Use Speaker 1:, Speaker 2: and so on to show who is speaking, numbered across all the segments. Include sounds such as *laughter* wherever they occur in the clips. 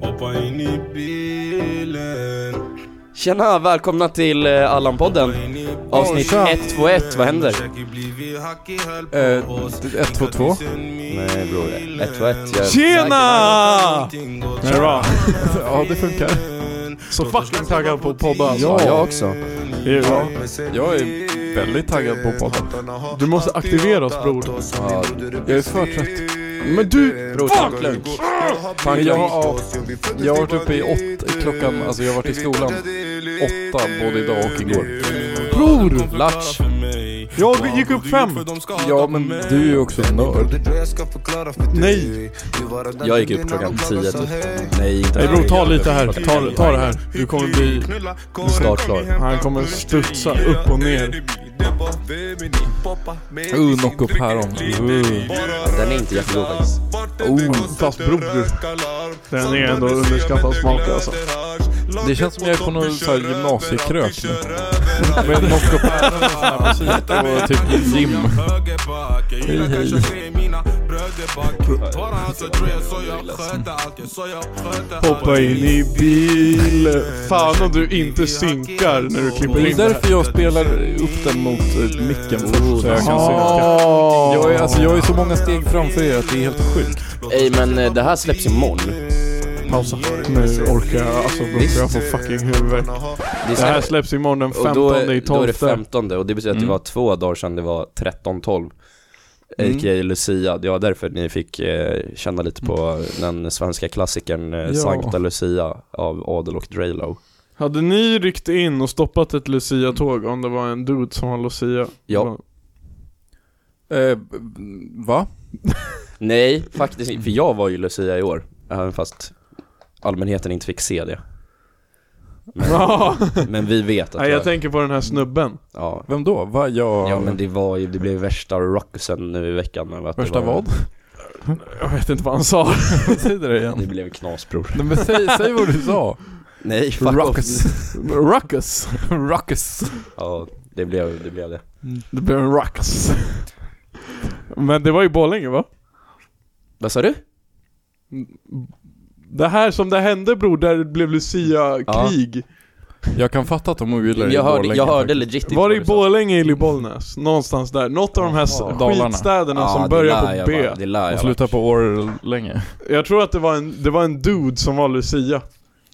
Speaker 1: Hoppa in i bilen
Speaker 2: Tjena, välkomna till eh, Allan-podden.
Speaker 1: in i
Speaker 2: Avsnitt
Speaker 3: Tja.
Speaker 2: 121, vad händer?
Speaker 3: Eh, 122?
Speaker 1: Nej bror,
Speaker 2: 121, jag...
Speaker 4: Tjena! Är det bra?
Speaker 3: *laughs* Ja, det funkar.
Speaker 4: Så fucking taggad på att podda alltså.
Speaker 2: Ja, jag också.
Speaker 4: Ja.
Speaker 3: Jag är väldigt taggad på podden.
Speaker 4: Du måste aktivera oss bror.
Speaker 3: Ja, jag är för trött.
Speaker 4: Men du!
Speaker 3: Bror,
Speaker 4: Fuck Lunk!
Speaker 3: fan, jag, har, ja, jag har varit uppe i åtta, klockan, alltså jag har varit i skolan åtta både idag och igår.
Speaker 4: Bror!
Speaker 3: Latch.
Speaker 4: Jag gick upp fem.
Speaker 3: Ja, men du är ju också en nörd.
Speaker 4: Nej!
Speaker 2: Jag gick upp klockan 10 typ. Nej, inte
Speaker 4: Nej bror, ta
Speaker 2: alls.
Speaker 4: lite här. Ta, ta det här. Du kommer bli...
Speaker 2: Snart klar.
Speaker 4: Han kommer studsa upp och ner.
Speaker 3: Uh, knock up päron. Uh.
Speaker 2: Den är inte jättegod faktiskt.
Speaker 4: Oh, fast bror. Den är ändå underskattad smak alltså.
Speaker 3: Det känns som jag är på någon så här gymnasiekrök
Speaker 4: *laughs*
Speaker 3: nu. Med knock up päron och sån här musik *laughs* och typ gym.
Speaker 4: Hoppa in i bil. Fan om du inte synkar när du klipper
Speaker 3: Det
Speaker 4: in
Speaker 3: är
Speaker 4: det.
Speaker 3: därför jag spelar upp den mot eh, micken först så jag kan
Speaker 4: Ah.
Speaker 3: synka. Jag
Speaker 4: Jag
Speaker 3: är, alltså, jag är så många steg framför er att det är helt sjukt.
Speaker 2: Ej, men eh, det här släpps imorgon.
Speaker 4: Pausa. Nu orkar jag, alltså bror jag får fucking huvudvärk.
Speaker 2: Det
Speaker 4: Det här
Speaker 2: släpps-
Speaker 4: släpps imorgon den
Speaker 2: och då,
Speaker 4: 15 i
Speaker 2: då är det
Speaker 4: 12.
Speaker 2: 15 och det betyder att det
Speaker 3: Mm.
Speaker 2: var två dagar sedan det var 13-12.
Speaker 3: Mm.
Speaker 2: A.k.a. Lucia, det var därför ni fick eh, känna lite på den svenska klassikern eh,
Speaker 3: Ja.
Speaker 2: Sankta Lucia av Adel och Draylo.
Speaker 4: Hade ni ryckt in och stoppat ett Lucia-tåg om det var en dude som var Lucia?
Speaker 2: Ja.
Speaker 3: Eh, va?
Speaker 2: Nej, faktiskt inte, för jag var ju Lucia i år, även fast allmänheten inte fick se det. *laughs*
Speaker 4: Ja.
Speaker 2: Men vi vet att
Speaker 4: Nej jag
Speaker 2: jag,
Speaker 4: tänker på den här snubben.
Speaker 2: ja.
Speaker 3: Vem då? Va? Jag...
Speaker 2: ja men det var ju, det blev värsta ruckusen nu i veckan med att det
Speaker 3: Värsta
Speaker 2: var,
Speaker 3: vad? *laughs*
Speaker 4: Jag vet inte vad
Speaker 2: *laughs*
Speaker 4: han sa.
Speaker 3: Vad säger det
Speaker 2: Det
Speaker 3: igen?
Speaker 2: blev knasbror.
Speaker 3: Nej, men säg, säg vad du sa.
Speaker 4: *laughs*
Speaker 2: Nej, *laughs* fuck off.
Speaker 3: Ruckus. *laughs* Ruckus. Ruckus.
Speaker 2: Ja, det blev det. Blev det.
Speaker 4: Det blev en ruckus. Men det var ju Borlänge va?
Speaker 2: Vad sa du?
Speaker 4: Det här som det hände bror, där det blev Lucia-krig.
Speaker 3: Jag kan fatta att de ogillar
Speaker 2: Jag hörde, jag hörde legit inte
Speaker 4: Var det i
Speaker 2: du sa.
Speaker 4: Borlänge eller i Bollnäs? Någonstans där. Något av de här s-
Speaker 3: Jaha. Dalarna.
Speaker 4: skitstäderna
Speaker 2: Ja,
Speaker 4: som
Speaker 2: det
Speaker 4: börjar
Speaker 2: lär jag
Speaker 4: på B.
Speaker 2: vara, Det lär
Speaker 3: Och
Speaker 2: jag
Speaker 3: sluta på år länge.
Speaker 4: Jag tror att det var, en, det var en dude som var Lucia.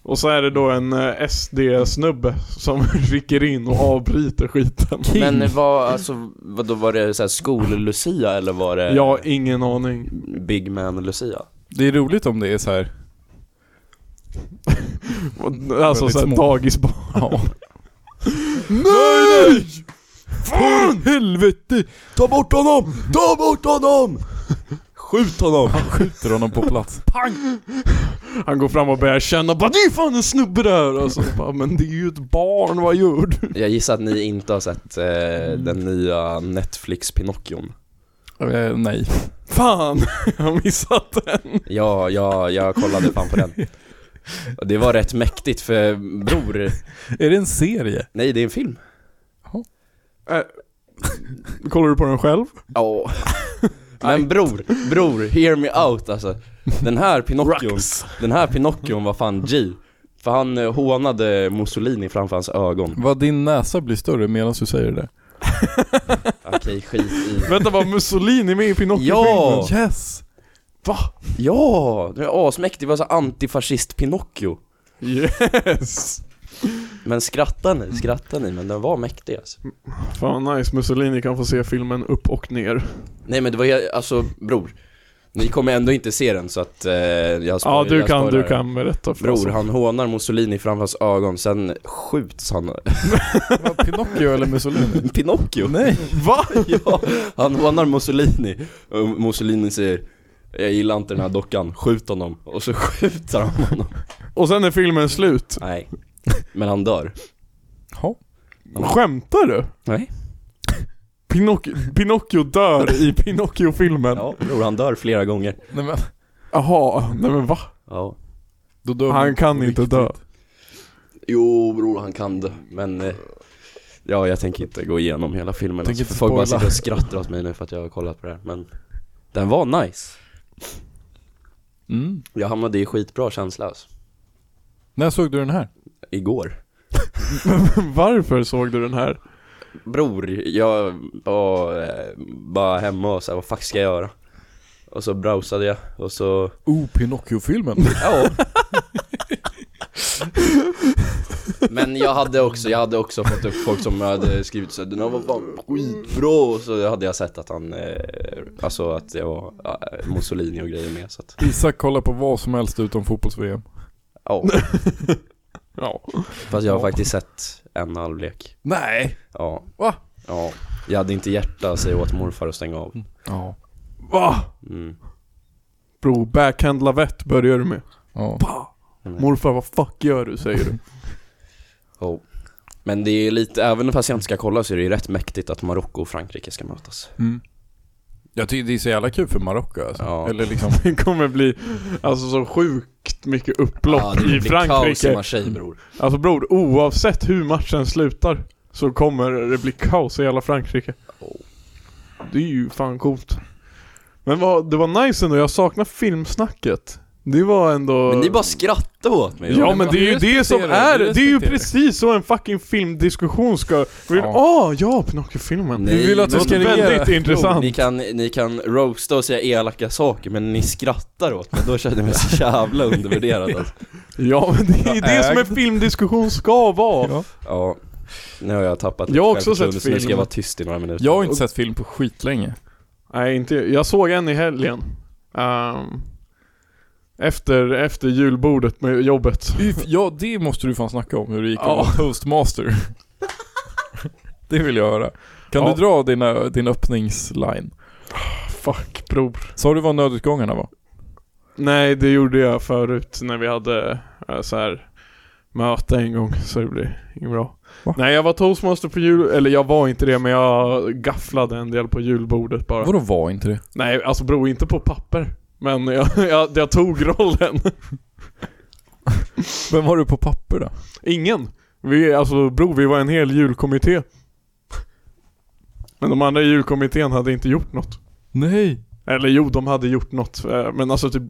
Speaker 4: Och så är det då en eh, SD-snubbe som *laughs* rycker in och avbryter skiten.
Speaker 2: vara. Men var, alltså, vad då var det såhär skol-Lucia eller var det
Speaker 4: Jag har ingen aning.
Speaker 2: Big Man-Lucia?
Speaker 3: Det är roligt om det är så här.
Speaker 4: Och- Alltså
Speaker 3: Väldigt
Speaker 4: såhär
Speaker 3: små.
Speaker 4: dagisbarn.
Speaker 3: Ja.
Speaker 4: Nej!
Speaker 3: Fan! Helvete! Ta bort honom! Ta bort honom! Skjut honom! Han skjuter honom på plats.
Speaker 4: Han går fram och börjar känna bara det är fan en snubbe där! Och så bara, men det är ju ett barn, vad gör
Speaker 2: *laughs*
Speaker 4: du? *laughs*
Speaker 2: Jag gissar att ni inte har sett eh, den nya Netflix-Pinocchion
Speaker 3: Eh, nej.
Speaker 4: Fan, *laughs* jag har missat den.
Speaker 2: Ja, ja, jag kollade fan på den Och Det var rätt mäktigt för bror
Speaker 3: Är det en serie?
Speaker 2: Nej, det är en film
Speaker 4: Kollar du på den själv?
Speaker 2: Ja *laughs* Men bror, bror, hear me out alltså Den här Pinocchion, den här Pinocchion var fan G För han eh, hånade Mussolini framför hans ögon
Speaker 3: Vad din näsa blir större medan du säger det.
Speaker 2: Okej, skit i
Speaker 4: Vänta, var Mussolini med i Pinocchio-filmen?
Speaker 2: Ja!
Speaker 3: Yes!
Speaker 4: Va?
Speaker 2: Ja! Den är asmäktig, det var så antifascist Pinocchio
Speaker 4: Yes!
Speaker 2: Men skrattar ni, skrattar ni, men den var mäktig alltså
Speaker 4: Fan vad nice, Mussolini kan få se filmen upp och ner.
Speaker 2: Nej men det var ju, alltså bror Ni kommer ändå inte se den så att eh, jag spoil-
Speaker 4: Ja, du
Speaker 2: jag
Speaker 4: kan, du
Speaker 2: spoilar.
Speaker 4: kan berätta för
Speaker 2: Bror,
Speaker 4: oss.
Speaker 2: han hånar Mussolini framför hans ögon, sen skjuts han
Speaker 3: *laughs* Pinocchio eller Mussolini?
Speaker 2: *laughs* Pinocchio?
Speaker 3: Nej!
Speaker 4: Va?
Speaker 2: *laughs* Ja, han hånar Mussolini och Mussolini säger Jag gillar inte den här dockan, skjut honom Och så *laughs* skjuter han honom
Speaker 4: Och sen är filmen slut.
Speaker 2: Nej Men han dör
Speaker 3: Ja.
Speaker 4: Skämtar du?
Speaker 2: Nej
Speaker 4: Pinocchio, Pinocchio dör i Pinocchio-filmen?
Speaker 2: Ja, bror han dör flera gånger
Speaker 3: Nej men,
Speaker 4: Jaha, nej men va?
Speaker 2: Ja
Speaker 3: då dör
Speaker 4: Han
Speaker 3: man
Speaker 4: kan
Speaker 3: på
Speaker 4: inte
Speaker 3: riktigt.
Speaker 4: dö.
Speaker 2: Jo bror, han kan dö, men eh, Ja, jag tänker inte gå igenom hela filmen
Speaker 3: Tänker
Speaker 2: alltså.
Speaker 3: inte
Speaker 2: Folk bara sitter
Speaker 3: spoila.
Speaker 2: och skrattar åt mig nu för att jag har kollat på det här, men Den var nice
Speaker 3: Mm.
Speaker 2: Jag hamnade i skitbra känsla alltså.
Speaker 3: När såg du den här?
Speaker 2: Igår.
Speaker 4: *laughs* Varför såg du den här?
Speaker 2: Bror, jag var eh, bara hemma och så här, vad fuck ska jag göra? Och så browsade jag och så,
Speaker 3: Oh, Pinocchio-filmen.
Speaker 2: ja. Men jag hade också, jag hade också fått upp folk som hade skrivit så här, den här var fan skitbra och så hade jag sett att han, eh, alltså att det var eh, Mussolini och grejer med så att,
Speaker 3: Isak kollar på vad som helst utom fotbolls-VM.
Speaker 2: ja.
Speaker 4: Ja.
Speaker 2: Fast jag har faktiskt sett en halvlek.
Speaker 3: Nej!
Speaker 2: Ja.
Speaker 3: Va?
Speaker 2: Ja. Jag hade inte hjärta att säga åt morfar att stänga av.
Speaker 3: Ja.
Speaker 4: Va?
Speaker 2: Mm.
Speaker 4: Bro, backhand lavett börjar du med.
Speaker 3: Ja.
Speaker 4: Morfar, vad fuck gör du? *laughs* Säger du.
Speaker 2: Ja. Men det är lite, även fast jag inte ska kolla så är det ju rätt mäktigt att Marocko och Frankrike ska mötas.
Speaker 3: Mm. Jag tycker det är så jävla kul för Marocko alltså.
Speaker 2: Ja.
Speaker 3: Eller liksom,
Speaker 4: Det kommer bli alltså så sjukt mycket upplopp
Speaker 2: Ja, det blir
Speaker 4: i
Speaker 2: kaos i
Speaker 4: Frankrike.
Speaker 2: Marseille bror.
Speaker 4: Alltså bror, oavsett hur matchen slutar så kommer det bli kaos i hela Frankrike.
Speaker 2: Oh.
Speaker 4: Det är ju fan coolt. Men vad, det var nice ändå, jag saknar filmsnacket. Det var ändå...
Speaker 2: Men ni bara skrattar åt mig.
Speaker 4: Ja
Speaker 3: men
Speaker 4: men
Speaker 3: vad-
Speaker 4: det är ju
Speaker 3: vi
Speaker 4: det som
Speaker 3: respekterar
Speaker 4: är
Speaker 3: det,
Speaker 4: det,
Speaker 3: vi
Speaker 4: det är ju
Speaker 3: respekterar det.
Speaker 4: precis så en fucking filmdiskussion ska... Åh,
Speaker 3: Ja.
Speaker 4: ja, ja Pinocchio-filmen.
Speaker 2: Nej,
Speaker 3: vi vill att du
Speaker 2: men-
Speaker 3: ska regera.
Speaker 4: Väldigt intressant.
Speaker 2: Ni kan, ni kan roasta och säga elaka saker men ni skrattar åt mig, då känner jag mig så jävla undervärderad alltså.
Speaker 4: Ja men det är ju
Speaker 3: Jag
Speaker 4: det som en
Speaker 3: ägde.
Speaker 4: filmdiskussion ska vara.
Speaker 3: Ja.
Speaker 2: Ja, nu har jag tappat
Speaker 4: Jag har också sett
Speaker 2: självförtroende, så nu ska jag
Speaker 4: film.
Speaker 2: vara tyst i några minuter.
Speaker 3: jag har inte sett film på skitlänge.
Speaker 4: Nej inte jag såg en i helgen. Ehm, efter, efter julbordet med jobbet. *laughs*
Speaker 3: If- Ja, det måste du fan snacka om, hur det gick att
Speaker 4: Ja.
Speaker 3: vara toastmaster. det vill jag höra. Kan
Speaker 4: Ja.
Speaker 3: du dra dina, din öppningsline?
Speaker 4: Fuck bror.
Speaker 3: Sa du vad nödutgångarna var?
Speaker 4: Nej det gjorde jag förut när vi hade eh, så här möte en gång så det blev inget bra.
Speaker 3: Va?
Speaker 4: Nej jag var toastmaster på jul, eller jag var inte det men jag gafflade en del på julbordet bara.
Speaker 3: Vadå var inte det?
Speaker 4: Nej alltså bror inte på papper. Men jag, *laughs* jag, jag tog rollen.
Speaker 3: Vem var du på papper då?
Speaker 4: Ingen. Vi, alltså bror, vi var en hel julkommitté. Men de andra i julkommittén hade inte gjort något.
Speaker 3: Nej!
Speaker 4: Eller jo, de hade gjort något. eh, Men alltså typ,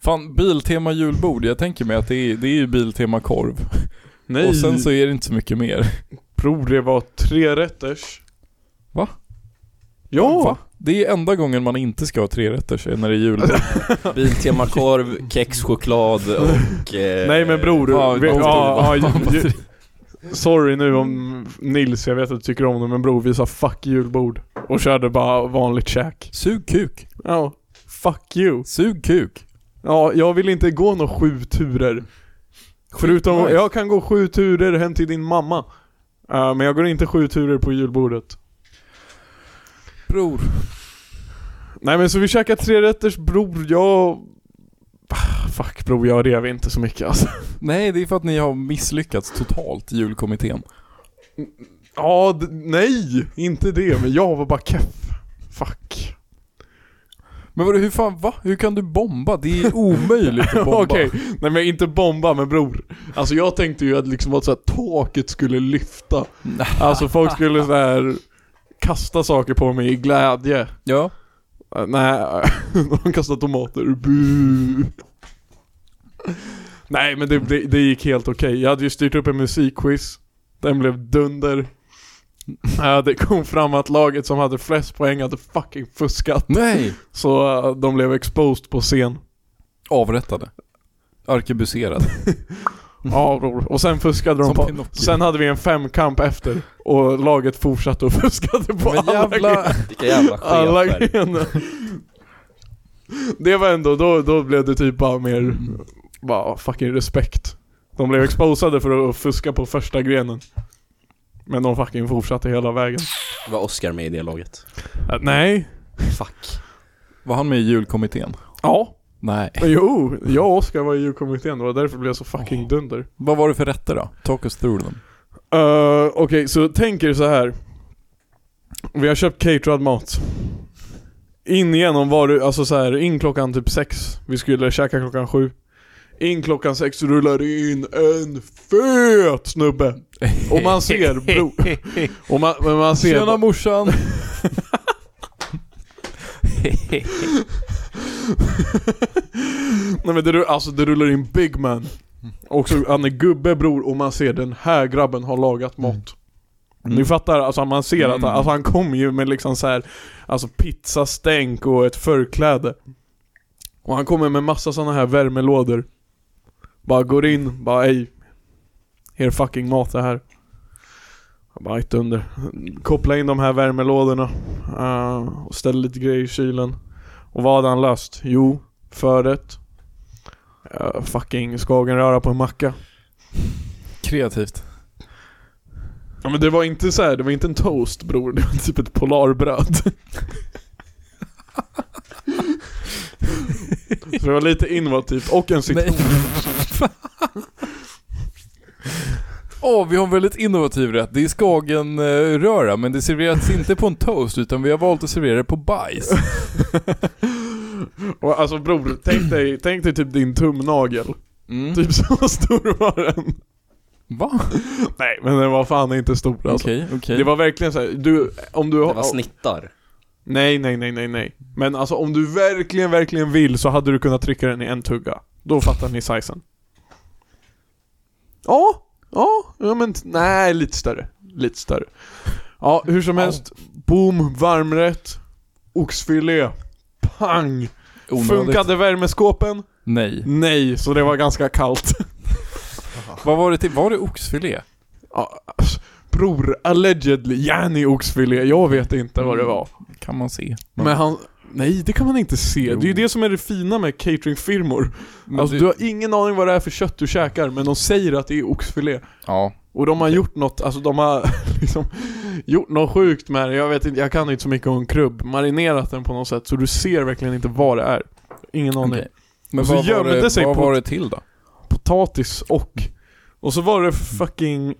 Speaker 3: Fan, Biltema julbord. Jag tänker mig att det är, det är ju Biltema korv.
Speaker 4: nej.
Speaker 3: Och sen så är det inte så mycket mer.
Speaker 4: Bror, det var tre rätters.
Speaker 3: Va?
Speaker 4: Ja!
Speaker 3: Va? Det är enda gången man inte ska ha trerätters, är när det är julbord.
Speaker 2: Biltema korv, kex, choklad
Speaker 4: *laughs*
Speaker 2: och... Eh,
Speaker 4: Nej men bror,
Speaker 3: Ja,
Speaker 4: vi,
Speaker 3: de-
Speaker 4: ja, ja,
Speaker 3: de-
Speaker 4: ju, sorry nu om Nils, jag vet att du tycker om det men bror vi sa 'fuck julbord' och körde bara vanligt käk.
Speaker 3: Sug kuk.
Speaker 4: Ja, 'fuck you'
Speaker 3: Sug kuk.
Speaker 4: Ja, jag vill inte gå några sju turer. Förutom,
Speaker 3: Skitnice.
Speaker 4: jag kan gå sju turer hem till din mamma. Eh, men jag går inte sju turer på julbordet.
Speaker 3: Bror.
Speaker 4: Nej men så vi käkar tre rätters bror, jag... Ah, Fuck bror, jag rev inte så mycket alltså.
Speaker 3: Nej, det är för att ni har misslyckats totalt i julkommittén.
Speaker 4: Ja, d- nej! Inte det, men jag var bara keff. Fuck.
Speaker 3: Men vadå, hur fan, va? Hur kan du bomba? Det är omöjligt
Speaker 4: *laughs*
Speaker 3: att bomba.
Speaker 4: Okej, nej men inte bomba men bror. Alltså jag tänkte ju att liksom att så här, taket skulle lyfta. Alltså folk skulle så här kasta saker på mig i glädje.
Speaker 3: Ja.
Speaker 4: Äh, Nej, *laughs* de kastar
Speaker 3: *laughs*
Speaker 4: tomater. Bu. Nej men det, det, det gick helt okej. Jag hade ju styrt upp en musikquiz. Den blev dunder. Äh, Det kom fram att laget som hade flest poäng hade fucking fuskat.
Speaker 3: Nej!
Speaker 4: Så äh, de blev exposed på scen.
Speaker 3: Avrättade.
Speaker 4: *laughs*
Speaker 3: Arkebuserad.
Speaker 4: Ja bror. Och sen fuskade de
Speaker 3: Mm. Som
Speaker 4: på.
Speaker 3: Pinocchio.
Speaker 4: Sen hade vi en femkamp efter. Och laget fortsatte och *laughs* fuskade på
Speaker 3: Men
Speaker 4: alla grejer.
Speaker 3: jävla...
Speaker 2: Vilka jävla
Speaker 4: Alla
Speaker 2: chefer.
Speaker 4: grenar. Det var ändå, då, då blev det typ bara mer, bara fucking respekt. De blev exposade för att fuska på första grenen. Men de fucking fortsatte hela vägen.
Speaker 2: Var Oscar med i det laget?
Speaker 4: Äh, nej.
Speaker 2: Fuck.
Speaker 3: Var han med i julkommittén?
Speaker 4: Ja.
Speaker 3: Nej.
Speaker 4: Jo, jag och Oskar var i EU-kommittén, det var därför det blev så fucking dunder.
Speaker 3: Vad var det för rätter då? Talk us through
Speaker 4: *laughs*
Speaker 3: them.
Speaker 4: Eh, Okej, så tänk er så här. Vi har köpt caterad mat. In igenom var det, alltså så här, in klockan typ sex. Vi skulle käka klockan sju. In klockan sex rullar det in en fet snubbe. Och man
Speaker 3: *laughs*
Speaker 4: ser, bro. Och man, men man ser... Mm.
Speaker 3: Tjena morsan!
Speaker 4: Nej men det, rull- alltså det rullar in big man. Också, han är gubbe bror och man ser den här grabben har lagat mat.
Speaker 3: Mm.
Speaker 4: Ni fattar, alltså man ser att han,
Speaker 3: Mm.
Speaker 4: alltså, han kommer ju med liksom så här, alltså pizzastänk och ett förkläde. Och han kommer med massa sådana här värmelådor. Bara går in, bara ey. Er fucking mat det här. Jag bara ett under. Koppla in de här värmelådorna. eh, och ställ lite grejer i kylen. Och vad hade han löst? Jo, förrätt. Uh, fucking skagenröra på en macka.
Speaker 3: Kreativt.
Speaker 4: Ja men det var inte så här, det var inte en toast bror, det var typ ett polarbröd. så det var lite innovativt, och en citron.
Speaker 3: Nej. *laughs* Åh, vi har en väldigt innovativ rätt. Det är skagenröra, men det serveras inte på en toast, utan vi har valt att servera det på
Speaker 4: *laughs*
Speaker 3: bajs.
Speaker 4: *laughs* Och alltså bror, tänk dig, tänk dig typ din tumnagel.
Speaker 3: Mm.
Speaker 4: Typ så *laughs* stor var den.
Speaker 3: Va?
Speaker 4: Nej men den var fan inte stor alltså.
Speaker 3: Okej, okej.
Speaker 4: Det var verkligen så här, du, om du
Speaker 2: Det var snittar.
Speaker 4: Nej, nej, nej, nej, nej. Men alltså om du verkligen, verkligen vill så hade du kunnat trycka den i en tugga. Då fattar ni sizen. Ja, ja, ja men t- nej, lite större. Lite större. Ja, hur som helst. Boom, varmrätt. Oxfilé. Pang!
Speaker 3: Onödigt.
Speaker 4: Funkade värmeskåpen?
Speaker 3: Nej.
Speaker 4: Nej, så det var ganska kallt.
Speaker 3: Vad var det till? Var det oxfilé?
Speaker 4: Ja, alltså, bror, allegedly, yani oxfilé. Jag vet inte vad det var.
Speaker 3: Kan man se.
Speaker 4: Men han... Nej, det kan man inte se. Det är ju
Speaker 3: Jo.
Speaker 4: det som är det fina med cateringfirmor.
Speaker 3: Men
Speaker 4: Alltså
Speaker 3: du-
Speaker 4: du... har ingen aning vad det är för kött du käkar, men de säger att det är oxfilé.
Speaker 3: Ja.
Speaker 4: Och de har gjort något, alltså de har *laughs* liksom gjort något sjukt med det. Jag vet inte, jag kan inte så mycket om krubb. Marinerat den på något sätt, så du ser verkligen inte vad det är. Ingen aning.
Speaker 3: Okej. Alltså, Men
Speaker 4: Och så
Speaker 3: vad, var
Speaker 4: gömde
Speaker 3: det,
Speaker 4: sig
Speaker 3: vad
Speaker 4: på-
Speaker 3: var det till då?
Speaker 4: Potatis och... Och så var det fucking...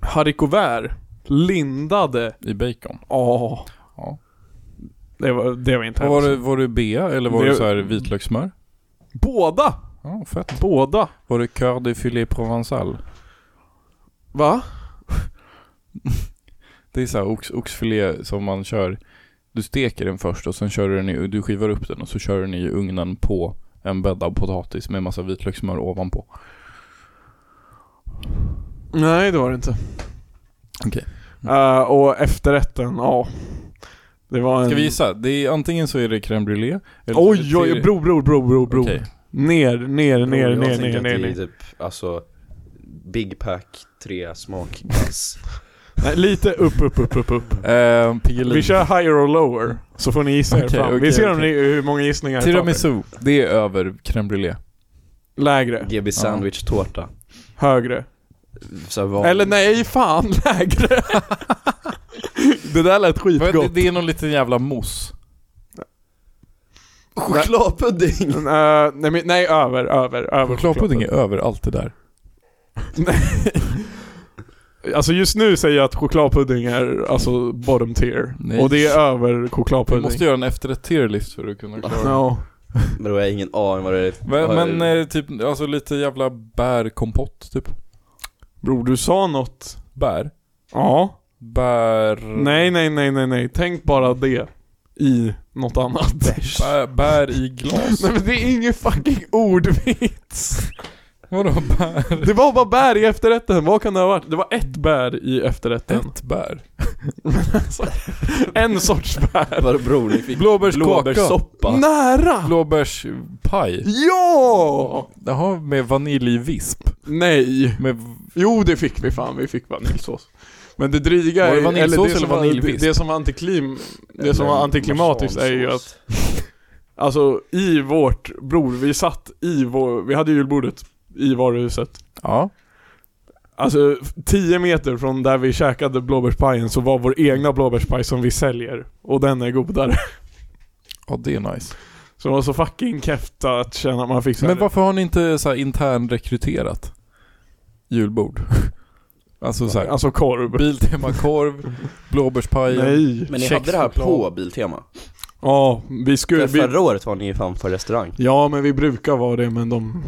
Speaker 4: haricots verts. Lindade.
Speaker 3: I bacon?
Speaker 4: Ja.
Speaker 3: Ja.
Speaker 4: Det var, det var inte
Speaker 3: Vad
Speaker 4: hemskt.
Speaker 3: var det, var det bea eller var det,
Speaker 4: Det-
Speaker 3: så här vitlökssmör?
Speaker 4: Båda!
Speaker 3: Ja, fett.
Speaker 4: Båda!
Speaker 3: Var det cœur de filet provençal?
Speaker 4: Va?
Speaker 3: Det är så här ox, oxfilé som man kör. Du steker den först och sen kör du den i, du skivar upp den och så kör du den i ugnen på en bädd av potatis med massa vitlökssmör ovanpå.
Speaker 4: Nej, det var det inte.
Speaker 3: Okej.
Speaker 4: Eh, och efterrätten, ja. Det var en...
Speaker 3: Ska vi gissa? Det är, antingen så är det crème brûlée. eller-
Speaker 4: Oj, oj, bror, bror, bror, bror, bror.
Speaker 3: Okej.
Speaker 4: Ner, ner, ner, ner,
Speaker 2: jag
Speaker 4: ner,
Speaker 2: tänker
Speaker 4: ner,
Speaker 2: att
Speaker 4: ner.
Speaker 2: det är typ, alltså, Big Pack 3
Speaker 4: *laughs*
Speaker 2: smakglass.
Speaker 4: Nej, lite upp, upp, upp, upp, upp.
Speaker 3: Eh, Piggelin.
Speaker 4: Vi kör higher or lower, så får ni gissa er
Speaker 3: Okej,
Speaker 4: fram.
Speaker 3: okej,
Speaker 4: vi ser om
Speaker 3: okej.
Speaker 4: ni, hur många gissningar ni tar.
Speaker 3: Tiramisu. Det är över crème brûlée.
Speaker 4: Lägre,
Speaker 2: GB sandwich tårta.
Speaker 4: högre.
Speaker 2: Så här, vad-
Speaker 4: Eller nej, fan, *laughs* lägre. det där lät
Speaker 3: Vad-
Speaker 4: skitgott.
Speaker 3: Det, det är någon liten jävla mousse.
Speaker 2: *laughs*
Speaker 4: *laughs*
Speaker 2: Chokladpudding!
Speaker 4: Eh, nej, men, nej, över, över, över.
Speaker 3: Chokladpudding är över allt det där.
Speaker 4: Alltså just nu säger jag att chokladpudding är alltså bottom tier.
Speaker 3: Nej.
Speaker 4: Och det är över
Speaker 3: Vi
Speaker 4: chokladpudding.
Speaker 3: måste göra en efterrätt tier list för att kunna klara det.
Speaker 4: Ja.
Speaker 2: Men då har jag ingen aning vad det är.
Speaker 3: Men,
Speaker 2: vad-
Speaker 3: men eh, typ, alltså lite jävla bärkompott typ.
Speaker 4: Bror, du sa något.
Speaker 3: Bär?
Speaker 4: Ja.
Speaker 3: Bär...
Speaker 4: Nej, nej, nej, nej, nej. Tänk bara det i något annat.
Speaker 3: Bär, bär i glas?
Speaker 4: nej men det är ingen fucking ordvits.
Speaker 3: Vadå bär?
Speaker 4: Det var bara bär i efterrätten. Vad kan det ha varit? Det var ett bär i efterrätten.
Speaker 3: Ett bär?
Speaker 4: *laughs* En sorts bär.
Speaker 2: *laughs* Vad bror, ni fick
Speaker 3: Blåbärskaka?
Speaker 2: blåbärssoppa.
Speaker 4: Nära!
Speaker 3: Blåbärspaj?
Speaker 4: Ja!
Speaker 3: Jaha, med vaniljvisp?
Speaker 4: Nej.
Speaker 3: Med...
Speaker 4: Jo, det fick vi fan. Vi fick vaniljsås. Men det dryga
Speaker 3: Var det
Speaker 4: är-
Speaker 3: vaniljsås
Speaker 4: det
Speaker 3: eller
Speaker 4: som var-
Speaker 3: vaniljvisp?
Speaker 4: Det, det som var antiklim... *laughs* Det som var
Speaker 2: Eller
Speaker 4: antiklimatiskt är ju att
Speaker 2: marsansås.
Speaker 4: Alltså i vårt, bror, vi satt i vår, vi hade julbordet i varuhuset.
Speaker 3: Ja.
Speaker 4: Alltså 10 meter från där vi käkade blåbärspajen så var vår egna blåbärspaj som vi säljer. Och den är godare. *laughs*
Speaker 3: Ja, det är nice.
Speaker 4: Så det var så fucking keft att känna att man fick så här-
Speaker 3: Men varför har ni inte så här intern rekryterat julbord? *laughs* Alltså så här, *laughs*
Speaker 4: Alltså korv.
Speaker 3: Biltema korv, blåbärspajen.
Speaker 4: Nej.
Speaker 2: Men ni hade det här på
Speaker 3: Kexchoklad.
Speaker 2: Biltema?
Speaker 4: Ja, vi skulle...
Speaker 2: För
Speaker 4: Vi,
Speaker 2: förra året var ni ju fan på restaurang.
Speaker 4: ja men vi brukar vara det men de,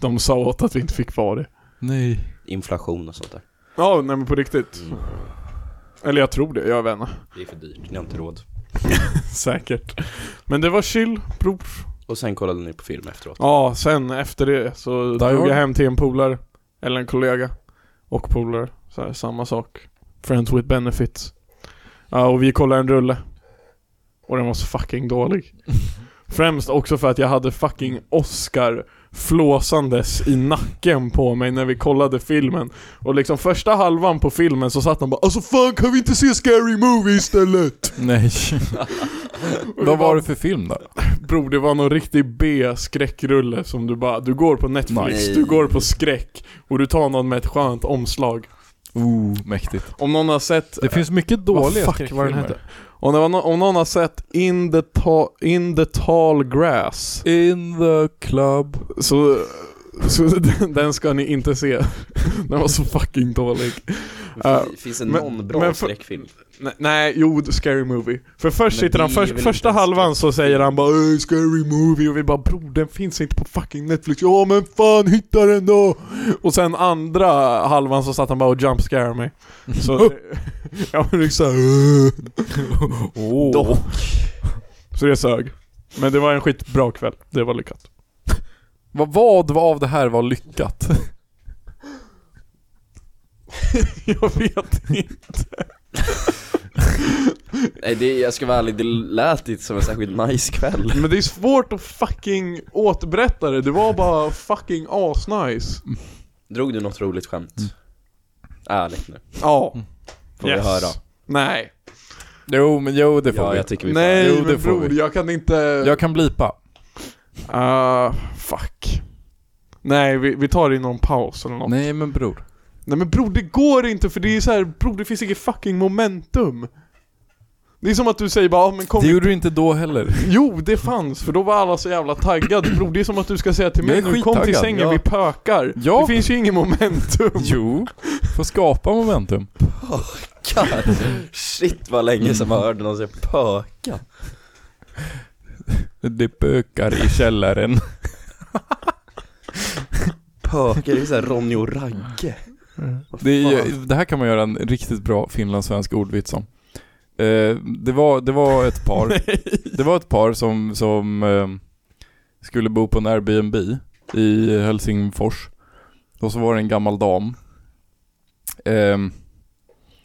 Speaker 4: de sa åt att vi inte fick vara det.
Speaker 3: Nej.
Speaker 2: Inflation och sånt där.
Speaker 4: Ja, nej men på riktigt. Eller jag tror det, jag *laughs* vet inte.
Speaker 2: Det är för dyrt, ni har inte råd.
Speaker 4: Säkert. Men det var chill, bror.
Speaker 2: Och sen kollade ni på film efteråt.
Speaker 4: Ja, sen efter det så
Speaker 3: Die
Speaker 4: drog
Speaker 3: Hard?
Speaker 4: jag hem till en polare. Eller en kollega. Och polare. Så här, samma sak. Friends with benefits. Ja, och vi kollade en rulle. Och den var så
Speaker 3: *laughs*
Speaker 4: fucking dålig. Främst också för att jag hade fucking Oscar flåsandes i nacken på mig när vi kollade filmen. Och liksom första halvan på filmen så satt han bara 'Alltså fan kan vi inte se Scary Movie istället?'
Speaker 3: *laughs* Nej.
Speaker 4: Och
Speaker 3: Vad
Speaker 4: bara,
Speaker 3: var det för film då?
Speaker 4: Bror, det var någon riktig B-skräckrulle som du bara, du går på Netflix,
Speaker 2: Nej.
Speaker 4: du går på skräck och du tar någon med ett skönt omslag.
Speaker 3: Ooh, Oh, mäktigt.
Speaker 4: Om någon har sett,
Speaker 3: Det finns mycket dåliga
Speaker 4: vad fuck var den hette?
Speaker 3: skräckfilmer.
Speaker 4: Om, det var nå- om någon har sett In the, ta- In the Tall Grass,
Speaker 3: In the club.
Speaker 4: så, så *laughs* den, den ska ni inte se. Den var så fucking dålig. Ja,
Speaker 2: Fin- Finns det
Speaker 4: men-
Speaker 2: någon bra
Speaker 4: men för-
Speaker 2: skräckfilm?
Speaker 4: Nej, nej, jo, Scary Movie. För först
Speaker 2: Men
Speaker 4: sitter han,
Speaker 2: det är
Speaker 4: först,
Speaker 2: väl inte
Speaker 4: första
Speaker 2: en
Speaker 4: halvan så säger han bara "Öh, Scary Movie och vi bara bror den finns inte på fucking Netflix, ja men fan hitta den då! Och sen andra halvan så satt han bara och jumpscare mig.
Speaker 2: *laughs*
Speaker 4: Så, *laughs* ja men liksom "Öh."
Speaker 3: Oh.
Speaker 4: Dock. Så det sög. Men det var en skitbra kväll, det
Speaker 2: *laughs*
Speaker 4: var lyckat.
Speaker 3: Vad, vad av det här var lyckat?
Speaker 4: Jag vet inte.
Speaker 2: Nej, det, jag ska vara ärlig, det lät inte som en särskilt nice kväll.
Speaker 4: Men det är svårt att fucking återberätta det, det var bara fucking asnice.
Speaker 2: Drog du något roligt skämt? Ärligt nu.
Speaker 4: Ja.
Speaker 2: Får vi höra?
Speaker 4: Nej.
Speaker 3: *laughs* Jo, men jo det får
Speaker 2: Ja,
Speaker 3: vi.
Speaker 2: jag tycker vi får
Speaker 4: Nej
Speaker 3: Jo, det
Speaker 4: men
Speaker 3: får
Speaker 4: bror,
Speaker 3: vi.
Speaker 4: jag kan inte...
Speaker 3: Jag kan blipa.
Speaker 4: Ah, fuck. Nej, vi, vi tar det i någon paus eller något. Nej.
Speaker 3: Nej men bror.
Speaker 4: men bror, det går inte för det är så här, bror det finns inget fucking momentum. Det är som att du säger bara, ah, men kom
Speaker 3: Det gjorde du inte då heller.
Speaker 4: Jo, det fanns, för då var alla så jävla taggade bror. Det är som att du ska säga till mig
Speaker 3: Jag är
Speaker 4: nu, kom till
Speaker 3: skittaggad,
Speaker 4: sängen,
Speaker 3: ja.
Speaker 4: vi pökar.
Speaker 3: Ja.
Speaker 4: Det finns ju inget momentum.
Speaker 3: Jo. Får skapa momentum.
Speaker 2: God, *laughs* shit vad länge sedan man hörde någon säga pöka.
Speaker 3: Det bökar i källaren.
Speaker 2: Pöka, det är såhär Ronny och Ragge.
Speaker 3: Det, är, ju- det här kan man göra en riktigt bra finlandssvensk ordvits om. Eh, det, var, det var ett par, det var ett par som, som eh, skulle bo på en Airbnb i Helsingfors. Och så var det en gammal dam. Ehm,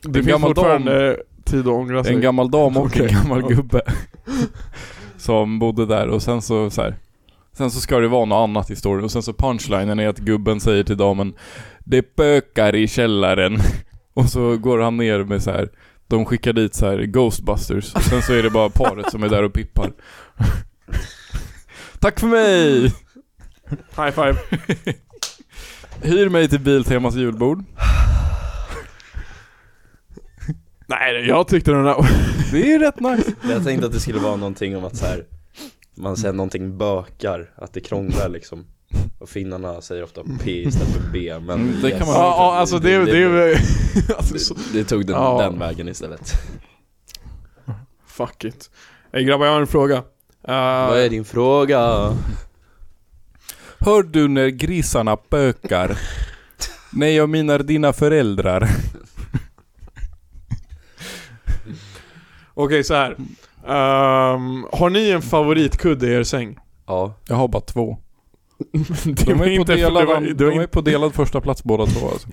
Speaker 4: Det
Speaker 3: En
Speaker 4: finns
Speaker 3: gammal dam.
Speaker 4: fortfarande tid att ångra sig.
Speaker 3: en gammal dam och
Speaker 4: Okej.
Speaker 3: en gammal gubbe. *laughs* som bodde där och sen så, så här. Sen så ska det vara något annat i storyn och sen så punchlinen är att gubben säger till damen Det bökar i källaren. *laughs* Och så går han ner med så här. De skickar dit så här Ghostbusters och sen så är det bara paret som är där och pippar. *laughs* Tack för mig!
Speaker 4: High five.
Speaker 3: Hyr mig till Biltemas julbord.
Speaker 4: Nej, jag tyckte den där...
Speaker 3: Det är rätt nice.
Speaker 2: Jag tänkte att det skulle vara någonting om att så här. man säger någonting bökar, att det krånglar liksom. Och finnarna säger ofta P istället för B, men
Speaker 3: Mm, det kan
Speaker 4: Ja,
Speaker 3: man-
Speaker 4: ja, alltså det... det, det, *laughs* alltså, så-
Speaker 2: det, det tog den,
Speaker 4: Ja.
Speaker 2: den vägen istället.
Speaker 4: Fuck it. Hey, grabbar, jag har en fråga. Eh,
Speaker 2: Vad är din fråga?
Speaker 3: Hör du när grisarna bökar? Nej, jag menar dina föräldrar.
Speaker 4: Okej, så här. Ehm, har ni en favoritkudde i er säng?
Speaker 2: Ja,
Speaker 3: Jag har bara *laughs* två.
Speaker 4: Det
Speaker 3: De
Speaker 4: var
Speaker 3: är, på
Speaker 4: inte-
Speaker 3: delad,
Speaker 4: det var-
Speaker 3: an-
Speaker 4: det var
Speaker 3: de är
Speaker 4: inte-
Speaker 3: på delad första plats båda två alltså.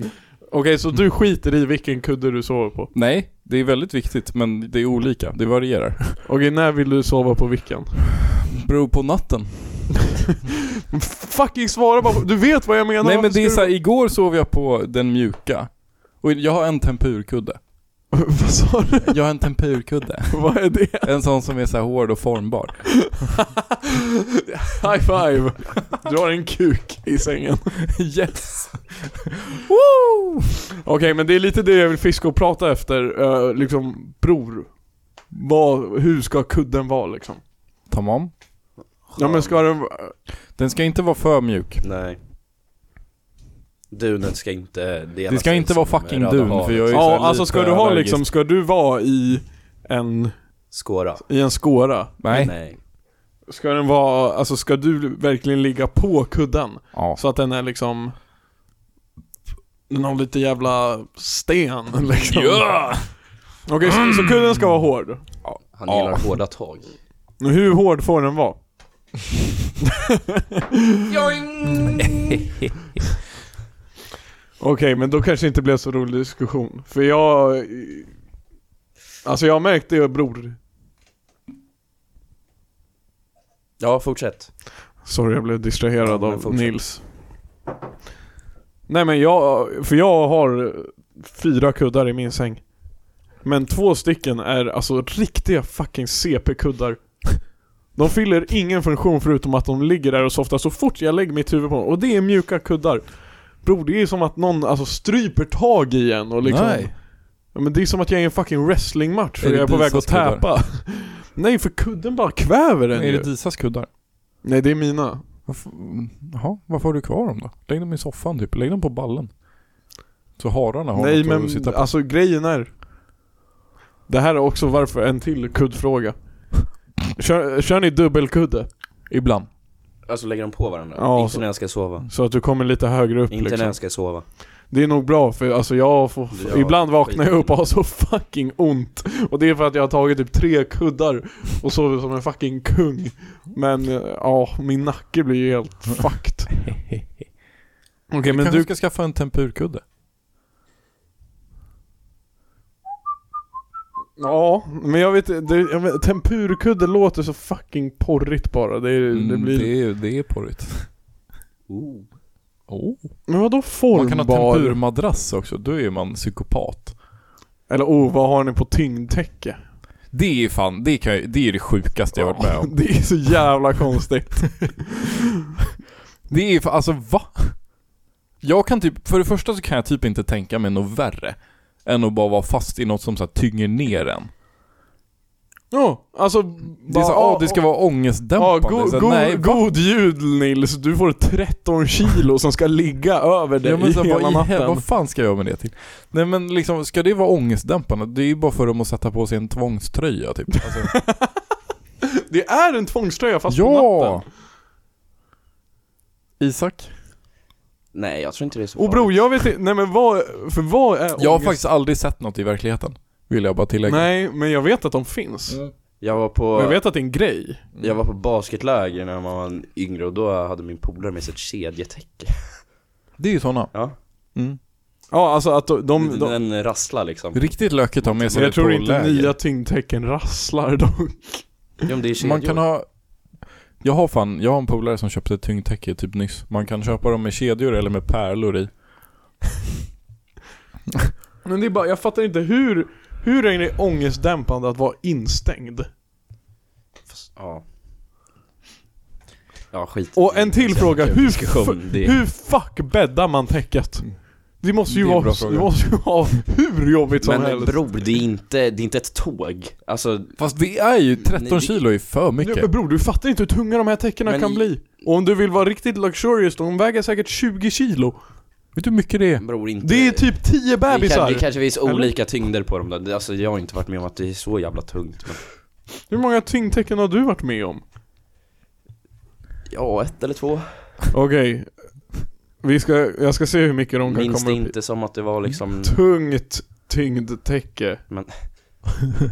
Speaker 4: Okej, så du skiter i vilken kudde du sover på?
Speaker 3: *laughs* Nej, det är väldigt viktigt men det är olika. Det varierar.
Speaker 4: Okej, när vill du sova på vilken?
Speaker 3: *laughs* Beror på natten.
Speaker 4: Fucking svara bara! Du vet vad jag menar!
Speaker 3: Nej men
Speaker 4: varför
Speaker 3: det är
Speaker 4: ska
Speaker 3: såhär, igår sov jag på den mjuka. Och jag har en tempurkudde.
Speaker 4: du- *laughs* vad sa du?
Speaker 3: Jag har en *laughs* tempurkudde.
Speaker 4: Vad är det? *laughs*
Speaker 3: En sån som är så här hård och formbar.
Speaker 4: High five! Du har en kuk i sängen.
Speaker 3: *laughs* Yes!
Speaker 4: Woo! Okej, men det är lite det jag vill fiska och prata efter. eh, liksom, bror. Vad, hur ska kudden vara liksom?
Speaker 3: Tamam.
Speaker 4: Ja men ska den...
Speaker 3: Den ska inte vara för mjuk.
Speaker 2: nej. Dunet ska inte dela
Speaker 3: Det ska
Speaker 2: sig
Speaker 3: inte
Speaker 2: som
Speaker 3: vara fucking
Speaker 2: Röda
Speaker 3: dun
Speaker 2: havet.
Speaker 3: för jag är så
Speaker 4: Ja
Speaker 3: här
Speaker 4: alltså
Speaker 3: lite
Speaker 4: ska du ha
Speaker 3: allergisk.
Speaker 4: liksom, ska du vara i en,
Speaker 2: Skåra.
Speaker 4: i en skåra?
Speaker 3: Nej.
Speaker 2: nej.
Speaker 4: Ska den vara, alltså ska du verkligen ligga på kudden?
Speaker 3: Ja.
Speaker 4: Så att den är liksom Den har lite jävla sten *laughs* liksom Okej så, så kudden ska vara hård
Speaker 2: Han
Speaker 3: Ja.
Speaker 2: gillar hårda tag.
Speaker 4: Hur hård får den vara? *laughs* Okej, men då kanske det inte blev så rolig diskussion. För jag... Alltså jag märkte ju bror.
Speaker 2: Ja, fortsätt.
Speaker 4: Sorry jag blev distraherad
Speaker 2: Ja, men
Speaker 4: av
Speaker 2: fortsätt.
Speaker 4: Nils. Nej men jag, för jag har fyra kuddar i min säng. Men två stycken är alltså riktiga fucking CP-kuddar. De fyller ingen funktion förutom att de ligger där och softar så fort jag lägger mitt huvud på dem. Och det är mjuka kuddar. Bror det är som att någon alltså stryper tag i en och liksom...
Speaker 3: Nej.
Speaker 4: Ja, men det är som att jag är i en fucking wrestlingmatch
Speaker 3: Är
Speaker 4: och
Speaker 3: det
Speaker 4: jag är på väg att
Speaker 3: Disas kuddar?
Speaker 4: täpa. *laughs* Nej för kudden bara kväver den
Speaker 3: Är
Speaker 4: ju.
Speaker 3: det Disas kuddar?
Speaker 4: Nej det är mina.
Speaker 3: Varför, mm, jaha, varför har du kvar dem då? Lägg dem i soffan typ, lägg dem på ballen. Så hararna har
Speaker 4: Nej
Speaker 3: något
Speaker 4: men
Speaker 3: att sitta på.
Speaker 4: alltså grejen är Det här är också varför, en till
Speaker 3: *laughs*
Speaker 4: kuddfråga Kör, kör ni dubbelkudde? *laughs*
Speaker 3: Ibland.
Speaker 2: Alltså lägger de på varandra?
Speaker 4: Ja,
Speaker 2: inte
Speaker 4: så-
Speaker 2: när jag ska sova.
Speaker 4: Så att du kommer lite högre upp
Speaker 2: Inte när
Speaker 4: liksom.
Speaker 2: jag ska sova.
Speaker 4: Det är nog bra för alltså jag får,
Speaker 2: Ja,
Speaker 4: ibland vaknar jag
Speaker 2: skit.
Speaker 4: upp och har så fucking ont Och det är för att jag har tagit typ tre kuddar och sover som en fucking kung Men eh, ja, min nacke blir ju
Speaker 3: *laughs*
Speaker 4: helt fucked Okej
Speaker 3: Men
Speaker 4: men
Speaker 3: kanske
Speaker 4: du,
Speaker 3: ska skaffa en tempurkudde?
Speaker 4: ja men jag vet, det, jag vet tempurkudde låter så fucking porrigt bara Det, det
Speaker 3: Mm,
Speaker 4: blir
Speaker 3: det, är, det är porrigt.
Speaker 2: Oh.
Speaker 3: Oh.
Speaker 4: Men vadå
Speaker 3: Man kan ha
Speaker 4: formbar?
Speaker 3: tempurmadrass också, då är man psykopat.
Speaker 4: Eller oh, vad har ni på tyngdtäcke?
Speaker 3: Det är fan, det, kan, jag- det är det sjukaste jag varit med om.
Speaker 4: *laughs* Det är så jävla konstigt.
Speaker 3: Det är fan, alltså va? Jag kan typ, för det första så kan jag typ inte tänka mig något värre. Än att bara vara fast i något som så här tynger ner en.
Speaker 4: *laughs* Ja, alltså...
Speaker 3: Det är så, ah, det ska vara
Speaker 4: Ja,
Speaker 3: ångestdämpande.
Speaker 4: go,
Speaker 3: så, här,
Speaker 4: go,
Speaker 3: nej, va?
Speaker 4: god jul Nils, du får 13 kilo som ska ligga över dig
Speaker 3: Ja, men så, här,
Speaker 4: hela
Speaker 3: vad, i
Speaker 4: natten.
Speaker 3: hel, vad fan ska jag göra med det till? Nej men liksom, ska det vara ångestdämpande? Det är ju bara för dem att sätta på sig en tvångströja
Speaker 4: *laughs*
Speaker 3: typ. Alltså,
Speaker 4: Det är en tvångströja fast på
Speaker 3: ja!
Speaker 4: natten.
Speaker 3: Isak?
Speaker 2: Nej, jag tror inte det är så
Speaker 4: Och bror, jag vet inte, nej men vad, för vad är
Speaker 3: Jag har
Speaker 4: ångest?
Speaker 3: faktiskt aldrig sett något i verkligheten. Vill jag bara tillägga.
Speaker 4: Nej, men jag vet att de finns.
Speaker 3: Mm.
Speaker 2: Jag var på...
Speaker 4: Och jag vet att det är en grej.
Speaker 2: Jag var på basketläger när man var yngre och då hade min polare med sig ett kedjetäcke
Speaker 3: Det är ju sådana.
Speaker 2: Ja,
Speaker 3: Mm.
Speaker 4: Ja, alltså att de... de, de
Speaker 2: den rasslar liksom
Speaker 3: Riktigt löket att ha med sig
Speaker 4: jag
Speaker 3: det på
Speaker 4: tror inte
Speaker 3: läger.
Speaker 4: nya tyngdtäcken rasslar dock.
Speaker 2: Jo men det är kedjor
Speaker 3: Man kan ha... Jag har fan, jag har en polare som köpte ett tyngdtäcke typ nyss. Man kan köpa dem med kedjor eller med pärlor i.
Speaker 4: Men det är bara, jag fattar inte hur, hur är det ångestdämpande att vara instängd?
Speaker 2: Fast, Ja Ja skit
Speaker 4: Och en till fråga, hur,
Speaker 2: diskussion,
Speaker 4: f-
Speaker 2: det- Mm.
Speaker 4: hur fuck bäddar man täcket? Det måste ju
Speaker 3: Det är en
Speaker 4: vara,
Speaker 3: bra
Speaker 4: det
Speaker 3: fråga.
Speaker 4: måste ju vara hur jobbigt som
Speaker 2: Men
Speaker 4: helst.
Speaker 2: bror, det är inte, det är inte ett tåg Alltså,
Speaker 3: Fast det är ju
Speaker 2: Nej,
Speaker 3: 13
Speaker 2: det-
Speaker 3: kilo är för
Speaker 4: Mm, Ja,
Speaker 3: mycket.
Speaker 4: men bror, du fattar inte hur tunga de här täckena
Speaker 2: Men
Speaker 4: kan
Speaker 2: i-
Speaker 4: bli. Och om du vill vara riktigt luxurious, de väger säkert 20 kilo.
Speaker 3: Vet du hur mycket det är?
Speaker 2: bror inte
Speaker 4: Det är typ 10
Speaker 2: det,
Speaker 4: bebisar.
Speaker 2: kan, det kanske finns
Speaker 4: Eller?
Speaker 2: olika tyngder på dem där, Det- alltså jag har inte varit med om att det är så jävla tungt men...
Speaker 4: Hur många tyngdtäcken har du varit med om?
Speaker 2: Ja, ett eller två
Speaker 4: Okej. Vi ska, jag ska se hur mycket de kan
Speaker 2: Minns det
Speaker 4: komma upp i.
Speaker 2: inte som att det var liksom
Speaker 4: Tungt tyngdtäcke.
Speaker 2: Men-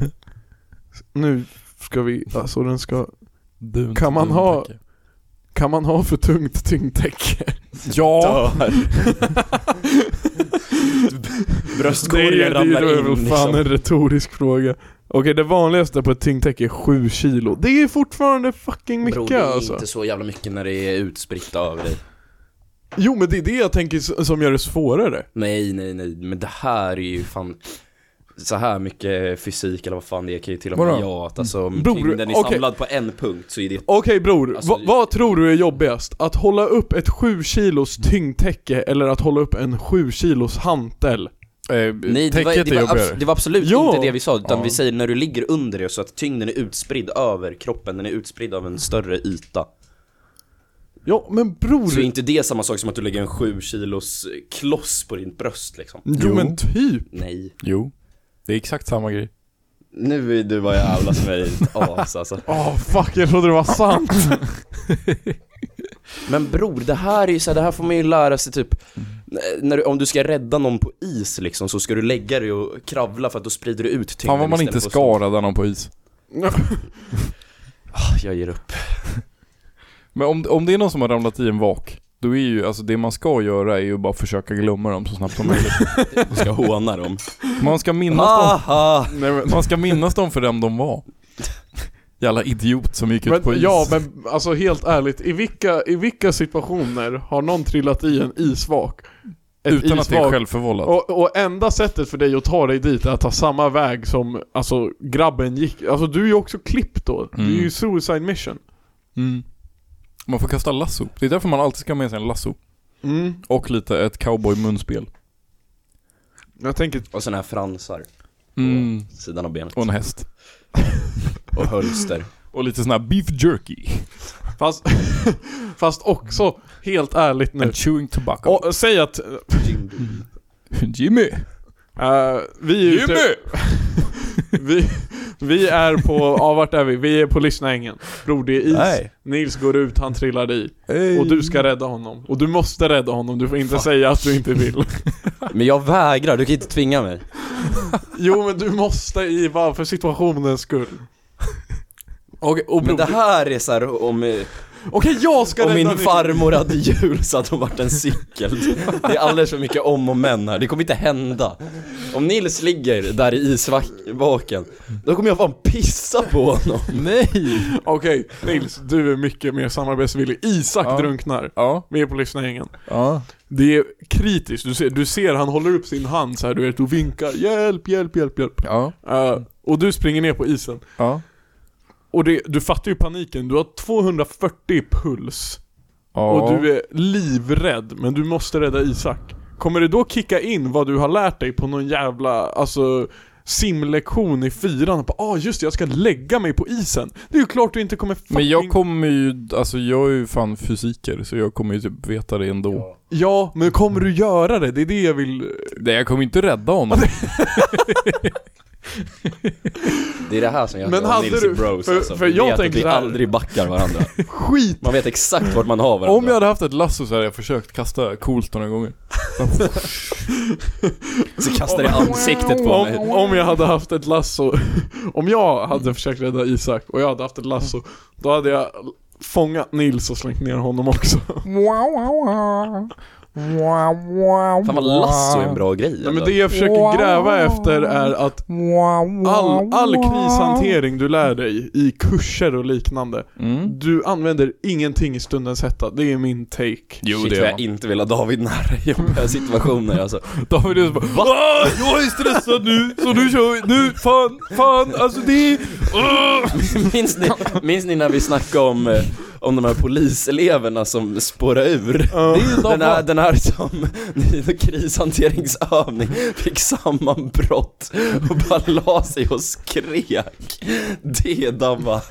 Speaker 4: *laughs* nu ska vi, alltså den ska...
Speaker 3: Dunt,
Speaker 4: Kan man
Speaker 3: dunt
Speaker 4: ha-
Speaker 3: täcke.
Speaker 4: Kan man ha för tungt tyngdtäcke?
Speaker 3: Ja!
Speaker 4: *laughs*
Speaker 2: bröstkorgen
Speaker 4: det är
Speaker 2: ramlar in
Speaker 4: väl fan
Speaker 2: liksom
Speaker 4: en retorisk fråga. Okej, det vanligaste på ett tyngdtäcke är 7 kilo. Det är fortfarande fucking mycket
Speaker 2: Bror, det är
Speaker 4: alltså.
Speaker 2: inte så jävla mycket när det är utspritt över dig
Speaker 4: Jo men det är det jag tänker s- som gör det svårare.
Speaker 2: Nej, nej, nej, men det här är ju fan så här mycket fysik eller vad fan det är kan ju till och med
Speaker 3: Vadå?
Speaker 2: jag att alltså om
Speaker 4: Bror,
Speaker 2: tyngden är
Speaker 4: okej.
Speaker 2: samlad på en punkt så är det
Speaker 4: Okej bror,
Speaker 2: Alltså,
Speaker 4: va,
Speaker 2: det-
Speaker 4: vad tror du är jobbigast? Att hålla upp ett 7 kilos tyngdtäcke eller att hålla upp en 7 kilos hantel?
Speaker 3: Eh,
Speaker 2: Nej det var,
Speaker 3: täcket
Speaker 2: det var,
Speaker 3: är
Speaker 2: abs-
Speaker 3: jobbigare.
Speaker 2: det var absolut
Speaker 4: Ja.
Speaker 2: inte det vi sa utan
Speaker 3: Ja.
Speaker 2: vi säger när du ligger under det så att tyngden är utspridd över kroppen, den är utspridd av en större yta
Speaker 4: Ja men bror...
Speaker 2: Så är inte det samma sak som att du lägger en 7 kilos kloss på ditt bröst liksom?
Speaker 4: Jo men typ.
Speaker 2: Nej
Speaker 3: Jo. Det är exakt samma grej.
Speaker 2: Nu är du vad jävla som är ett *laughs* as alltså
Speaker 4: Åh fuck, jag trodde det var sant.
Speaker 2: Men bror, det här är ju så här, det här får man ju lära sig typ när du, Om du ska rädda någon på is liksom så ska du lägga dig och kravla för att då sprider du ut tyngden
Speaker 3: Fan vad man
Speaker 2: istället
Speaker 3: inte
Speaker 2: för att stå-
Speaker 3: skarade någon på is.
Speaker 2: Jag ger upp
Speaker 3: Men om, om det är någon som har ramlat i en vak, då är ju, alltså det man ska göra är ju bara försöka glömma dem så snabbt som möjligt.
Speaker 2: Man ska håna dem.
Speaker 3: Man ska minnas dem,
Speaker 2: Haha!
Speaker 4: *laughs* Nej, men,
Speaker 3: man ska minnas dem för vem de var. Jävla idiot som gick ut på
Speaker 4: men,
Speaker 3: is.
Speaker 4: ja men alltså helt ärligt, i vilka, i vilka situationer har någon trillat i en isvak? Ett
Speaker 3: Utan att det är
Speaker 4: isvak-
Speaker 3: självförvållat.
Speaker 4: Och, och enda sättet för dig att ta dig dit är att ta samma väg som alltså, grabben gick. Alltså du är ju också klippt då. Du är
Speaker 3: Mm.
Speaker 4: ju suicide mission.
Speaker 3: Mm. Man får kasta lasso. Det är därför man alltid ska ha med sig en lasso.
Speaker 4: Mm.
Speaker 3: Och lite ett cowboy-munspel.
Speaker 4: Jag tänker,
Speaker 2: Och såna här fransar, sidan av benet.
Speaker 3: Och en häst.
Speaker 2: Och
Speaker 3: *laughs*
Speaker 2: hölster.
Speaker 3: Och lite sån här beef jerky.
Speaker 4: fast, fast också helt ärligt nu.
Speaker 3: And chewing tobacco.
Speaker 4: Och, säg att
Speaker 3: Jimmy!
Speaker 4: eh, vi är ute,
Speaker 3: Jimmy!
Speaker 4: *laughs* vi, vi är på, ja vart är vi? Vi är på Lyssnaängen. Bror det är is.
Speaker 3: Nej.
Speaker 4: Nils går ut, han trillar i.
Speaker 3: Hey.
Speaker 4: Och du ska rädda honom. Och du måste rädda honom, du får inte säga att du inte vill.
Speaker 2: Men jag vägrar, du kan inte tvinga mig.
Speaker 4: Jo men du måste i bara för situationens skull. Okej, och
Speaker 2: Men
Speaker 4: bror-
Speaker 2: det här är såhär om, eh,
Speaker 4: Okej jag ska
Speaker 2: om
Speaker 4: rädda
Speaker 2: min
Speaker 4: Nils.
Speaker 2: farmor hade jul så hade hon varit en cykel. Det är alldeles för mycket om och men här, det kommer inte hända. Om Nils ligger där i isvaken, då kommer jag fan pissa på honom. Nej!
Speaker 4: Okej Nils, du är mycket mer samarbetsvillig. Isak
Speaker 3: Ja.
Speaker 4: drunknar.
Speaker 3: Ja,
Speaker 4: Vi är på lyssnargängen.
Speaker 3: ja.
Speaker 4: Det är kritiskt, du ser, du ser han håller upp sin hand så här, du vet och vinkar 'Hjälp, hjälp, hjälp, hjälp'
Speaker 3: Ja,
Speaker 4: Eh, Och du springer ner på isen.
Speaker 3: ja,
Speaker 4: Och det, du fattar ju paniken, du har 240 puls.
Speaker 3: ja.
Speaker 4: Och du är livrädd, men du måste rädda Isak. Kommer det då kicka in vad du har lärt dig på någon jävla, alltså simlektion i fyran? Bara, ah just det, jag ska lägga mig på isen. Det är ju klart du inte kommer fucking...
Speaker 3: Men jag kommer ju, alltså jag är ju fan fysiker så jag kommer ju typ veta det ändå.
Speaker 4: Ja, men kommer du göra det? Det är det jag vill...
Speaker 3: Nej jag kommer inte rädda honom.
Speaker 2: Det är det här som jag
Speaker 4: Men
Speaker 2: om
Speaker 4: hade
Speaker 2: Nils
Speaker 4: du-
Speaker 2: är bros
Speaker 4: för-
Speaker 2: alltså.
Speaker 4: för
Speaker 2: Vi
Speaker 4: jag
Speaker 2: vet
Speaker 4: tänker
Speaker 2: att vi
Speaker 4: så här-
Speaker 2: aldrig backar varandra.
Speaker 4: Skit!
Speaker 2: Man vet exakt vart man har varandra.
Speaker 3: Om jag hade haft ett lasso så hade jag försökt kasta coolt några gånger.
Speaker 2: Så kastar det i ansiktet på
Speaker 4: Om,
Speaker 2: mig.
Speaker 4: om jag hade haft ett lasso, *laughs* om jag hade försökt rädda Isak och jag hade haft ett lasso, då hade jag fångat Nils och slängt ner honom också.
Speaker 2: Fan vad lasso är en bra grej
Speaker 4: *laughs*
Speaker 2: alltså.
Speaker 4: Nej, men
Speaker 2: ändå.
Speaker 4: det jag försöker gräva efter är att All, all krishantering du lär dig i kurser och liknande,
Speaker 3: Mm.
Speaker 4: du använder ingenting i stundens hetta. Det är min take.
Speaker 3: Jo
Speaker 2: Shit
Speaker 3: det
Speaker 2: vad
Speaker 3: är
Speaker 2: jag inte vill ha David nära i jobbiga situationer alltså.
Speaker 3: David är så bara "Ah, Jag är stressad nu, så nu kör vi, nu, fan, fan, alltså det är... Ah!"
Speaker 2: *laughs* Minns ni, minns ni när vi snackade om, eh, om de här poliseleverna som spårar ur? Den här, den här som *laughs* i krishanteringsövning fick sammanbrott och bara la sig och skrek. Det är Dabba.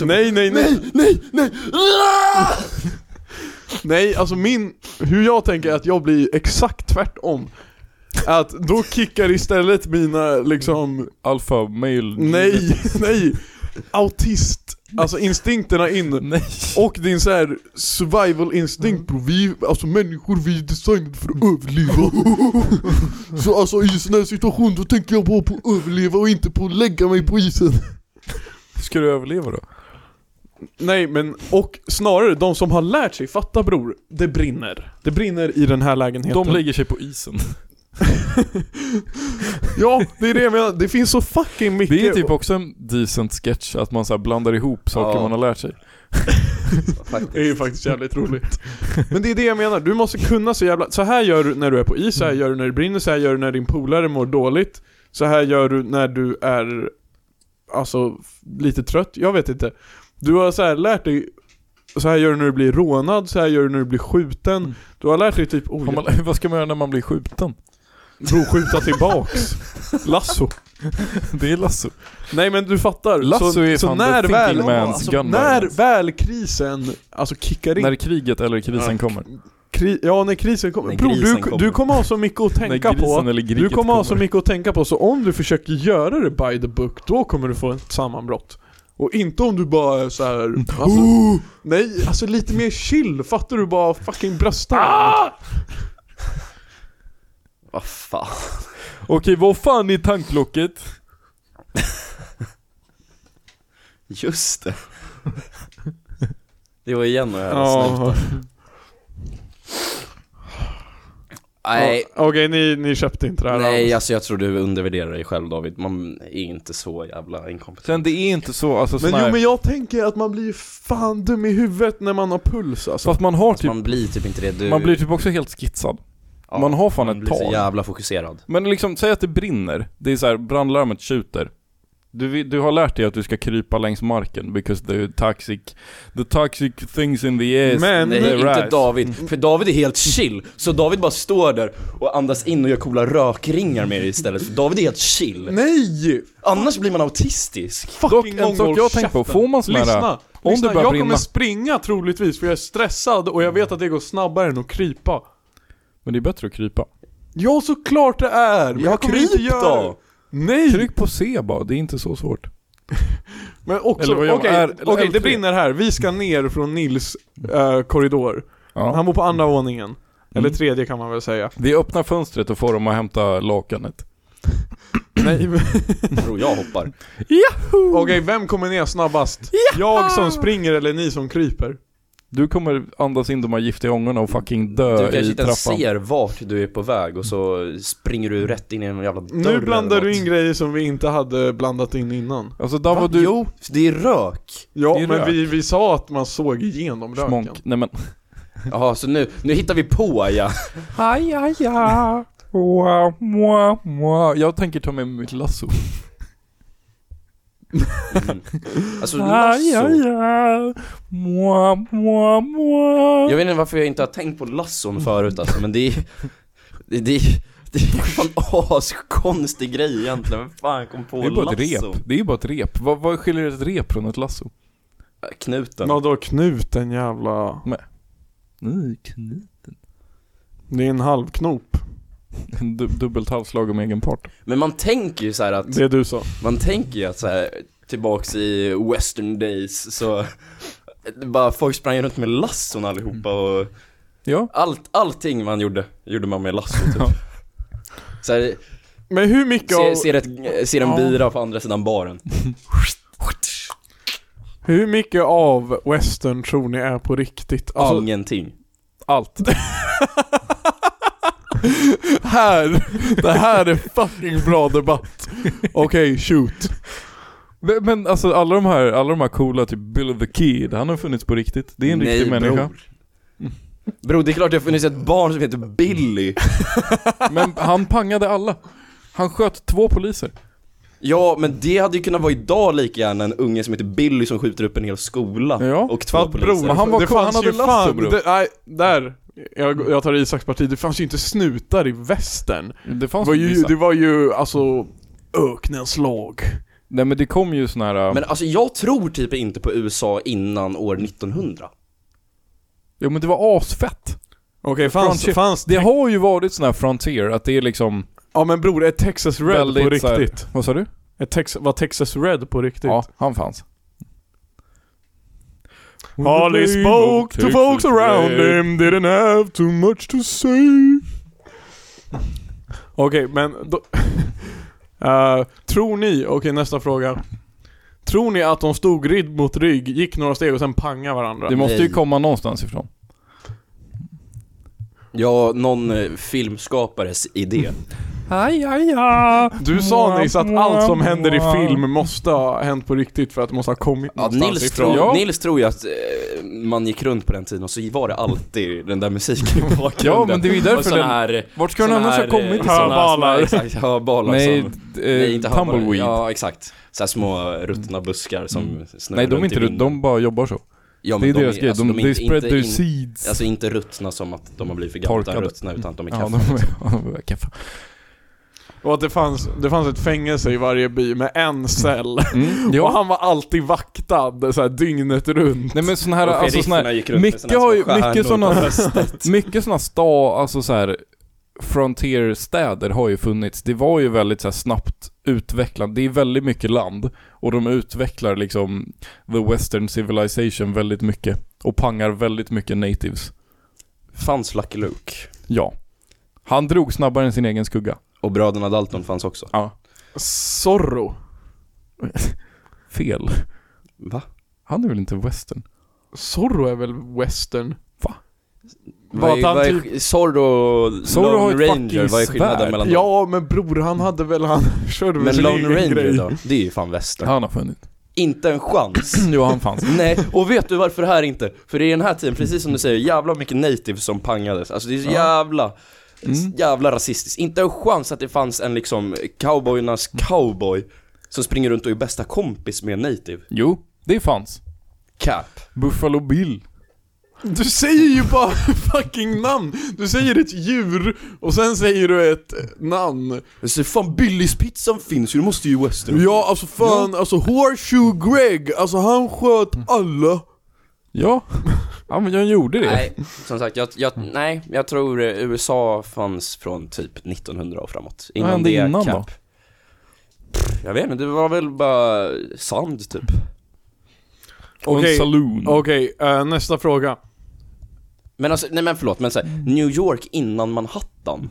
Speaker 4: nej, nej, nej,
Speaker 2: Nej, nej! Ah!
Speaker 4: *laughs* nej, alltså min, hur jag tänker är att jag blir exakt tvärtom. Att då kickar istället mina liksom,
Speaker 3: Alfa male
Speaker 4: nej, nej, autist, alltså instinkterna in.
Speaker 3: Nej.
Speaker 4: Och din så här survival instinkt bro. vi, alltså människor vi är designade för
Speaker 2: *laughs*
Speaker 4: att överleva Så alltså i sån här situation då tänker jag bara på att överleva och inte på att lägga mig på isen
Speaker 3: Ska du överleva då?
Speaker 4: Nej men, och snarare de som har lärt sig, fatta bror, det brinner Det brinner i den här lägenheten
Speaker 3: De lägger sig på isen.
Speaker 4: Ja, det är det jag menar, det finns så fucking mycket
Speaker 3: Det är typ också en decent sketch, att man så här blandar ihop saker
Speaker 2: Ja.
Speaker 3: man har lärt sig.
Speaker 4: Det är ju faktiskt jävligt roligt *laughs* Men det är det jag menar, du måste kunna så jävla... Så här gör du när du är på is, så här gör du när det brinner, så här gör du när din polare mår dåligt Så här gör du när du är, alltså, f- lite trött, jag vet inte Du har så här lärt dig, så här gör du när du blir rånad, så här gör du när du blir skjuten
Speaker 3: Mm.
Speaker 4: Du har lärt dig typ, oj,
Speaker 3: Har
Speaker 4: oh,
Speaker 3: man, *laughs* vad ska man göra när man blir skjuten?
Speaker 4: bro, skjuta tillbaks Lasso
Speaker 3: Det är lasso.
Speaker 4: Nej men du fattar,
Speaker 3: Lasso
Speaker 4: så,
Speaker 3: är
Speaker 4: så
Speaker 3: fan
Speaker 4: när
Speaker 3: the
Speaker 4: väl,
Speaker 3: thinking man's gun
Speaker 4: när
Speaker 3: violence.
Speaker 4: väl krisen, alltså kickar in
Speaker 3: När kriget eller krisen
Speaker 4: Ja.
Speaker 3: kommer.
Speaker 4: Kri- ja, när krisen kommer.
Speaker 2: När
Speaker 4: Bror, du,
Speaker 2: grisen kommer.
Speaker 4: du kommer ha så mycket att
Speaker 3: När
Speaker 4: tänka
Speaker 3: grisen
Speaker 4: på.
Speaker 3: eller
Speaker 4: Du
Speaker 3: griget
Speaker 4: kommer ha så mycket att tänka på, så om du försöker göra det by the book, då kommer du få ett sammanbrott. Och inte om du bara är så
Speaker 3: Mm.
Speaker 4: här.
Speaker 3: *gasps*
Speaker 4: Alltså, nej, alltså lite mer chill, fattar du? Bara fucking brösta
Speaker 2: Ah! Vad fan.
Speaker 3: Okej, vad fan är tanklocket?
Speaker 2: Just det. Det var igen och jävla
Speaker 4: Ja.
Speaker 2: snutar. Nej,
Speaker 4: Ja, Okej, ni, ni köpte inte det här
Speaker 2: nej
Speaker 4: alls.
Speaker 2: alltså jag tror du undervärderar dig själv David. Man är inte så jävla
Speaker 3: Sen
Speaker 2: inkompetent.
Speaker 3: det är inte så, alltså
Speaker 4: Men
Speaker 3: sån här-
Speaker 4: jo men jag tänker att man blir fan dum i huvudet när man har puls alltså.
Speaker 3: Fast man har typ,
Speaker 2: Man blir typ inte det du...
Speaker 3: man blir typ också helt skitsad.
Speaker 2: Ja,
Speaker 3: man har fan
Speaker 2: man
Speaker 3: ett
Speaker 2: blir så
Speaker 3: tal.
Speaker 2: jävla fokuserad.
Speaker 3: Men liksom, säg att det brinner. Det är så här, brandlarmet tjuter. Du, vi- du har lärt dig att du ska krypa längs marken because the toxic, the toxic things in the ass.
Speaker 4: Men-
Speaker 2: Nej,
Speaker 3: the
Speaker 2: inte
Speaker 3: rise.
Speaker 2: David. För David är helt chill. Så David bara står där och andas in och gör coola rökringar med det istället. För David är helt chill.
Speaker 4: Nej!
Speaker 2: Annars blir man autistisk.
Speaker 3: Dock
Speaker 4: Fucking
Speaker 3: en sak jag har tänkt på, får man sån här...
Speaker 4: Lyssna!
Speaker 3: om
Speaker 4: lyssna.
Speaker 3: det börjar
Speaker 4: jag
Speaker 3: brinna.
Speaker 4: kommer springa troligtvis för jag är stressad och jag vet att det går snabbare än att krypa.
Speaker 3: Men det är bättre att krypa.
Speaker 4: Ja såklart det är! Men
Speaker 2: Ja,
Speaker 4: kommer inte
Speaker 2: kryp
Speaker 4: göra
Speaker 2: då!
Speaker 4: det. Nej!
Speaker 3: Tryck på C bara, det är inte så svårt.
Speaker 4: Men också,
Speaker 3: Eller vad
Speaker 4: okej,
Speaker 3: jag- är-
Speaker 4: okej,
Speaker 3: eller L3.
Speaker 4: det brinner här. Vi ska ner från Nils eh, korridor.
Speaker 3: Ja.
Speaker 4: Han bor på andra våningen. Eller
Speaker 3: Mm.
Speaker 4: tredje kan man väl säga.
Speaker 3: Vi öppnar fönstret och får dem att hämta lakanet.
Speaker 4: Nej, *laughs* men-
Speaker 2: Bror jag hoppar.
Speaker 4: okej, vem kommer ner snabbast? Jag som springer eller ni som kryper?
Speaker 3: Du kommer andas in de här giftiga ångorna och fucking dö
Speaker 2: Du
Speaker 3: i
Speaker 2: kanske inte
Speaker 3: trappan.
Speaker 2: ens ser vart du är på väg och så springer du rätt in i en jävla dörr
Speaker 4: Nu blandar
Speaker 2: eller
Speaker 4: du
Speaker 2: något.
Speaker 4: in grejer som vi inte hade blandat in innan.
Speaker 3: Alltså där var
Speaker 2: Va?
Speaker 3: du...
Speaker 2: Jo, det är rök.
Speaker 4: Ja,
Speaker 3: Det är
Speaker 4: men
Speaker 3: rök.
Speaker 4: vi, vi sa att man såg igenom röken.
Speaker 3: Smonk. Nej men...
Speaker 2: Jaha, så nu, nu hittar vi på ja.
Speaker 3: Aj, aj, aj. Wow, wow, wow. Jag tänker ta med mig mitt lasso.
Speaker 2: Mm. Alltså lasso.
Speaker 3: aj. Wow, wow, wow.
Speaker 2: Jag vet inte varför jag inte har tänkt på lasson förut alltså, men det är... Det, det, det är fan askonstig grej egentligen, vem fan kom på
Speaker 3: det är bara ett
Speaker 2: lasso?
Speaker 3: rep. Det är ju bara ett rep. Vad, vad skiljer ett rep från ett lasso?
Speaker 2: Knuten.
Speaker 4: Ja, då knut en jävla...
Speaker 3: Nej, kniv.
Speaker 4: Det är en halvknop.
Speaker 3: En du, dubbelt halvslag om egen part.
Speaker 2: Men man tänker ju så här att,
Speaker 4: Det du sa.
Speaker 2: man tänker ju att så här, tillbaks i western days så det bara folk sprang runt med lasson allihopa
Speaker 3: Mm.
Speaker 2: och
Speaker 3: Ja.
Speaker 2: allt, allting man gjorde, gjorde man med lasso typ.
Speaker 3: Ja.
Speaker 2: Så här,
Speaker 4: Men hur mycket av...
Speaker 2: ser, ser, ett, ser en
Speaker 4: Ja.
Speaker 2: bira på andra sidan baren.
Speaker 4: Hur mycket av western tror ni är på riktigt? Alltså,
Speaker 2: Ingenting.
Speaker 3: Allt.
Speaker 4: här! Det här är fucking bra debatt. Okej, shoot.
Speaker 3: Men, men alltså alla de här, alla de här coola, typ Bill the Kid, han har funnits på riktigt. Det är en
Speaker 2: *laughs*
Speaker 3: riktig människa.
Speaker 2: Bror. Bro, det är klart det har funnits ett barn som heter Billy.
Speaker 3: Men han pangade alla. Han sköt två poliser.
Speaker 2: Ja, men det hade ju kunnat vara idag lika gärna en unge som heter Billy som skjuter upp en hel skola
Speaker 3: Ja,
Speaker 2: och två
Speaker 4: Fast bror,
Speaker 2: poliser.
Speaker 3: Men han var
Speaker 4: det
Speaker 3: cool,
Speaker 4: fanns
Speaker 3: han hade
Speaker 4: ju
Speaker 3: lasso,
Speaker 4: fan-
Speaker 3: bror.
Speaker 4: det- Nej, där. Jag, jag tar Isaks parti. Det fanns ju inte snutar i västern.
Speaker 3: Det
Speaker 4: Det
Speaker 3: fanns
Speaker 4: var ju,
Speaker 3: vissa.
Speaker 4: det var ju alltså öknens lag.
Speaker 3: Nej men det kom ju såna här... äh,
Speaker 2: Men alltså jag tror typ inte på USA innan år 1900.
Speaker 3: Jo men det var asfett.
Speaker 4: Okej,
Speaker 3: fanns-
Speaker 4: fanns
Speaker 3: Det har ju varit sån här frontier, att det är liksom...
Speaker 4: Ja men bror, är Texas Red på
Speaker 3: Väldigt så här-
Speaker 4: riktigt?
Speaker 3: Vad sa du?
Speaker 4: Är Tex, var Texas Red på riktigt?
Speaker 3: Ja, han fanns.
Speaker 4: Harley spoke to folks around him, didn't have too much to say. *laughs* Okej, men då, *laughs* Eh, Tror ni, okej nästa fråga. Tror ni att de stod rygg mot rygg, gick några steg och sen pangade varandra?
Speaker 3: Det måste ju
Speaker 2: Nej.
Speaker 3: komma någonstans ifrån.
Speaker 2: Ja, någon eh, filmskapares idé.
Speaker 3: Aj, aj, aj.
Speaker 4: Du sa nyss att allt som händer i film måste ha hänt på riktigt för att det måste ha kommit
Speaker 2: Ja,
Speaker 4: någonstans
Speaker 2: Nils,
Speaker 4: ifrån.
Speaker 2: tror,
Speaker 3: Ja.
Speaker 2: Nils tror ju att eh, man gick runt på den tiden och så var det alltid den där musiken i bakgrunden.
Speaker 3: Ja, men det är ju
Speaker 2: Och
Speaker 3: därför
Speaker 2: såna
Speaker 3: den...
Speaker 2: här...
Speaker 3: Vart ska den
Speaker 2: såna
Speaker 3: annars ha
Speaker 2: här, eh,
Speaker 3: kommit
Speaker 2: såna här små-
Speaker 4: Hörbalar.
Speaker 2: *laughs* Exakt, hörbalar
Speaker 3: Nej,
Speaker 2: som...
Speaker 3: d-
Speaker 2: Nej,
Speaker 3: eh,
Speaker 2: inte hörbalar.
Speaker 3: Tumbleweed. Mm.
Speaker 2: Ja, exakt. Så här små ruttna buskar som snurrar
Speaker 3: Nej, de är
Speaker 2: runt i
Speaker 3: inte rutt,
Speaker 2: vinden.
Speaker 3: de bara jobbar så.
Speaker 2: ja,
Speaker 3: Det
Speaker 2: men
Speaker 3: är deras grej,
Speaker 2: alltså,
Speaker 3: de, they
Speaker 2: inte-
Speaker 3: spread
Speaker 2: inte
Speaker 3: their
Speaker 2: in-
Speaker 3: seeds.
Speaker 2: Alltså inte ruttna som att de har blivit för gamla, utan
Speaker 3: Torkade.
Speaker 2: ruttna utan att de är
Speaker 3: ja,
Speaker 2: kaffe. liksom.
Speaker 3: de är- *laughs* ja, de är kaffe.
Speaker 4: Och att det fanns, det fanns ett fängelse i varje by med en *laughs* cell.
Speaker 3: Mm, *laughs* ja.
Speaker 4: Och han var alltid vaktad, så här, dygnet runt.
Speaker 3: Nej men sån här,
Speaker 2: Och
Speaker 3: alltså sån
Speaker 2: sherifferna
Speaker 3: här,
Speaker 2: gick runt med
Speaker 3: Micke
Speaker 2: såna här
Speaker 3: har ju,
Speaker 2: små
Speaker 3: mycket
Speaker 2: stjärnor
Speaker 3: såna,
Speaker 2: på
Speaker 3: mycket såna sta, alltså så här frontier-städer har ju funnits. Det var ju väldigt så här snabbt utvecklande. Det är väldigt mycket land och de utvecklar liksom the western civilization väldigt mycket och pangar väldigt mycket natives.
Speaker 2: Fanns Lucky Luke.
Speaker 3: Ja. Han drog snabbare än sin egen skugga.
Speaker 2: Och bröderna Dalton fanns också.
Speaker 3: *laughs* Ja.
Speaker 4: Zorro.
Speaker 3: Fel.
Speaker 2: Va?
Speaker 3: Han är väl inte western?
Speaker 4: Zorro är väl western?
Speaker 2: Vad är,
Speaker 4: Var han
Speaker 2: vad är,
Speaker 4: typ-
Speaker 2: sk- Zorro,
Speaker 3: Zorro har
Speaker 2: Lone
Speaker 3: ett
Speaker 2: Ranger,
Speaker 3: fucking
Speaker 2: vad är skillnaden
Speaker 3: svärd.
Speaker 2: mellan dem?
Speaker 4: Ja, men bror han hade väl, han *laughs* körde väl
Speaker 2: Men
Speaker 4: sin
Speaker 2: Lone
Speaker 4: egen
Speaker 2: Ranger
Speaker 4: grej.
Speaker 2: då? Det är ju fan västern.
Speaker 3: Han har funnits.
Speaker 2: Inte en chans.
Speaker 3: *clears throat* Jo, han fanns.
Speaker 2: *laughs* Nej, och vet du varför det här inte? För det är den här tiden, precis som du säger, jävla mycket natives som pangades. Alltså det är så
Speaker 3: Ja.
Speaker 2: jävla,
Speaker 3: Mm.
Speaker 2: jävla rasistiskt. Inte en chans att det fanns en liksom cowboyernas cowboy som springer runt och är bästa kompis med en native.
Speaker 3: Jo, det fanns.
Speaker 2: Cap.
Speaker 3: Buffalo Bill.
Speaker 4: Du säger ju bara *laughs* fucking namn! Du säger ett djur, och sen säger du ett namn.
Speaker 2: Så fan Billys pizzan finns ju, det måste ju western.
Speaker 4: Ja, alltså fan, alltså Horseshoe Greg, alltså han sköt
Speaker 2: Mm.
Speaker 4: alla.
Speaker 3: Ja. *laughs* Ja men jag gjorde det.
Speaker 2: Nej, som sagt, jag, jag, nej, jag tror eh, USA fanns från typ 1900 och framåt.
Speaker 3: Vad hände innan då?
Speaker 2: Pff, Jag vet inte, det var väl bara sand typ.
Speaker 3: Och
Speaker 4: Okej.
Speaker 3: en saloon.
Speaker 4: Okej, eh, nästa fråga.
Speaker 2: Men alltså, nej men förlåt, men så här, New York innan Manhattan.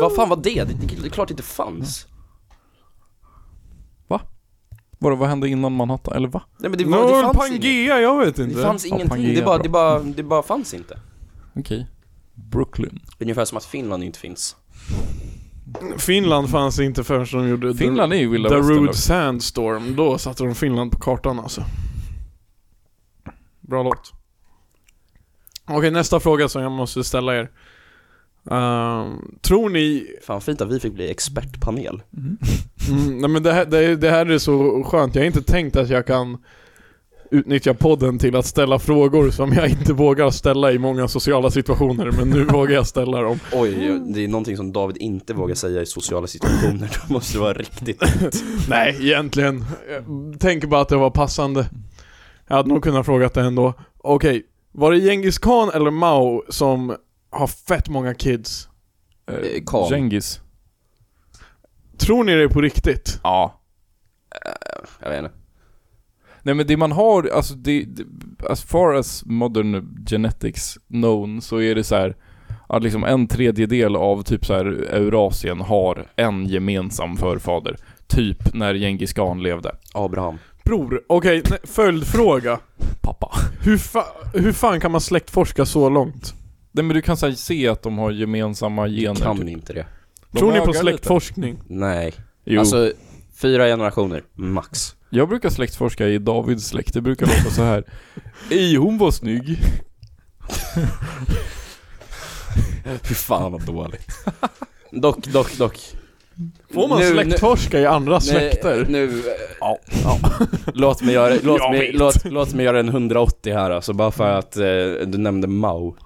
Speaker 2: Vad fan var det? Det, det, det är klart det inte fanns.
Speaker 3: Vadå, vad hände innan Manhattan? Eller va?
Speaker 2: Nej men det,
Speaker 4: Det
Speaker 2: var,
Speaker 4: var,
Speaker 2: det
Speaker 4: en
Speaker 2: fanns inget.
Speaker 4: Pangea, jag vet inte.
Speaker 2: Det fanns
Speaker 3: Ja,
Speaker 2: ingenting,
Speaker 3: Pangea
Speaker 2: det, bara,
Speaker 3: bra.
Speaker 2: det, bara, det bara fanns inte.
Speaker 3: Okej. Brooklyn.
Speaker 2: Ungefär som att Finland inte finns.
Speaker 4: Finland fanns inte förrän de gjorde
Speaker 3: Finland är ju
Speaker 4: The,
Speaker 3: vilda
Speaker 4: the
Speaker 3: västern.
Speaker 4: Rude
Speaker 3: dock.
Speaker 4: Sandstorm. Då satte de Finland på kartan alltså. Bra låt. Okej, nästa fråga som jag måste ställa er. Ehm, tror ni...
Speaker 2: Fan fint att vi fick bli expertpanel.
Speaker 3: Mm.
Speaker 4: Mm, nej men det här, det, det här är så skönt. Jag har inte tänkt att jag kan utnyttja podden till att ställa frågor som jag inte vågar ställa i många sociala situationer. Men nu vågar jag ställa dem.
Speaker 2: Oj, det är någonting som David inte vågar säga i sociala situationer. *laughs* Då måste det vara riktigt.
Speaker 4: Nej, egentligen. Jag tänker bara att det var passande. Jag hade nog kunnat fråga det ändå. Okej, var det Genghis Khan eller Mao som har fett många kids?
Speaker 2: Eh,
Speaker 3: Eh,
Speaker 2: Khan.
Speaker 3: Genghis.
Speaker 4: Tror ni det på riktigt?
Speaker 3: Ja.
Speaker 2: Eh, Jag vet inte.
Speaker 3: Nej men det man har, alltså det, det, as far as modern genetics known så är det så här att liksom en tredjedel av typ så här Eurasien har en gemensam förfader. Typ när Genghis khan levde.
Speaker 2: Abraham.
Speaker 4: Bror, okej, nej, följdfråga.
Speaker 3: Pappa.
Speaker 4: Hur, fa- hur fan kan man släktforska så långt?
Speaker 3: Nej men du kan så här, se att de har gemensamma gener.
Speaker 2: Kan
Speaker 3: typ.
Speaker 2: inte det?
Speaker 3: De
Speaker 4: Tror ni
Speaker 3: ögar
Speaker 4: på
Speaker 3: lite.
Speaker 4: släktforskning?
Speaker 2: Nej.
Speaker 3: Jo.
Speaker 2: Alltså, fyra generationer, max.
Speaker 3: Jag brukar släktforska i Davids släkt, det brukar låta
Speaker 2: *laughs*
Speaker 3: så här. Ej, hon var snygg.
Speaker 2: Fy fan vad dåligt. *laughs* dock, dock, dock.
Speaker 4: Får man
Speaker 2: Nu- nu-
Speaker 4: släktforska i andra släkter?
Speaker 2: Nu, nu eh, låt, mig göra, låt,
Speaker 4: Jag
Speaker 2: mig,
Speaker 4: vet.
Speaker 2: låt, låt mig göra en 180 här alltså, bara för att eh, du nämnde Mao.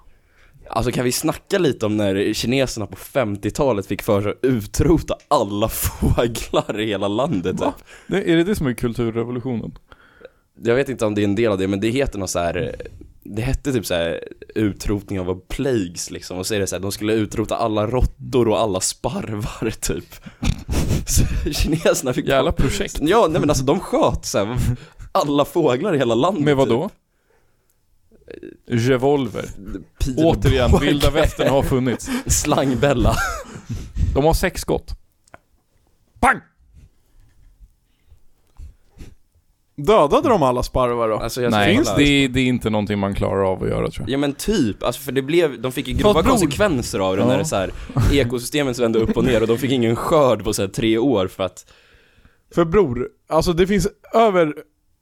Speaker 2: Alltså kan vi snacka lite om när kineserna på 50-talet fick för sig att utrota alla *laughs* fåglar i hela landet?
Speaker 3: Va? Det, är det det som är kulturrevolutionen?
Speaker 2: Jag vet inte om det är en del av det, men det heter något så här. Det hette typ så här utrotning av plagues liksom, och så är det så här, de skulle utrota alla råttor och alla sparvar *laughs* typ. Så kineserna fick
Speaker 3: Jävla projekt.
Speaker 2: Ja, nej men alltså de sköt så här, alla fåglar i hela landet.
Speaker 3: Med vad då? Revolver.
Speaker 2: Typ. Pil, *laughs*
Speaker 3: Återigen, vilda västern har funnits.
Speaker 2: Slangbella.
Speaker 3: De har sex skott.
Speaker 4: Pang! Dödade de alla sparvar då?
Speaker 2: Alltså, jag
Speaker 3: Nej,
Speaker 2: finns det?
Speaker 3: det, det är inte någonting man klarar av att göra tror jag.
Speaker 2: Ja men typ, alltså för det blev, de fick ju grova
Speaker 3: Fast bror-
Speaker 2: konsekvenser av det
Speaker 3: Ja.
Speaker 2: när det så här, ekosystemen vände upp och ner och de fick ingen skörd på så här tre år för att
Speaker 4: För bror, alltså det finns över,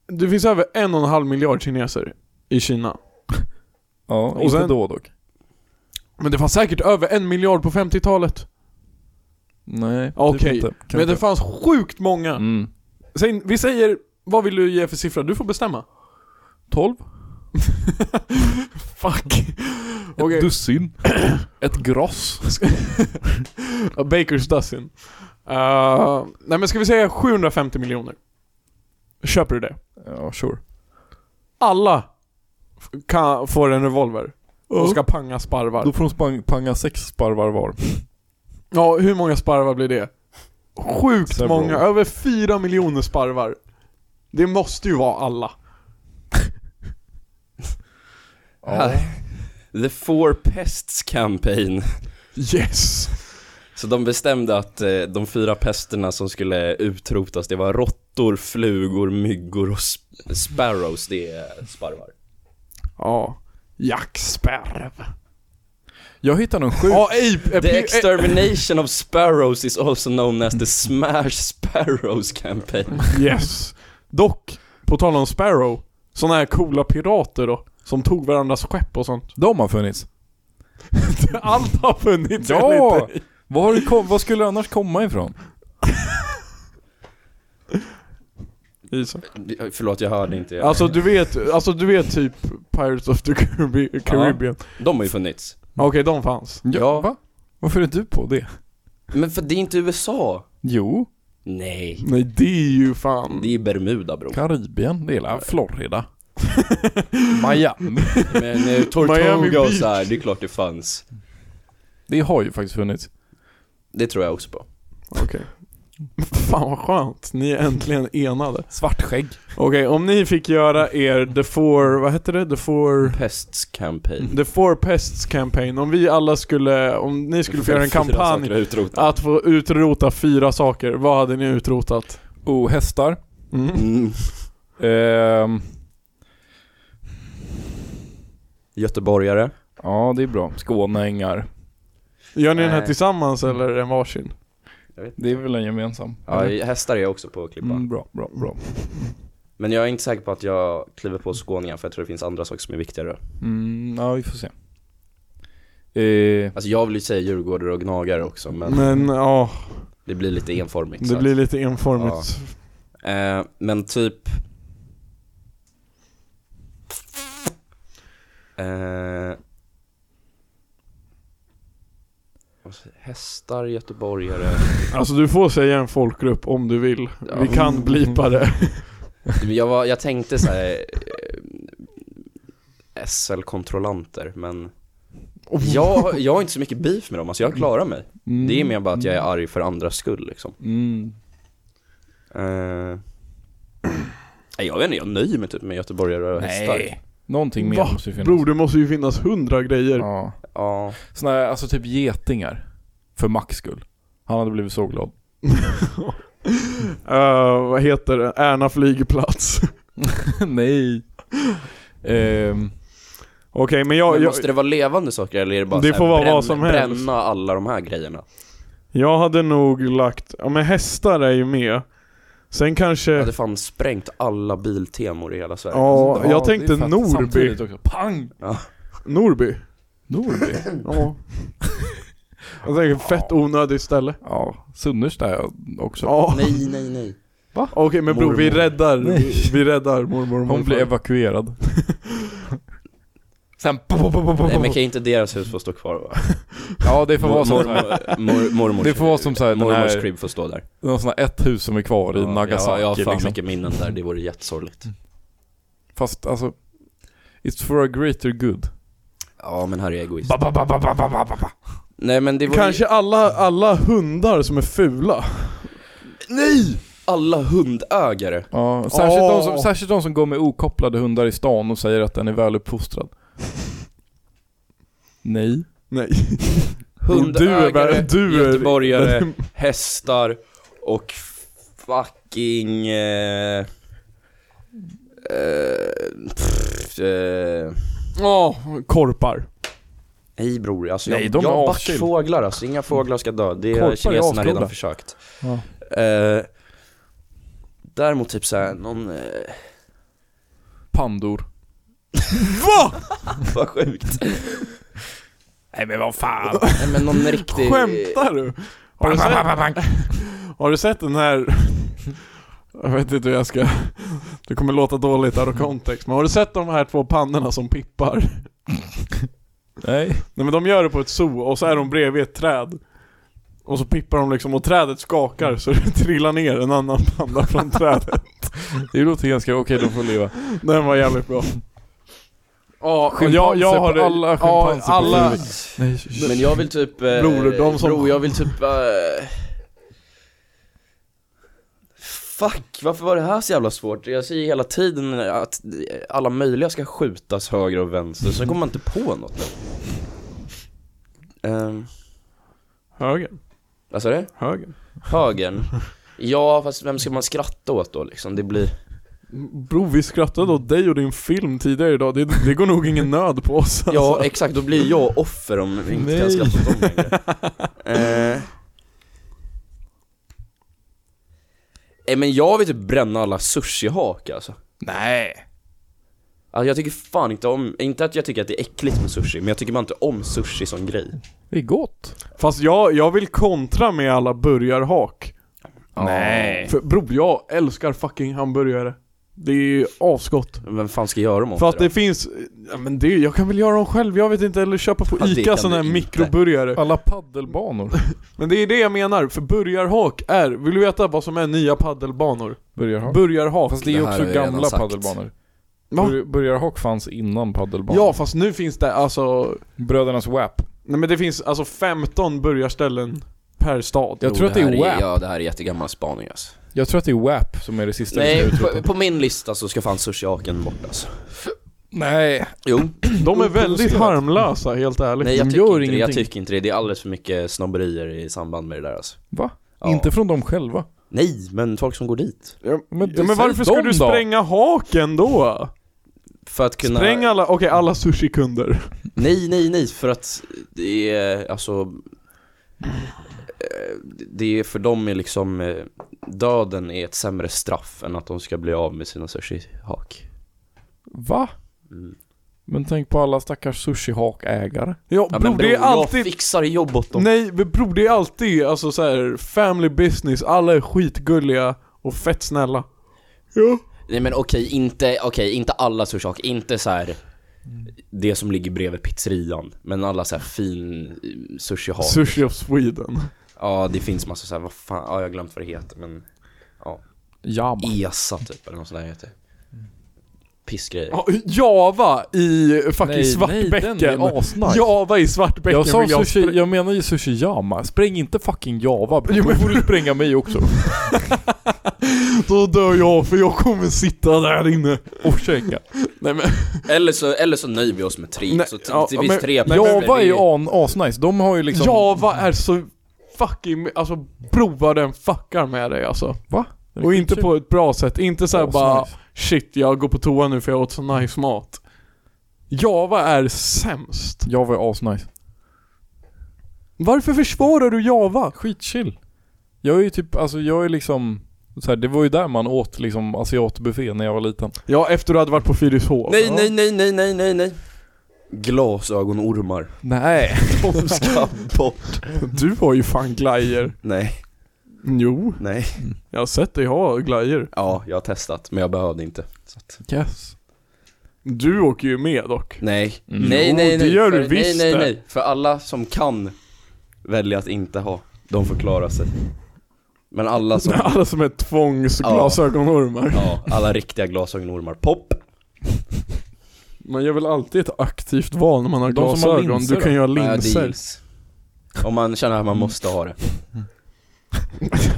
Speaker 4: det finns över en och en halv miljard kineser i Kina.
Speaker 3: Ja,
Speaker 4: Och
Speaker 3: och inte
Speaker 4: sen-
Speaker 3: då dock.
Speaker 4: Men det fanns säkert över en miljard på 50-talet.
Speaker 3: Nej, typ
Speaker 4: Okej,
Speaker 3: inte. Kan
Speaker 4: Men det
Speaker 3: inte.
Speaker 4: fanns sjukt många.
Speaker 3: Mm.
Speaker 4: Säg, vi säger, vad vill du ge för siffra? Du
Speaker 3: *laughs*
Speaker 4: får bestämma.
Speaker 3: 12?
Speaker 4: *laughs* Fuck. Okej.
Speaker 3: Ett
Speaker 4: *clears throat*
Speaker 3: dussin? Ett gross?
Speaker 4: A baker's dozen. Uh, nej men ska vi säga 750 miljoner? Köper du det?
Speaker 3: Ja, sure.
Speaker 4: Alla f- kan, får en revolver och ska panga sparvar.
Speaker 3: Då får de spang, panga sex sparvar var.
Speaker 4: Ja, hur många sparvar blir det? Sjukt
Speaker 3: Several.
Speaker 4: många, över 4 miljoner sparvar. Det måste ju vara alla.
Speaker 2: Ja. The Four Pests Campaign.
Speaker 4: Yes!
Speaker 2: Så de bestämde att eh, de fyra pesterna som skulle utrotas, det var råttor, flugor, myggor och sp- sparrows, det är sparvar.
Speaker 4: Ja. Jackspärv.
Speaker 3: Jag hittade någon sjuk...
Speaker 4: Ja, eh, ape.
Speaker 2: The
Speaker 4: ape-
Speaker 2: extermination of sparrows is also known as the Smash Sparrows campaign.
Speaker 4: eh, Yes. Dock, på tal om Sparrow. Såna här coola pirater då. Som tog varandras skepp och sånt.
Speaker 3: De har funnits.
Speaker 4: *laughs* Allt har funnits
Speaker 3: Ja!
Speaker 4: enligt dig.
Speaker 3: Var, har det kom, var skulle det annars komma ifrån?
Speaker 4: Isak.
Speaker 2: Förlåt, jag hörde inte. Jag...
Speaker 4: Alltså du vet, alltså du vet typ Pirates of the Carib- Caribbean.
Speaker 2: De har ju funnits.
Speaker 4: Okej, de fanns.
Speaker 2: Ja.
Speaker 3: Va? Varför är du på det?
Speaker 2: Men för det är inte USA.
Speaker 3: Jo,
Speaker 2: Nej.
Speaker 4: Nej det är ju fan.
Speaker 2: Det är Bermuda bro.
Speaker 3: Karibien, det är la- Florida. *laughs* Miami.
Speaker 2: Men eh,
Speaker 4: *laughs* Miami
Speaker 2: Tortuga och
Speaker 4: Beach.
Speaker 2: så här, det är klart det fanns.
Speaker 3: Det har ju faktiskt funnits.
Speaker 2: Det tror jag också på.
Speaker 4: Okej. Fan vad skönt, ni är äntligen enade.
Speaker 3: Svartskägg.
Speaker 4: Okej, om ni fick göra er The Four, vad hette det? The Four...
Speaker 2: Pests campaign.
Speaker 4: The Four Pests campaign. Om vi alla skulle, om ni skulle få göra en
Speaker 2: Fyra
Speaker 4: kampanj
Speaker 2: saker att utrota.
Speaker 4: att få utrota fyra saker, vad hade ni utrotat?
Speaker 3: Oh, hästar.
Speaker 4: Mm.
Speaker 2: Mm.
Speaker 3: Ehm,
Speaker 2: Göteborgare.
Speaker 3: ja, det är bra. Skåneängar.
Speaker 4: Gör ni den här
Speaker 2: Nej. Mm.
Speaker 4: tillsammans eller en varsin?
Speaker 3: Det är väl en gemensam?
Speaker 2: Ja,
Speaker 3: eller?
Speaker 2: hästar är jag också på att klippa.
Speaker 3: mm, bra, bra, bra.
Speaker 2: Men jag är inte säker på att jag kliver på skåningar för jag tror det finns andra saker som är viktigare.
Speaker 3: Mm, ja, vi får se. Eh,
Speaker 2: Alltså jag vill ju säga djurgårdare och gnagare också men
Speaker 4: Men ja,
Speaker 2: det blir lite enformigt. så
Speaker 4: det
Speaker 2: att-
Speaker 4: blir lite enformigt.
Speaker 2: eh, men typ... Eh, vad säger- hästar, göteborgare.
Speaker 4: Alltså du får säga en folkgrupp om du vill.
Speaker 2: Ja.
Speaker 4: Vi kan blipa det.
Speaker 2: Men Jag, var, jag tänkte så här. eh, SL-kontrollanter men jag, jag har inte så mycket beef med dem, alltså jag klarar mig.
Speaker 3: mm,
Speaker 2: Det är mer bara att jag är arg för andras skull liksom.
Speaker 3: Mm.
Speaker 2: Eh, nej, jag vet inte, jag nöjer mig typ med göteborgare och hästar.
Speaker 3: Nej. Någonting mer
Speaker 4: Va?
Speaker 3: måste ju finnas.
Speaker 4: Bror det måste ju finnas hundra grejer.
Speaker 3: Ja.
Speaker 2: Mm. Ja,
Speaker 3: Såna här, alltså typ getingar. För Max skull. Han hade blivit så glad. *laughs*
Speaker 4: Eh, vad heter det? Ärna flygplats. *laughs*
Speaker 3: Nej. Ehm,
Speaker 4: Okej men jag,
Speaker 2: men
Speaker 4: jag,
Speaker 2: måste det vara levande saker eller är det bara
Speaker 4: Det
Speaker 2: så här,
Speaker 4: får vara
Speaker 2: bränn,
Speaker 4: vad som helst.
Speaker 2: bränna alla de här grejerna?
Speaker 4: jag hade nog lagt, ja men hästar är ju med. Sen kanske,
Speaker 2: Jag hade fan sprängt alla biltemor i hela Sverige.
Speaker 4: ja
Speaker 3: det
Speaker 4: jag
Speaker 3: är
Speaker 4: tänkte
Speaker 3: fett.
Speaker 4: Norby.
Speaker 3: Samtidigt också. Pang!
Speaker 4: Norby.
Speaker 3: Norby?
Speaker 2: *laughs*
Speaker 4: Ja. jag tänker fett onödigt ställe.
Speaker 3: ja, Sunnersta också.
Speaker 4: Ja.
Speaker 2: Nej, nej,
Speaker 4: *laughs*
Speaker 2: nej.
Speaker 4: Okej men bror vi
Speaker 2: Mormor.
Speaker 4: räddar, vi, *laughs* vi räddar mormor och
Speaker 3: Hon
Speaker 4: morfar.
Speaker 3: blev evakuerad. *laughs* Sen... po- po- po- po- po-
Speaker 2: Nej men kan inte deras hus få stå kvar va?
Speaker 3: Ja, det får vara som så här-
Speaker 2: Mormor- mor- mormors,
Speaker 3: Det får vara som så här, den
Speaker 2: mormors
Speaker 3: här-
Speaker 2: crib får stå där.
Speaker 3: någon sån här ett hus som är kvar i Nagasaki
Speaker 2: jag har fan
Speaker 3: liksom.
Speaker 2: mycket minnen där, det vore jättesorgligt.
Speaker 3: Fast alltså... It's for a greater good.
Speaker 2: Ja men här är jag egoist.
Speaker 3: Ba, ba, ba, ba, ba, ba, ba, ba.
Speaker 2: Nej men det var
Speaker 4: Kanske alla, alla hundar som är fula.
Speaker 2: Nej! Alla hundägare.
Speaker 3: Ja, särskilt, de
Speaker 4: Åh.
Speaker 3: som, särskilt de som går med okopplade hundar i stan och säger att den är *laughs* väluppfostrad. Nej.
Speaker 4: Nej.
Speaker 2: Hundägare,
Speaker 4: Du är väl- du är-
Speaker 2: göteborgare,
Speaker 3: *laughs*
Speaker 2: hästar och fucking... Eh, eh, pff, eh,
Speaker 4: Ja, korpar.
Speaker 2: nej bror, alltså
Speaker 3: Nej,
Speaker 2: jag,
Speaker 3: de är
Speaker 2: jag har backat
Speaker 3: aschill.
Speaker 2: fåglar alltså, inga fåglar ska dö. Det
Speaker 3: Korpar är
Speaker 2: har kineserna
Speaker 3: asgoda.
Speaker 2: redan försökt.
Speaker 3: Ja.
Speaker 2: Eh, däremot typ såhär, någon... Eh, *laughs*
Speaker 3: Pandor.
Speaker 2: vad sjukt.
Speaker 3: Nej men vad fan.
Speaker 2: nej men någon riktig...
Speaker 4: Skämtar du? Har du sett, har du sett den här... *laughs* Jag vet inte hur jag ska... Det kommer låta dåligt out of context, men har du sett de här två pannorna som pippar?
Speaker 3: Nej.
Speaker 4: Nej men de gör det på ett zoo och så är de bredvid ett träd Och så pippar de liksom och trädet skakar så *laughs* det trillar ner en annan panda från trädet
Speaker 3: Det låter ganska okej, de får leva.
Speaker 4: Den var jävligt bra Ja, och jag,
Speaker 3: Schimpanser
Speaker 4: jag
Speaker 3: på-
Speaker 4: har det,
Speaker 3: alla
Speaker 4: ja,
Speaker 3: schimpanser på
Speaker 4: alla
Speaker 3: huvudet. Nej.
Speaker 2: Men jag vill typ... Eh,
Speaker 4: Bror, de som-
Speaker 2: Bror, jag vill typ... Eh, fuck, varför var det här så jävla svårt? Jag säger hela tiden att alla möjliga ska skjutas höger och vänster, sen kommer man inte på något nu. Um,
Speaker 4: Höger,
Speaker 2: vad sa du?
Speaker 4: höger
Speaker 2: Högern? Ja, fast vem ska man skratta åt då liksom? Det blir...
Speaker 4: Bro, vi skrattade åt dig och din film tidigare idag. Det, det går
Speaker 2: *laughs*
Speaker 4: nog ingen nöd på oss alltså.
Speaker 2: Ja, exakt, då blir jag offer om vi inte kan
Speaker 4: Nej.
Speaker 2: skratta åt dem
Speaker 3: *laughs*
Speaker 2: längre. Eh. Nej men jag vill typ bränna alla sushihakar alltså.
Speaker 3: Nej.
Speaker 2: alltså. Jag tycker fan inte om, inte att jag tycker att det är äckligt med sushi, men jag tycker bara inte om sushi som grej.
Speaker 3: Det är gott.
Speaker 4: Fast jag, jag vill kontra med alla burgarhak.
Speaker 3: Nej.
Speaker 4: För bro, jag älskar fucking hamburgare. Det är ju asgott.
Speaker 2: Vem fan ska göra dem åt
Speaker 4: För att
Speaker 2: då?
Speaker 4: det finns, ja, men det, jag kan väl göra dem själv, jag vet inte, eller köpa på
Speaker 2: Ja, det
Speaker 4: ICA
Speaker 2: kan
Speaker 4: sådana här
Speaker 2: du inte.
Speaker 4: mikroburgare.
Speaker 3: Alla paddelbanor.
Speaker 4: Men det är det jag menar, för burgarhak är, vill du veta vad som är nya paddelbanor?
Speaker 3: Börjar ha.
Speaker 4: Burgarhak.
Speaker 3: Fast det är ju
Speaker 2: Det här
Speaker 3: också
Speaker 2: har jag redan
Speaker 3: gamla
Speaker 2: sagt.
Speaker 3: paddelbanor.
Speaker 4: Va?
Speaker 3: Bör- Burgarhak fanns innan paddelbanor.
Speaker 4: Ja fast nu finns det alltså,
Speaker 3: Brödernas WAP.
Speaker 4: nej men det finns alltså 15 burgarställen per stad.
Speaker 3: Jag
Speaker 2: Jo,
Speaker 3: tror att det
Speaker 2: här
Speaker 3: är WAP.
Speaker 2: Ja, det här är jättegammal spaning alltså.
Speaker 3: Jag tror att det är WAP som är det sista vi ska
Speaker 2: Nej, på,
Speaker 3: utropa.
Speaker 2: på min lista så ska fan sushihaken bort alltså.
Speaker 3: Nej.
Speaker 2: Jo,
Speaker 4: De är väldigt
Speaker 3: Oprovocerat.
Speaker 4: harmlösa helt ärligt.
Speaker 2: nej jag
Speaker 3: de
Speaker 2: tycker,
Speaker 3: gör
Speaker 2: inte det, jag
Speaker 3: ingenting.
Speaker 2: tycker inte det. Det är alldeles för mycket snobberier i samband med det där alltså.
Speaker 3: Va?
Speaker 2: Ja.
Speaker 3: Inte från dem själva.
Speaker 2: Nej, men folk som går dit.
Speaker 4: Ja,
Speaker 3: men
Speaker 4: ja, men
Speaker 3: säg
Speaker 4: varför ska
Speaker 3: dem
Speaker 4: du
Speaker 3: då.
Speaker 4: spränga haken då?
Speaker 2: För att kunna...
Speaker 4: Spräng alla, okej alla sushikunder.
Speaker 2: Nej, nej, nej, för att det är alltså... eh, Det är för dem är liksom... eh, Döden är ett sämre straff än att de ska bli av med sina sushihak.
Speaker 3: Va?
Speaker 2: Mm.
Speaker 3: Men tänk på alla stackars sushihakägare.
Speaker 4: Ja,
Speaker 2: Ja,
Speaker 4: bro,
Speaker 2: men bror,
Speaker 4: det är
Speaker 2: jag
Speaker 4: alltid
Speaker 2: fixar jobb åt dem.
Speaker 4: Nej, men bror det är alltid alltså så här, family business, alla är skitgulliga och fett snälla.
Speaker 2: Nej men okej, inte, okej, inte alla sushihak, inte så här det som ligger bredvid pizzerian, men alla så här fin eh, sushihak.
Speaker 4: Sushi of Sweden.
Speaker 2: ja, det finns massa så här, vad fan, ja jag har glömt vad det heter, men
Speaker 3: Jam.
Speaker 2: ESA typ eller något sånt där heter det. Pissgrejer.
Speaker 4: Ja, Java i fucking
Speaker 3: Nej, den
Speaker 4: Svartbäcken.
Speaker 3: är asnice.
Speaker 4: Java i Svartbäcken
Speaker 3: jag sa
Speaker 4: vill jag
Speaker 3: sushi,
Speaker 4: sprä-
Speaker 3: jag menar ju sushi jama. Spräng inte fucking java bro. Då får du spränga mig *laughs* också.
Speaker 4: Då dör jag för jag kommer sitta där inne.
Speaker 3: Och käka.
Speaker 4: Nej men,
Speaker 2: Eller, så, eller så nöjer vi oss med tre,
Speaker 4: Nej,
Speaker 2: så t-
Speaker 4: ja,
Speaker 2: det finns
Speaker 4: men-
Speaker 2: tre
Speaker 4: men-
Speaker 2: personer.
Speaker 3: Java är
Speaker 2: Det
Speaker 3: ju an- asnice. De har ju liksom...
Speaker 4: Java är så fucking, alltså bro vad den fuckar med dig alltså.
Speaker 3: Va?
Speaker 4: Och inte på ett bra sätt, inte såhär bara
Speaker 3: Typ Asnice.
Speaker 4: shit jag går på toa nu för jag åt så nice mat. Java är sämst.
Speaker 3: Java är asnice.
Speaker 4: Varför försvarar du Java?
Speaker 3: Skitchill. Jag är ju typ, alltså jag är liksom... Så här, det var ju där man åt liksom asiatbuffé när jag var liten.
Speaker 4: Ja, efter du hade varit på Fyrishov.
Speaker 2: Nej, nej, nej, nej, nej, nej, nej. Glasögonormar.
Speaker 3: Nej.
Speaker 2: De ska bort.
Speaker 4: Du har ju fan glajer.
Speaker 2: Nej,
Speaker 4: Jo.
Speaker 2: nej.
Speaker 4: Jag har sett dig ha glajer.
Speaker 2: Ja, jag har testat, men jag behövde inte. Så att...
Speaker 4: Mm.
Speaker 3: Yes.
Speaker 4: Du åker ju med dock.
Speaker 2: Nej,
Speaker 3: Mm.
Speaker 2: nej,
Speaker 4: Jo,
Speaker 2: nej,
Speaker 4: det
Speaker 2: nej.
Speaker 4: gör du
Speaker 2: för,
Speaker 4: visst
Speaker 2: nej, nej,
Speaker 4: det.
Speaker 2: nej. För alla som kan välja att inte ha, de får klara sig. Men alla
Speaker 3: Alltså.
Speaker 2: som,
Speaker 4: *laughs* Alla som är tvångsglasögonormar.
Speaker 2: *laughs* ja, alla riktiga glasögonormar. Pop!
Speaker 4: Man gör väl alltid ett aktivt val när man har
Speaker 3: De som har
Speaker 4: glasögon.
Speaker 3: linser
Speaker 4: du kan
Speaker 3: då?
Speaker 4: göra
Speaker 2: Ja,
Speaker 4: linser.
Speaker 2: deals. Om man känner att man måste ha det.
Speaker 3: *laughs*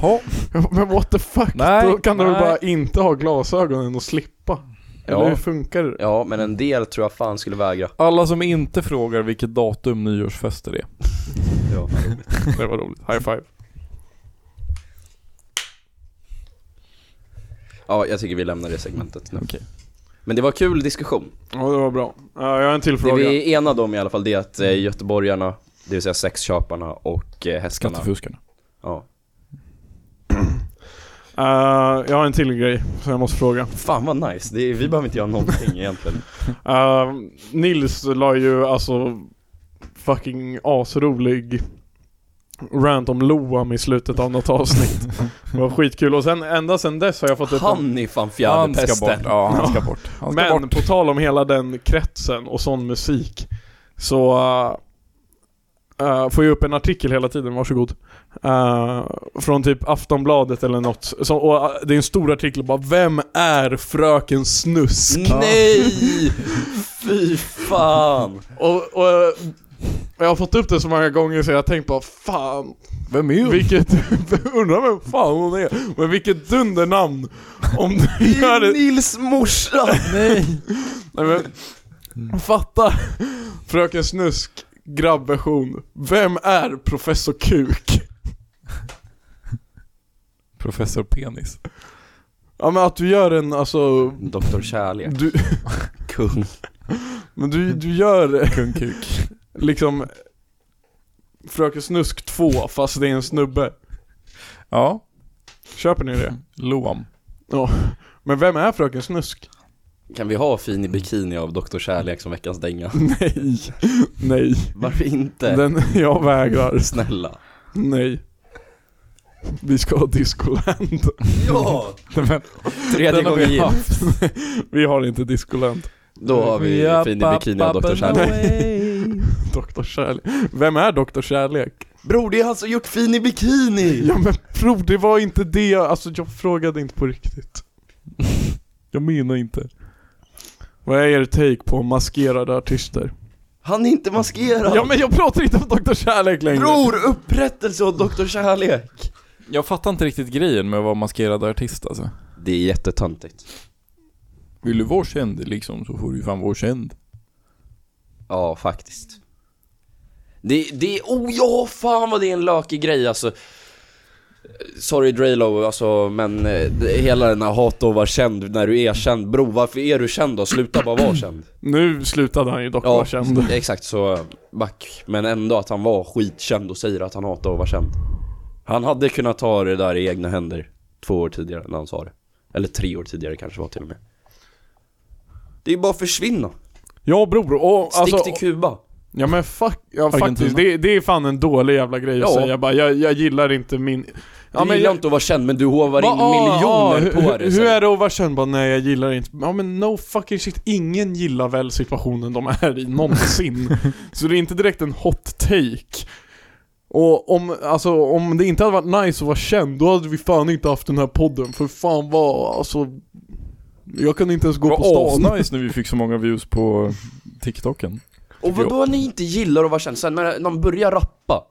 Speaker 3: Ja.
Speaker 4: Men what the fuck?
Speaker 3: Nej,
Speaker 4: Då kan du väl
Speaker 3: nej.
Speaker 4: bara inte ha glasögonen och slippa? Eller
Speaker 2: Ja.
Speaker 4: hur funkar det?
Speaker 2: Ja, men en del tror jag fan skulle vägra.
Speaker 3: Alla som inte frågar vilket datum nyårsfester är.
Speaker 2: Ja.
Speaker 4: Det var roligt. High five.
Speaker 2: ja, jag tycker vi lämnar det segmentet nu.
Speaker 3: Okej.
Speaker 2: Men det var kul diskussion.
Speaker 4: Ja, det var bra. Ja, jag har en till
Speaker 2: Det
Speaker 4: fråga.
Speaker 2: vi är enade om i alla fall det är att eh, göteborgarna, det vill säga sexköparna och eh, hästarna.
Speaker 3: Skattefuskarna.
Speaker 2: Ja.
Speaker 4: Eh, jag har en till grej som jag måste fråga.
Speaker 2: Fan vad nice, det är, vi behöver inte göra någonting egentligen.
Speaker 4: Eh, Nils la ju alltså fucking asrolig rant om Loam i slutet av något avsnitt. Det var skitkul och sen ända sen dess har jag fått upp en...
Speaker 2: Han är fan
Speaker 3: Han ska bort.
Speaker 2: fjäderpesten.
Speaker 3: Ja, han ska bort. Han ska
Speaker 4: Men
Speaker 3: bort.
Speaker 4: på tal om hela den kretsen och sån musik så eh, eh, får jag upp en artikel hela tiden, varsågod. Uh, från typ Aftonbladet eller något. Så, och, eh, det är en stor artikel bara Vem är Fröken Snusk?
Speaker 2: Nej! Fy fan!
Speaker 4: Och, och eh, jag har fått upp det så många gånger så jag har tänkt bara fan
Speaker 3: Vem är
Speaker 4: Vilket, *laughs* undrar vem fan hon är, men vilket dundernamn! Om du gör det...
Speaker 2: Nils morsa!
Speaker 4: Nej! Nej men, fatta! Fröken Snusk, grabbversion. Vem är Professor Kuk?
Speaker 3: Professor Penis.
Speaker 4: Ja men att du gör en, alltså...
Speaker 2: Doktor Kärlek,
Speaker 4: Du,
Speaker 2: kung.
Speaker 4: men du, du gör
Speaker 3: Kung Kuk.
Speaker 4: liksom Fröken Snusk 2 fast det är en snubbe.
Speaker 3: Ja,
Speaker 4: Köper ni det?
Speaker 3: Loam.
Speaker 4: Ja. Men vem är Fröken Snusk?
Speaker 2: Kan vi ha fin i bikini av Doktor Kärlek som veckans dänga?
Speaker 4: Nej. Nej.
Speaker 2: Varför inte?
Speaker 4: Den, jag vägrar.
Speaker 2: Snälla.
Speaker 4: Nej. Vi ska ha discoland.
Speaker 2: Ja!
Speaker 3: Men,
Speaker 2: Tredje
Speaker 3: den har
Speaker 2: gången
Speaker 3: vi
Speaker 2: gillt.
Speaker 3: haft.
Speaker 4: Vi har inte discoland.
Speaker 2: Då
Speaker 4: Mm.
Speaker 2: har vi fin i bikini av Doktor Kärlek.
Speaker 4: Doktor Kärlek. Vem är Doktor Kärlek?
Speaker 2: Bror, det är han som gjort fin i bikini!
Speaker 4: Ja men bror, det var inte det jag, alltså jag frågade inte på *laughs* riktigt.
Speaker 3: Jag menar inte.
Speaker 4: Vad är er take på maskerade artister?
Speaker 2: Han är inte maskerad!
Speaker 4: Ja men jag pratar inte om Dr Kärlek längre!
Speaker 2: Bror, upprättelse åt Doktor Kärlek!
Speaker 3: Jag fattar inte riktigt grejen med att vara maskerad artist alltså.
Speaker 2: Det är jättetöntigt.
Speaker 3: Vill du vara känd liksom så får du ju fan vara känd.
Speaker 2: Ja, faktiskt. Det, det, oh ja, fan vad det är en lökig grej alltså. Sorry Draylo, alltså men eh, det, hela den här hat att vara känd när du är känd. Bror, varför är du känd då? Sluta bara vara känd.
Speaker 4: Nu slutade han ju dock vara känd.
Speaker 2: *laughs* exakt så back. Men ändå att han var skitkänd och säger att han hatar att vara känd. Han hade kunnat ta det där i egna händer två år tidigare när han sa det. Eller tre år tidigare kanske var till och med. Det är bara att försvinna.
Speaker 4: Ja bror, och
Speaker 2: Stick
Speaker 4: alltså...
Speaker 2: till Kuba.
Speaker 4: Ja men fuck, ja,
Speaker 3: Argentina.
Speaker 4: faktiskt, det, det är fan en dålig jävla grej att
Speaker 2: Ja.
Speaker 4: säga bara, jag, jag gillar inte min...
Speaker 2: Du gillar inte att vara känd men du hovar in
Speaker 4: Va- ah,
Speaker 2: miljoner
Speaker 4: hur-
Speaker 2: på det.
Speaker 4: Hur
Speaker 2: sen.
Speaker 4: är det att vara känd? Bara, nej jag gillar inte. Ja men no fucking shit, ingen gillar väl situationen de är i
Speaker 2: *laughs*
Speaker 4: någonsin. Så det är inte direkt en hot take. Och om, alltså, om det inte hade varit nice att vara känd, då hade vi fan inte haft den här podden. För fan vad, alltså... Jag kan inte ens gå på stan.
Speaker 3: asnice när vi fick så många views på TikToken.
Speaker 2: Och vadå ni inte gillar att vara känd? Sen när de börjar rappa.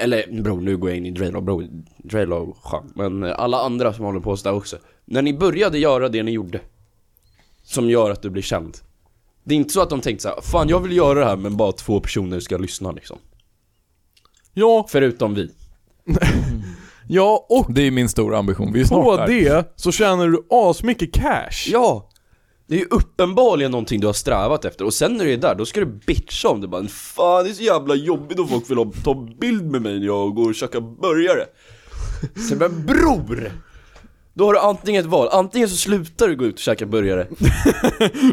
Speaker 2: Eller bro, nu går jag in i Draylo, bro. Draylo, skön. Men eh, alla andra som håller på sådär också. När ni började göra det ni gjorde. Som gör att du blir känd. Det är inte så att de tänkte såhär, fan jag vill göra det här men bara två personer ska lyssna liksom.
Speaker 4: Ja,
Speaker 2: Förutom vi.
Speaker 4: ja och
Speaker 3: Det är min stora ambition, vi är snart
Speaker 4: på
Speaker 3: där.
Speaker 4: det så tjänar du asmycket cash.
Speaker 2: Ja! Det är ju uppenbarligen någonting du har strävat efter och sen när du är där, då ska du bitcha om det bara Fan det är så jävla jobbigt om folk vill ha, ta bild med mig när jag går och käkar burgare Sen men bror! Då har du antingen ett val, antingen så slutar du gå ut och käka burgare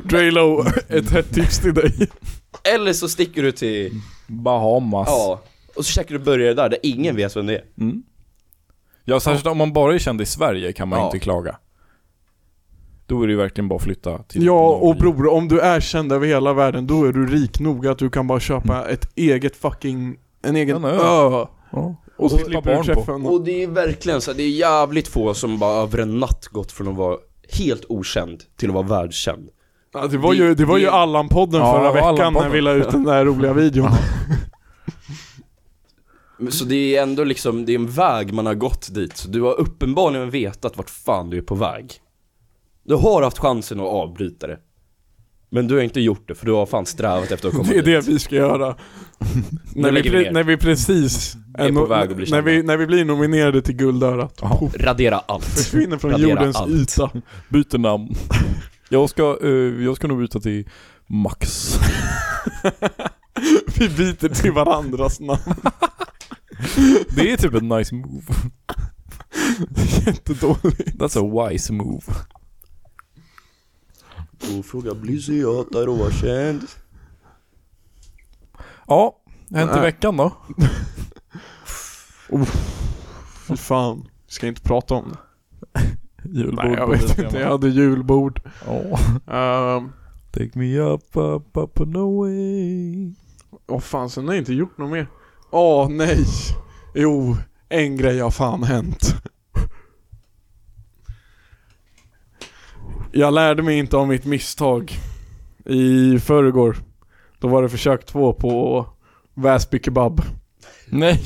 Speaker 4: Draylo, *laughs* ett hett tips till dig.
Speaker 2: Eller så sticker du till,
Speaker 3: Bahamas.
Speaker 2: ja, och så käkar du burgare där, där ingen vet vem det är
Speaker 3: Mm. Ja, särskilt om man bara är känd i Sverige kan man
Speaker 2: Ja.
Speaker 3: inte klaga. Då är det ju verkligen bara att flytta till
Speaker 4: Ja,
Speaker 3: Norge.
Speaker 4: och bror, om du är känd över hela världen då är du rik nog att du kan bara köpa ett eget fucking, en egen
Speaker 3: En ö.
Speaker 4: ö.
Speaker 3: Ja. Och,
Speaker 4: Och så
Speaker 3: slippa
Speaker 4: slipper du
Speaker 3: barn på.
Speaker 4: träffa någon.
Speaker 2: Och det är verkligen så här, det är jävligt få som bara över en natt gått från att vara helt okänd till att vara världskänd
Speaker 4: Ja, det var ju, det var ju
Speaker 2: Det-
Speaker 4: Allan-podden
Speaker 3: Ja,
Speaker 4: förra
Speaker 3: det var
Speaker 4: veckan när
Speaker 3: Allan-podden.
Speaker 4: vi la ut den där roliga *laughs* videon.
Speaker 2: Men Så det är ändå liksom, det är en väg man har gått dit. Så du har uppenbarligen vetat vart fan du är på väg. Du har haft chansen att avbryta det. Men du har inte gjort det, för du har fan strävat efter att komma
Speaker 4: *laughs* Det är
Speaker 2: dit.
Speaker 4: det vi ska göra. när, vi
Speaker 2: lägger vi
Speaker 4: pre-
Speaker 2: ner.
Speaker 4: när vi precis
Speaker 2: Vi är på
Speaker 4: no-
Speaker 2: väg att bli
Speaker 4: när,
Speaker 2: kända.
Speaker 4: vi, när vi blir nominerade till Guldörat. Poff,
Speaker 2: Radera allt.
Speaker 4: *laughs* Försvinner från
Speaker 2: Radera
Speaker 4: jordens
Speaker 2: allt.
Speaker 4: yta.
Speaker 3: Byter namn. *laughs* Jag ska, eh, jag ska nog byta till Max.
Speaker 4: Vi byter till varandras namn.
Speaker 3: Det är typ en nice move. *laughs*
Speaker 4: Jättedåligt.
Speaker 3: That's a wise move.
Speaker 2: Och fråga Blizzy, jag hatar att vara känd.
Speaker 3: Ja, hänt i
Speaker 4: Nej.
Speaker 3: veckan då?
Speaker 4: Fy fan. Vi ska inte prata om det.
Speaker 3: Julbord
Speaker 4: Nej, jag
Speaker 3: på
Speaker 4: vet
Speaker 3: Visby,
Speaker 4: inte.
Speaker 3: va?
Speaker 4: Jag hade julbord.
Speaker 3: Ja.
Speaker 4: Ehm,
Speaker 3: Take me up, up, up and away
Speaker 4: Åh fan, sen har jag inte gjort något mer. Åh nej. Jo, en grej har fan hänt. Jag lärde mig inte av mitt misstag i förrgår. Då var det försök två på Väsby kebab.
Speaker 3: Nej!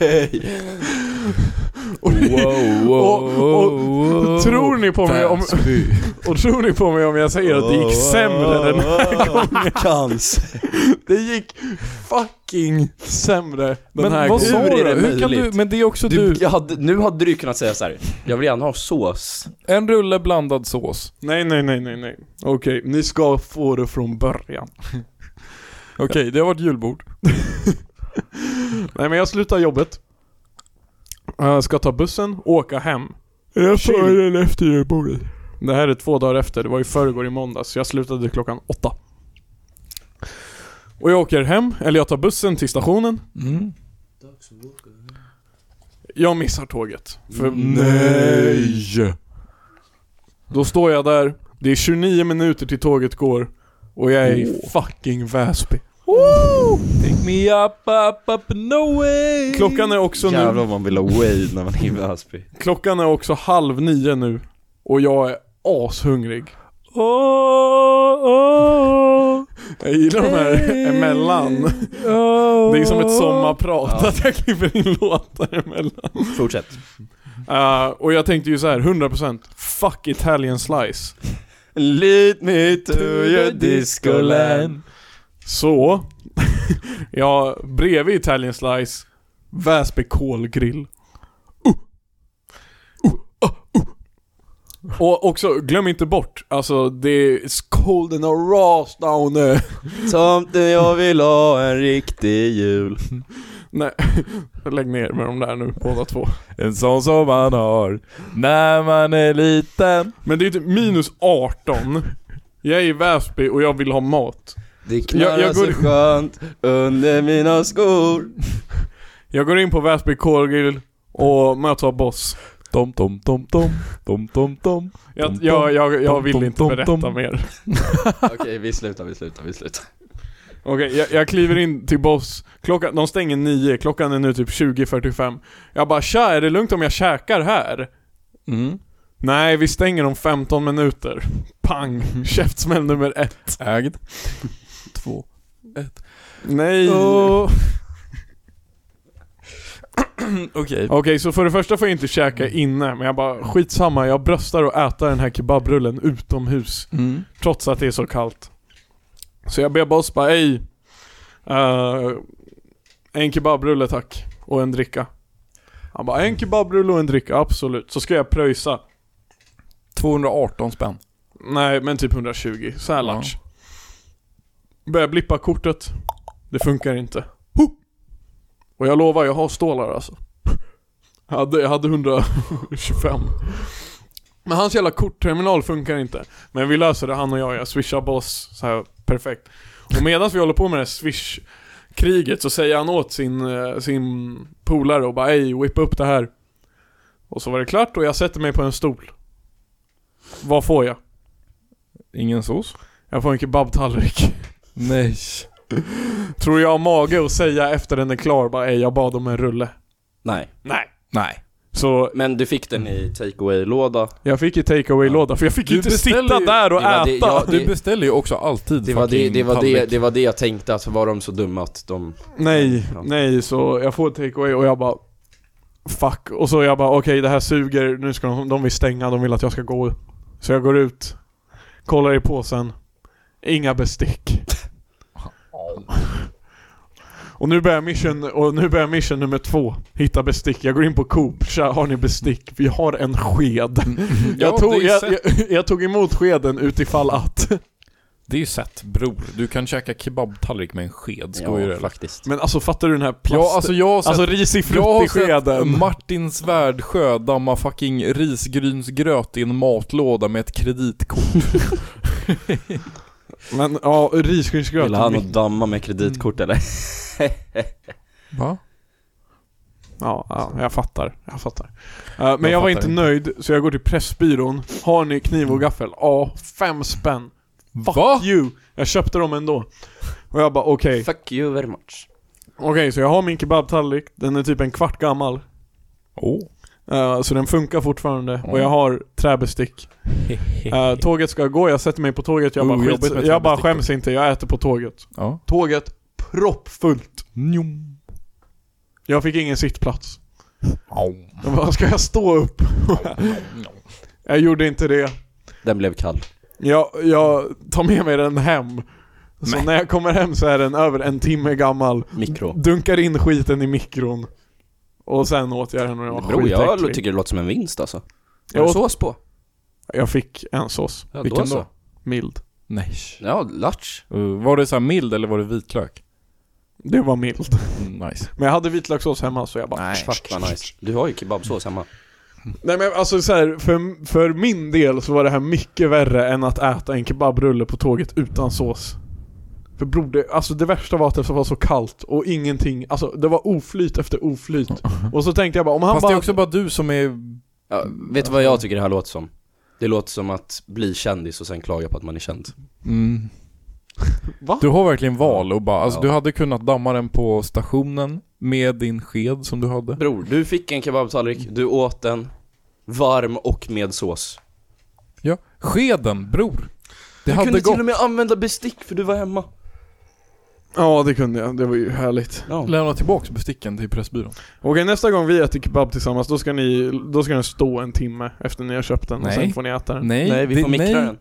Speaker 2: Nej.
Speaker 4: Och,
Speaker 3: Wow,
Speaker 4: *laughs* och-
Speaker 3: wow,
Speaker 4: tror ni på mig om-
Speaker 3: Väsby.
Speaker 4: *laughs* och tror ni på mig om jag säger att det gick sämre den här gången?
Speaker 2: Cancer.
Speaker 4: Det gick fucking sämre den
Speaker 3: Men
Speaker 4: här
Speaker 3: vad sa
Speaker 4: gången.
Speaker 2: Hur
Speaker 3: du?
Speaker 2: är det
Speaker 3: Hur kan du?
Speaker 2: möjligt?
Speaker 3: Men det är också du.
Speaker 2: Du, jag hade, nu hade du kunnat säga så här. jag vill gärna ha sås.
Speaker 3: En rulle blandad sås.
Speaker 4: Nej, nej, nej, nej, nej. Okej, ni ska få det från början.
Speaker 3: *laughs* Okej, det har varit julbord.
Speaker 4: *laughs* Nej men jag slutar jobbet. Jag ska ta bussen och åka hem. Är det
Speaker 3: före
Speaker 4: eller efter julbordet? Det här är två dagar efter, det var i förrgår i måndags. Jag slutade klockan åtta. Och jag åker hem, eller jag tar bussen till stationen.
Speaker 3: Mm.
Speaker 4: Jag missar tåget. För Då står jag där, det är 29 minuter till tåget går. Och jag är i fucking Väsby.
Speaker 3: Woo! Take me up, up, up and away.
Speaker 4: Klockan är också nu...
Speaker 2: Jävlar vad man vill ha Wade när man är i Väsby.
Speaker 4: Klockan är också halv nio nu och jag är ashungrig.
Speaker 3: Oh, oh,
Speaker 4: Jag gillar de här emellan.
Speaker 3: oh.
Speaker 4: Det är som ett sommarprat att jag klipper in låtar emellan.
Speaker 2: Fortsätt.
Speaker 4: Eh, och jag tänkte ju så här, 100% fuck Italian slice.
Speaker 2: Lead me to your discoland.
Speaker 4: Så, *laughs* jag bredvid Italian slice, Väsby kolgrill. Uh! Uh! Ah! Uh! Och också, glöm inte bort, alltså det är it's cold and a raw down there.
Speaker 2: Tomten jag vill ha en riktig jul.
Speaker 4: Nej, *laughs* lägg ner med de där nu båda två.
Speaker 3: En sån som man har när man är liten.
Speaker 4: Men det är typ minus 18. Jag är i Väsby och jag vill ha mat.
Speaker 2: Det
Speaker 4: Jag- jag går-
Speaker 2: skönt under mina skor.
Speaker 4: Jag går in på Väsby Korgil och möter Boss.
Speaker 3: Tom, tom, tom, tom, tom, tom, tom.
Speaker 4: Jag, jag, jag, jag vill inte
Speaker 3: Tom, tom, tom,
Speaker 4: berätta
Speaker 3: tom.
Speaker 4: mer.
Speaker 2: Okej, vi slutar, vi slutar, vi slutar.
Speaker 4: Okej, jag, jag kliver in till Boss. Klockan, de stänger 9, klockan är nu typ 20.45. Jag bara tja, är det lugnt om jag käkar här?
Speaker 3: Mm.
Speaker 4: Nej, vi stänger om 15 minuter. Pang! Käftsmäll nummer ett.
Speaker 3: Ägd. *laughs* Två.
Speaker 4: Nej!
Speaker 3: Åh. Okej.
Speaker 4: Okej, så för det första får jag inte käka inne, men jag bara skitsamma, jag bröstar och äter den här kebabrullen utomhus.
Speaker 3: Mm.
Speaker 4: Trots att det är så kallt. Så jag ber boss bara, ej. eh, en kebabrulle tack. Och en dricka. Han bara, en kebabrulle och en dricka, absolut. Så ska jag pröjsa.
Speaker 3: 218 spänn.
Speaker 4: Nej, men typ 120. Så här
Speaker 3: Ja.
Speaker 4: large. Börjar blippa kortet. Det funkar inte. Huh! Och jag lovar, jag har stålar alltså. Jag hade, jag hade 125. Men hans jävla kortterminal funkar inte. Men vi löser det, han och jag. Jag swishar boss så här perfekt. Och medan vi håller på med det här swish-kriget så säger han åt sin, eh, sin polare och bara ej, whippa upp det här. Och så var det klart och jag sätter mig på en stol. Vad får jag?
Speaker 3: Ingen sås?
Speaker 4: Jag får en kebabtallrik. *laughs*
Speaker 3: Nej.
Speaker 4: Tror jag har mage att säga efter den är klar bara "Ey, jag bad om en rulle.
Speaker 2: Nej,
Speaker 4: Nej.
Speaker 3: Nej.
Speaker 4: Så
Speaker 2: men du fick den i takeaway låda
Speaker 4: jag fick ju takeaway-låda för jag fick
Speaker 3: Du
Speaker 4: ju inte
Speaker 3: beställer
Speaker 4: sitta
Speaker 3: ju-
Speaker 4: där och
Speaker 2: Det var
Speaker 4: äta.
Speaker 2: det- ja,
Speaker 3: Du beställer ju också alltid
Speaker 2: Det var det,
Speaker 3: fucking
Speaker 2: det, var det,
Speaker 3: tallrik.
Speaker 2: det var det jag tänkte, att var de så dumma att de...
Speaker 4: Nej,
Speaker 2: Ja.
Speaker 4: nej, så jag får takeaway och jag bara Fuck. Och så jag bara okej det här suger, nu ska de, de vill stänga, de vill att jag ska gå. Så jag går ut, kollar i påsen. Inga bestick. Och nu börjar mission, och nu börjar mission nummer två. Hitta bestick. Jag går in på Coop, tja har ni bestick? Vi har en sked.
Speaker 3: Ja,
Speaker 4: Jag tog,
Speaker 3: det, är
Speaker 4: jag,
Speaker 3: set,
Speaker 4: jag, jag tog emot skeden utifall att.
Speaker 3: det är ju sett, bror. Du kan käka kebabtallrik med en sked, skojar du eller?
Speaker 2: faktiskt.
Speaker 4: Men alltså fattar du den här plast...
Speaker 3: Ja, alltså jag har sett,
Speaker 4: alltså risig
Speaker 3: jag
Speaker 4: frukt
Speaker 3: har
Speaker 4: i skeden.
Speaker 3: sett Mm. Martin Svärdsjö damma fucking risgrynsgröt i en matlåda med ett kreditkort.
Speaker 4: Men ja, risgrynsgröt
Speaker 2: Vill han och damma med kreditkort eller?
Speaker 3: Va?
Speaker 4: ja, ja, jag fattar, jag fattar Eh, Men jag,
Speaker 3: Jag
Speaker 4: var
Speaker 3: fattar
Speaker 4: inte nöjd, så jag går till Pressbyrån Har ni kniv och gaffel? Ja, fem spänn Fuck
Speaker 3: Va?
Speaker 4: you! Jag köpte dem ändå Och jag bara okej,
Speaker 2: Fuck you very much.
Speaker 4: okej så jag har min kebabtallrik Den är typ en kvart gammal
Speaker 3: Oh.
Speaker 4: eh, Så den funkar fortfarande och
Speaker 3: Mm.
Speaker 4: jag har träbestick *laughs* Eh, Tåget ska gå, jag sätter mig på tåget Jag bara,
Speaker 3: Oh,
Speaker 4: skit,
Speaker 3: jobbigt med
Speaker 4: jag bara
Speaker 3: träbestick.
Speaker 4: skäms inte, jag äter på tåget
Speaker 3: Ja.
Speaker 4: Tåget proppfullt
Speaker 3: Njom.
Speaker 4: Jag fick ingen sittplats Jag bara, ska jag stå upp? jag gjorde inte det.
Speaker 2: Den blev kall.
Speaker 4: Jag, jag tar med mig den hem. Så
Speaker 3: Nej.
Speaker 4: när jag kommer hem så är den över en timme gammal.
Speaker 2: Mikro.
Speaker 4: Dunkar in skiten i mikron. Och sen åt jag den och den var
Speaker 2: Bro, jag
Speaker 4: skitäcklig.
Speaker 2: tycker det låter som en vinst alltså.
Speaker 4: Jag
Speaker 2: Har du
Speaker 4: åt-
Speaker 2: sås på?
Speaker 4: Jag fick en sås.
Speaker 2: Ja,
Speaker 3: Vilken
Speaker 2: så.
Speaker 3: då?
Speaker 4: Mild.
Speaker 3: Nej.
Speaker 2: Ja, latch.
Speaker 3: Uh, var det så här mild eller var det vitlök?
Speaker 4: Det var mild.
Speaker 3: Mm, nice.
Speaker 4: Men jag hade vitlökssås hemma så jag bara...
Speaker 3: Nej.
Speaker 2: Fuck vad nice. Du har ju kebabsås hemma.
Speaker 4: Nej men alltså så här, för, för min del så var det här mycket värre än att äta en kebabrulle på tåget utan sås. För bror, det, alltså det värsta var att det var så kallt och ingenting, alltså det var oflyt
Speaker 3: *laughs*
Speaker 4: efter oflyt. Och så tänkte jag bara, om han
Speaker 3: Fast det
Speaker 4: bara...
Speaker 3: är också bara du som är...
Speaker 2: Ja, vet du vad jag tycker det här låter som? Det låter som att bli kändis och sen klaga på att man är känd.
Speaker 3: Mm.
Speaker 4: Va?
Speaker 3: Du har verkligen val och bara, alltså
Speaker 2: Ja.
Speaker 3: du hade kunnat damma den på stationen med din sked som du hade.
Speaker 2: Bror, du fick en kebabtallrik, du åt den varm och med sås.
Speaker 3: Ja, skeden bror. Det
Speaker 2: Du
Speaker 3: hade
Speaker 2: kunde
Speaker 3: gått.
Speaker 2: till och med använda bestick för du var hemma.
Speaker 4: Ja det kunde jag, det var ju härligt.
Speaker 2: Ja.
Speaker 3: Lämna tillbaks besticken till Pressbyrån.
Speaker 4: Okej nästa gång vi äter kebab tillsammans, då ska ni, då ska den stå en timme efter ni har köpt den och
Speaker 3: Nej.
Speaker 4: sen får ni äta den.
Speaker 3: Nej,
Speaker 2: Nej, vi
Speaker 3: det-
Speaker 2: får mikra
Speaker 3: nej.
Speaker 2: den.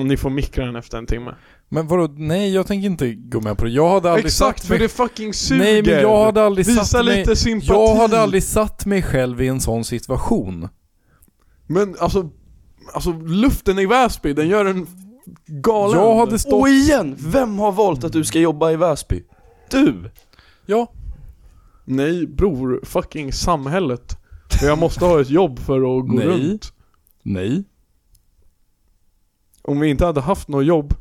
Speaker 4: Och ni får mikra den efter en timme.
Speaker 3: Men vadå, nej jag tänker inte gå med på det. Jag hade aldrig
Speaker 4: Exakt,
Speaker 3: satt
Speaker 4: för
Speaker 3: mig...
Speaker 4: det fucking suger!
Speaker 3: Nej men jag hade aldrig
Speaker 4: Visa
Speaker 3: satt mig...
Speaker 4: lite sympati!
Speaker 3: Jag hade aldrig satt mig själv i en sån situation.
Speaker 4: Men alltså, alltså luften i Väsby, den gör en galen.
Speaker 3: Jag hade stått...
Speaker 2: Och igen, vem har valt att du ska jobba i Väsby? Du!
Speaker 3: Ja.
Speaker 4: Nej bror, fucking samhället. För jag måste ha ett jobb för att gå
Speaker 3: Nej.
Speaker 4: runt.
Speaker 3: Nej.
Speaker 4: Om vi inte hade haft något jobb,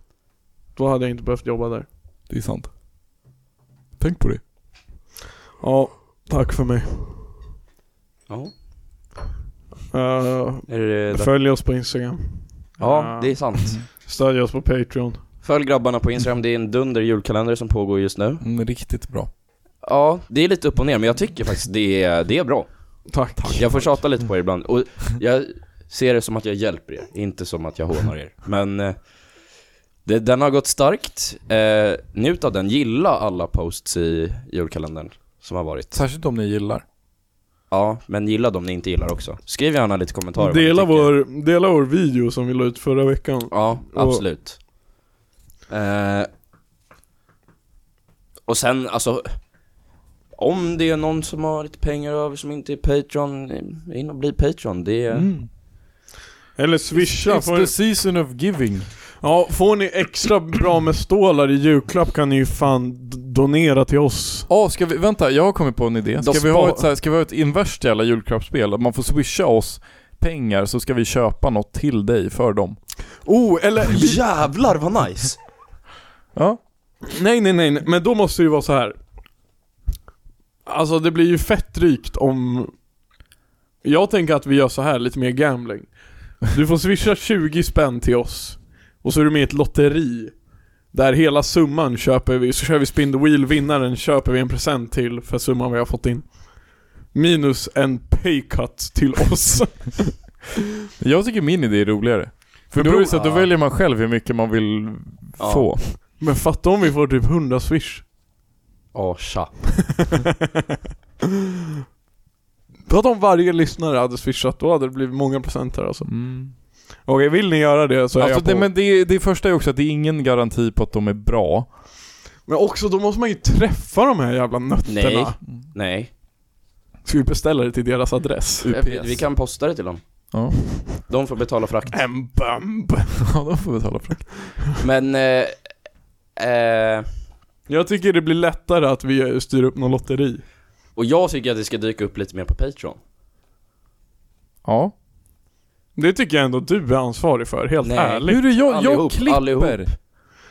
Speaker 4: då hade jag inte behövt jobba där.
Speaker 3: Det är sant. Tänk på det.
Speaker 4: Ja, tack för mig.
Speaker 2: Ja,
Speaker 4: Eh,
Speaker 2: är det
Speaker 4: följ oss på Instagram.
Speaker 2: Ja,
Speaker 4: Eh,
Speaker 2: det är sant.
Speaker 4: Stödj oss på Patreon.
Speaker 2: Följ grabbarna på Instagram, det är en dunder julkalender som pågår just nu.
Speaker 3: Mm, riktigt bra.
Speaker 2: Ja, det är lite upp och ner, men jag tycker faktiskt det är, det är bra.
Speaker 4: Tack.
Speaker 2: Jag får tjata lite på er ibland, och jag ser det som att jag hjälper er, inte som att jag hånar er. Men eh, det, den har gått starkt. Eh, njut av den, gilla alla posts i julkalendern som har varit.
Speaker 3: Särskilt om ni gillar.
Speaker 2: Ja, men gilla dem ni inte gillar också. Skriv gärna lite kommentarer vad ni
Speaker 4: Dela
Speaker 2: tycker.
Speaker 4: vår, dela vår video som vi la ut förra veckan.
Speaker 2: Ja,
Speaker 4: Och-
Speaker 2: absolut. Eh, och sen, alltså, om det är någon som har lite pengar över som inte är Patreon, eh, in och bli Patreon. Det är...
Speaker 3: Mm.
Speaker 4: Eller swisha.
Speaker 3: It's
Speaker 4: Får,
Speaker 3: the season of giving.
Speaker 4: ja, får ni extra bra med stålar i julklapp kan ni ju fan d- donera till oss.
Speaker 3: Ja, Ah, ska vi, vänta, jag har kommit på en idé. Ska
Speaker 2: Då
Speaker 3: vi ha
Speaker 2: spar-
Speaker 3: ett, så här, ska vi ha ett inverst jävla julklappsspel? Man får swisha oss pengar så ska vi köpa något till dig för dem.
Speaker 4: Oh, eller vi,
Speaker 2: Jävlar vad nice!
Speaker 3: Ja.
Speaker 4: Nej, nej, nej, nej. men då måste det ju vara så här. Alltså det blir ju fett rikt om... Jag tänker att vi gör så här lite mer gambling. Du får swisha 20 spänn till oss. Och så är du med i ett lotteri. Där hela summan köper vi, så kör vi spin the wheel, vinnaren köper vi en present till för summan vi har fått in. Minus en paycut till oss. *laughs*
Speaker 3: Jag tycker min idé är roligare. För
Speaker 4: Men
Speaker 3: då är
Speaker 4: bro-
Speaker 3: det så att då
Speaker 2: Ja.
Speaker 3: väljer man själv hur mycket man vill
Speaker 2: Ja.
Speaker 3: få.
Speaker 4: Men fatta om vi får typ 100 swish.
Speaker 2: Ja, tja.
Speaker 4: Fatta om varje lyssnare hade swishat, då hade det blivit många presenter alltså.
Speaker 3: Mm.
Speaker 4: Okej, vill ni göra det så är
Speaker 3: Alltså
Speaker 4: jag på.
Speaker 3: det, men det, det första är också att det är ingen garanti på att de är bra.
Speaker 4: Men också, då måste man ju träffa de här jävla nötterna.
Speaker 2: Nej. Nej,
Speaker 4: Ska vi beställa det till deras adress?
Speaker 3: UPS.
Speaker 2: vi, vi kan posta det till dem.
Speaker 3: Ja.
Speaker 2: De får betala frakt.
Speaker 4: En bump.
Speaker 3: *laughs* ja, de får betala frakt.
Speaker 2: Men... Eh, eh,
Speaker 4: Jag tycker det blir lättare att vi styr upp något lotteri.
Speaker 2: och jag tycker att det ska dyka upp lite mer på Patreon.
Speaker 3: Ja.
Speaker 4: Det tycker jag ändå du är ansvarig för, helt
Speaker 2: Nej.
Speaker 3: Nu
Speaker 4: ärligt.
Speaker 3: är det jag, jag
Speaker 2: Allihop,
Speaker 3: klipper.
Speaker 2: allihop.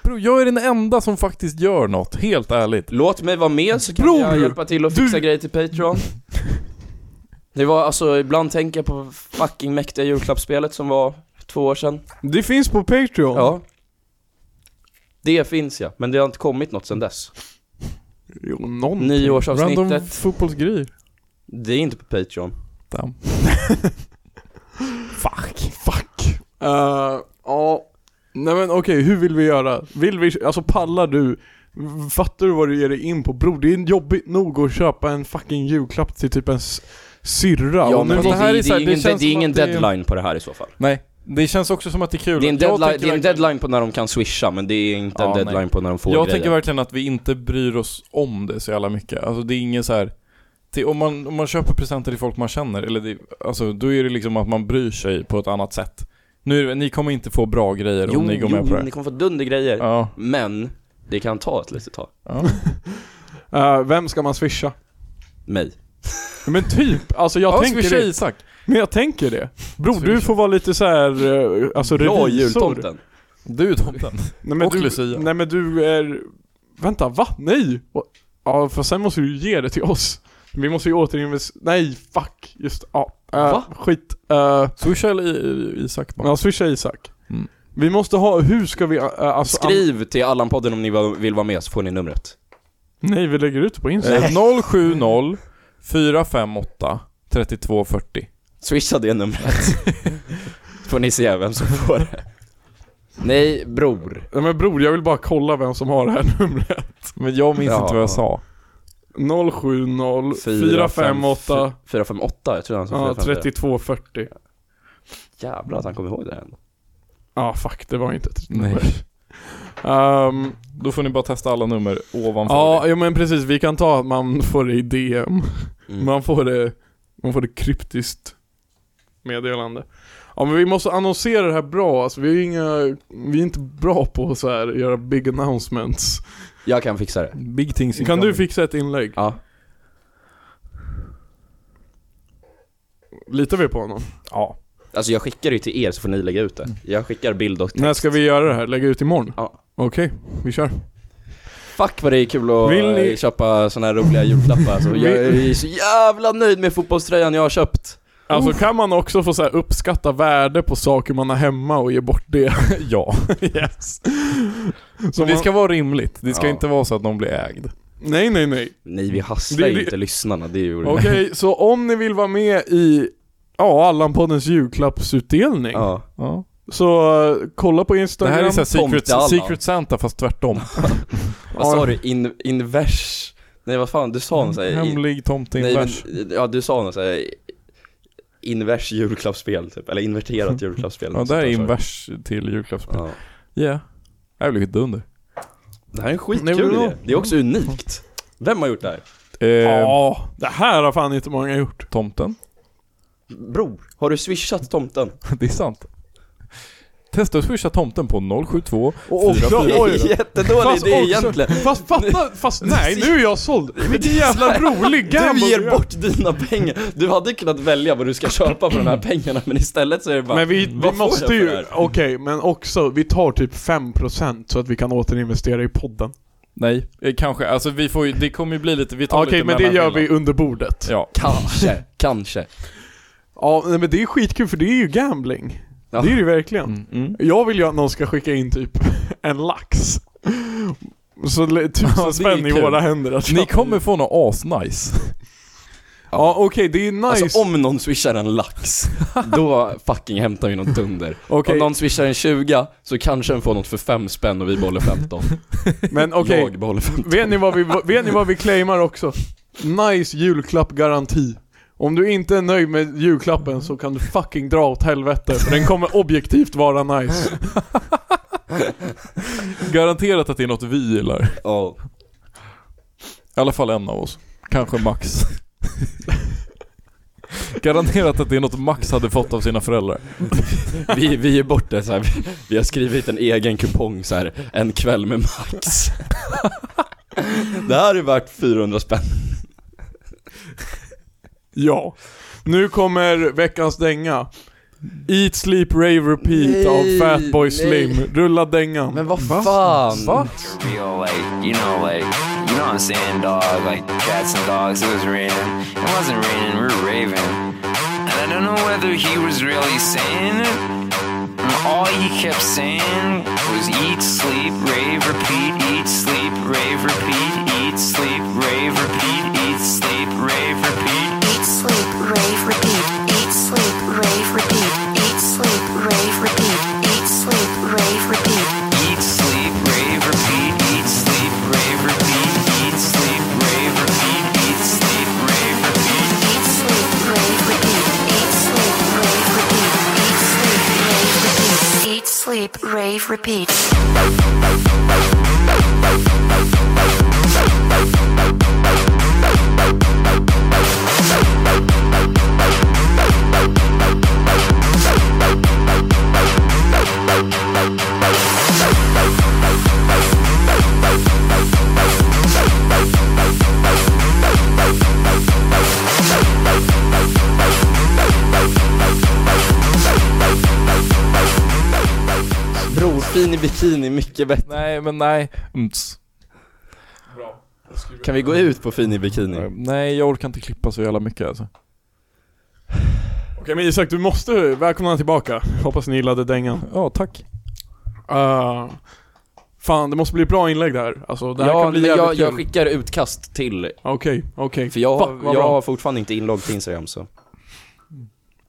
Speaker 3: Bro, jag är den enda som faktiskt gör något, helt ärligt.
Speaker 2: Låt mig vara med så kan
Speaker 4: Bror,
Speaker 2: jag hjälpa till och fixa
Speaker 4: du-
Speaker 2: grejer till Patreon. Det var alltså, ibland tänker jag på fucking mäktiga julklappsspelet som var två år sedan.
Speaker 4: Det finns på Patreon.
Speaker 2: Ja. Det finns ja, men det har inte kommit något sedan dess.
Speaker 4: Jo, någon.
Speaker 3: Random
Speaker 2: Nyårsavsnittet,
Speaker 3: fotbollsgrejer.
Speaker 2: det är inte på Patreon.
Speaker 3: Damn.
Speaker 4: Fuck. Fuck. Eh, Ja. Nej men okej, hur vill vi göra? Vill vi, alltså pallar du? Fattar du vad du ger dig in på? Bror, det är jobbigt nog att köpa en fucking julklapp till typ en s- syrra.
Speaker 2: ja
Speaker 4: och
Speaker 2: men
Speaker 4: nu,
Speaker 2: det,
Speaker 3: det
Speaker 2: det,
Speaker 3: här är
Speaker 2: det,
Speaker 3: så
Speaker 2: är
Speaker 3: här, det
Speaker 2: ingen, det,
Speaker 3: känns
Speaker 2: det är
Speaker 3: som
Speaker 2: ingen
Speaker 3: att det är-
Speaker 2: deadline på det här i så fall.
Speaker 3: Nej, det känns också som att det är kul.
Speaker 2: Det är en
Speaker 3: att- jag
Speaker 2: deadline,
Speaker 3: tycker
Speaker 2: det är en
Speaker 3: verkligen-
Speaker 2: deadline på när de kan swisha, men det är inte
Speaker 3: Ja,
Speaker 2: en
Speaker 3: nej.
Speaker 2: deadline på när de får
Speaker 3: Jag
Speaker 2: grejer.
Speaker 3: tänker verkligen att vi inte bryr oss om det så jävla mycket. Alltså det är ingen så här. Till, om, man, om man köper presenter till folk man känner, eller det, alltså, då är det liksom att man bryr sig på ett annat sätt. Nu, är det- ni kommer inte få bra grejer
Speaker 2: jo,
Speaker 3: om ni går
Speaker 2: jo,
Speaker 3: med på det.
Speaker 2: ni
Speaker 3: här.
Speaker 2: kommer få dundergrejer.
Speaker 3: Ja,
Speaker 2: Men, det kan ta ett litet tag.
Speaker 3: ja.
Speaker 4: eh, vem ska man swisha?
Speaker 2: Mig.
Speaker 4: Men typ, alltså jag
Speaker 3: ja,
Speaker 4: tänker
Speaker 3: swisha
Speaker 4: det.
Speaker 3: Isak.
Speaker 4: Men jag tänker det. Bror, du
Speaker 3: Swisha.
Speaker 4: får vara lite så här, eh, alltså
Speaker 2: Bra
Speaker 4: revisor.
Speaker 2: jultomten.
Speaker 3: Du är tomten.
Speaker 4: Nej, men
Speaker 3: Och
Speaker 4: du,
Speaker 3: Lucia.
Speaker 4: Nej men du är... Vänta, va? Nej! Och- Ja, för sen måste du ju ge det till oss. Vi måste ju återinvestera... Nej, fuck! Just ja. eh,
Speaker 2: Va?
Speaker 4: Skit. Uh,
Speaker 3: Swisha eller I- I- Isak bara.
Speaker 4: ja, swisha Isak.
Speaker 3: Mm.
Speaker 4: Vi måste ha... Hur ska vi... eh, alltså, an-
Speaker 2: Skriv till Allan-podden om ni va- vill vara med så får ni numret.
Speaker 4: nej, vi lägger ut det på Instagram.
Speaker 3: Eh, 070 458 3240.
Speaker 2: Swisha det *laughs* numret. får ni se vem som får det. Nej, bror.
Speaker 4: Nej men bror, jag vill bara kolla vem som har det här numret.
Speaker 3: Men jag minns
Speaker 2: Ja.
Speaker 3: inte vad jag sa.
Speaker 4: 070 458
Speaker 2: 458, jag tror han sa
Speaker 4: ja,
Speaker 2: 454.
Speaker 4: 3240.
Speaker 2: Jävlar att han kom ihåg det här ändå.
Speaker 4: Ja, fuck, det var inte 3240.
Speaker 3: Nej.
Speaker 4: Ehm,
Speaker 3: Då får ni bara testa alla nummer ovanför.
Speaker 4: Ja, jo men precis. Vi kan ta att man får det i DM.
Speaker 2: Mm.
Speaker 4: Man, får det, man får det kryptiskt meddelande. Ja men vi måste annonsera det här bra. Alltså, vi, är inga, vi är inte bra på att så här, göra big announcements.
Speaker 2: Jag kan fixa det.
Speaker 3: Big things
Speaker 4: Kan du fixa ett inlägg?
Speaker 2: Ja.
Speaker 4: Litar vi på honom?
Speaker 3: Ja.
Speaker 2: Alltså jag skickar det till er så får ni lägga ut det. Jag skickar bild och text.
Speaker 4: När ska vi göra det här? Lägga ut imorgon?
Speaker 2: Ja.
Speaker 4: Okej, vi kör.
Speaker 2: Fuck vad det är kul att
Speaker 4: Vill ni-
Speaker 2: eh, köpa såna här roliga julklappar alltså. Jag är så jävla nöjd med fotbollströjan jag har köpt.
Speaker 4: Alltså kan man också få så här, uppskatta värde på saker man har hemma och ge bort det?
Speaker 3: *laughs* ja.
Speaker 4: yes. Så
Speaker 3: Det
Speaker 4: man,
Speaker 3: ska vara rimligt. Det ska
Speaker 2: Ja.
Speaker 3: inte vara så att någon blir ägd.
Speaker 4: Nej nej nej.
Speaker 2: Nej vi hasslar
Speaker 4: Det-
Speaker 2: ju
Speaker 4: det-
Speaker 2: inte lyssnarna, det är ju
Speaker 4: Okej, så om ni vill vara med i ja, Allan-poddens julklappsutdelning
Speaker 2: Ja.
Speaker 3: Ja.
Speaker 4: så eh, kolla på
Speaker 3: Det
Speaker 4: Instagram.
Speaker 3: här är så här Secret,
Speaker 2: Tomte Allan.
Speaker 3: Secret Santa fast tvärtom.
Speaker 2: Vad sa du? In, invers? Nej vad fan, du sa något såhär... i-
Speaker 3: Hemlig tomte
Speaker 2: Nej, men,
Speaker 3: invers.
Speaker 2: ja du sa något såhär... Invers julklappsspel typ, eller
Speaker 4: *laughs*
Speaker 2: inverterat julklappsspel.
Speaker 3: Ja, det här är
Speaker 2: Sånt där,
Speaker 3: invers till
Speaker 2: så.
Speaker 3: julklappsspel.
Speaker 2: Ja.
Speaker 3: Yeah. Det här blir skitdunder.
Speaker 2: Det här är en
Speaker 4: Nej,
Speaker 2: skitkul
Speaker 4: men bra.
Speaker 2: idé. Det är också unikt. Vem har gjort det här?
Speaker 3: Eh,
Speaker 4: Ja, det här har fan inte många gjort.
Speaker 3: Tomten. *laughs*
Speaker 2: Bror, har du swishat tomten?
Speaker 3: Det är sant. Testa att swisha tomten på 072.
Speaker 4: Och också,
Speaker 2: Det är en
Speaker 4: oj,
Speaker 2: jättedålig
Speaker 4: Fast
Speaker 2: idé
Speaker 4: också- *laughs*
Speaker 2: egentligen.
Speaker 4: fast fatta, fast nej nu är jag såld. Vilken jävla rolig gamble
Speaker 2: Du ger
Speaker 4: gör.
Speaker 2: bort dina pengar. Du hade kunnat välja vad du ska köpa för de här pengarna men istället så är det bara
Speaker 4: Men vi, vi
Speaker 2: Vad får jag
Speaker 4: måste
Speaker 2: för
Speaker 4: ju,
Speaker 2: det här?
Speaker 4: okej, men också, vi tar typ 5% så att vi kan återinvestera i podden.
Speaker 3: Nej,
Speaker 4: *laughs*
Speaker 3: eh, kanske. Alltså vi får ju, det kommer ju bli lite, vi tar
Speaker 4: Okej,
Speaker 3: lite
Speaker 4: men det gör vi
Speaker 3: mellanskillnad.
Speaker 4: under bordet. Ja,
Speaker 3: Ja.
Speaker 2: Kanske, kanske.
Speaker 4: nej, men det är skitkul för det är ju gambling.
Speaker 2: Ja.
Speaker 4: Det är det ju verkligen.
Speaker 3: Mm, mm.
Speaker 4: Jag vill ju att någon ska skicka in typ *laughs* en lax. Så le-
Speaker 3: Ja, det är
Speaker 4: tusen spänn i
Speaker 3: kul.
Speaker 4: våra händer att
Speaker 3: Ni
Speaker 4: köpa.
Speaker 3: kommer få något asnice.
Speaker 4: Ja okej, det är nice.
Speaker 2: Alltså om någon swishar en lax,
Speaker 4: *laughs*
Speaker 2: då fucking hämtar vi något dunder.
Speaker 4: Okej.
Speaker 2: Om någon swishar en 20 så kanske den får något för 5 spänn och vi behåller 15.
Speaker 4: Men okej,
Speaker 2: Jag behåller 15.
Speaker 4: vet, ni vad vi, vet ni vad vi claimar också? Nice julklappgaranti. Om du inte är nöjd med julklappen så kan du fucking dra åt helvete för den kommer objektivt vara
Speaker 2: *laughs*
Speaker 4: nice.
Speaker 3: *laughs* Garanterat att det är något vi gillar. I
Speaker 2: Ja.
Speaker 3: alla fall en av oss. Kanske *laughs* Max. Garanterat att det är något Max hade fått av sina föräldrar.
Speaker 2: Vi, vi ger bort det så här. Vi, vi har skrivit en egen kupong så här. en kväll med Max. Det här är värt 400 spänn.
Speaker 4: Ja. Nu kommer veckans dänga. Eat, sleep, rave, repeat
Speaker 2: Nej,
Speaker 4: av Fatboy
Speaker 2: nej.
Speaker 4: Slim. Rulla dängan.
Speaker 2: Men vad fan?
Speaker 3: Va?
Speaker 5: real, like, you know, like, you know what I'm saying, dog? Like, cats and dogs, it was raining. It wasn't raining, we were raving. And I don't know whether he was really saying it. And all he kept saying was eat, sleep, rave, repeat, eat, sleep, rave, repeat, eat, sleep, rave, repeat, eat, sleep, rave, repeat.
Speaker 6: Eat, sleep, rave, repeat. Eat, sleep, rave, repeat. Eat, sleep, rave, repeat. Eat, sleep, rave, repeat.
Speaker 5: Eat, sleep, rave, repeat. Eat, sleep, rave, repeat. Eat, sleep, rave, repeat. Eat, sleep, rave, repeat.
Speaker 6: Eat, sleep, rave, rave, repeat.
Speaker 2: Bror, fin i bikini, mycket bättre.
Speaker 3: Nej, men nej. Mts.
Speaker 2: Kan vi gå ut på fin i bikini?
Speaker 3: Nej, jag orkar inte klippa så jävla mycket alltså.
Speaker 4: Okej men Isak, du måste välkomna tillbaka. Hoppas ni gillade dängan.
Speaker 3: Ja, tack.
Speaker 4: Uh, fan, det måste bli ett bra inlägg det här. Alltså det här
Speaker 2: Ja,
Speaker 4: kan bli
Speaker 2: men jag,
Speaker 4: jävligt
Speaker 2: jag
Speaker 4: kul.
Speaker 2: skickar utkast till,
Speaker 4: Okej, okej.
Speaker 2: för jag,
Speaker 4: Fuck, vad
Speaker 2: jag
Speaker 4: bra.
Speaker 2: har fortfarande inte inlogg till Instagram så.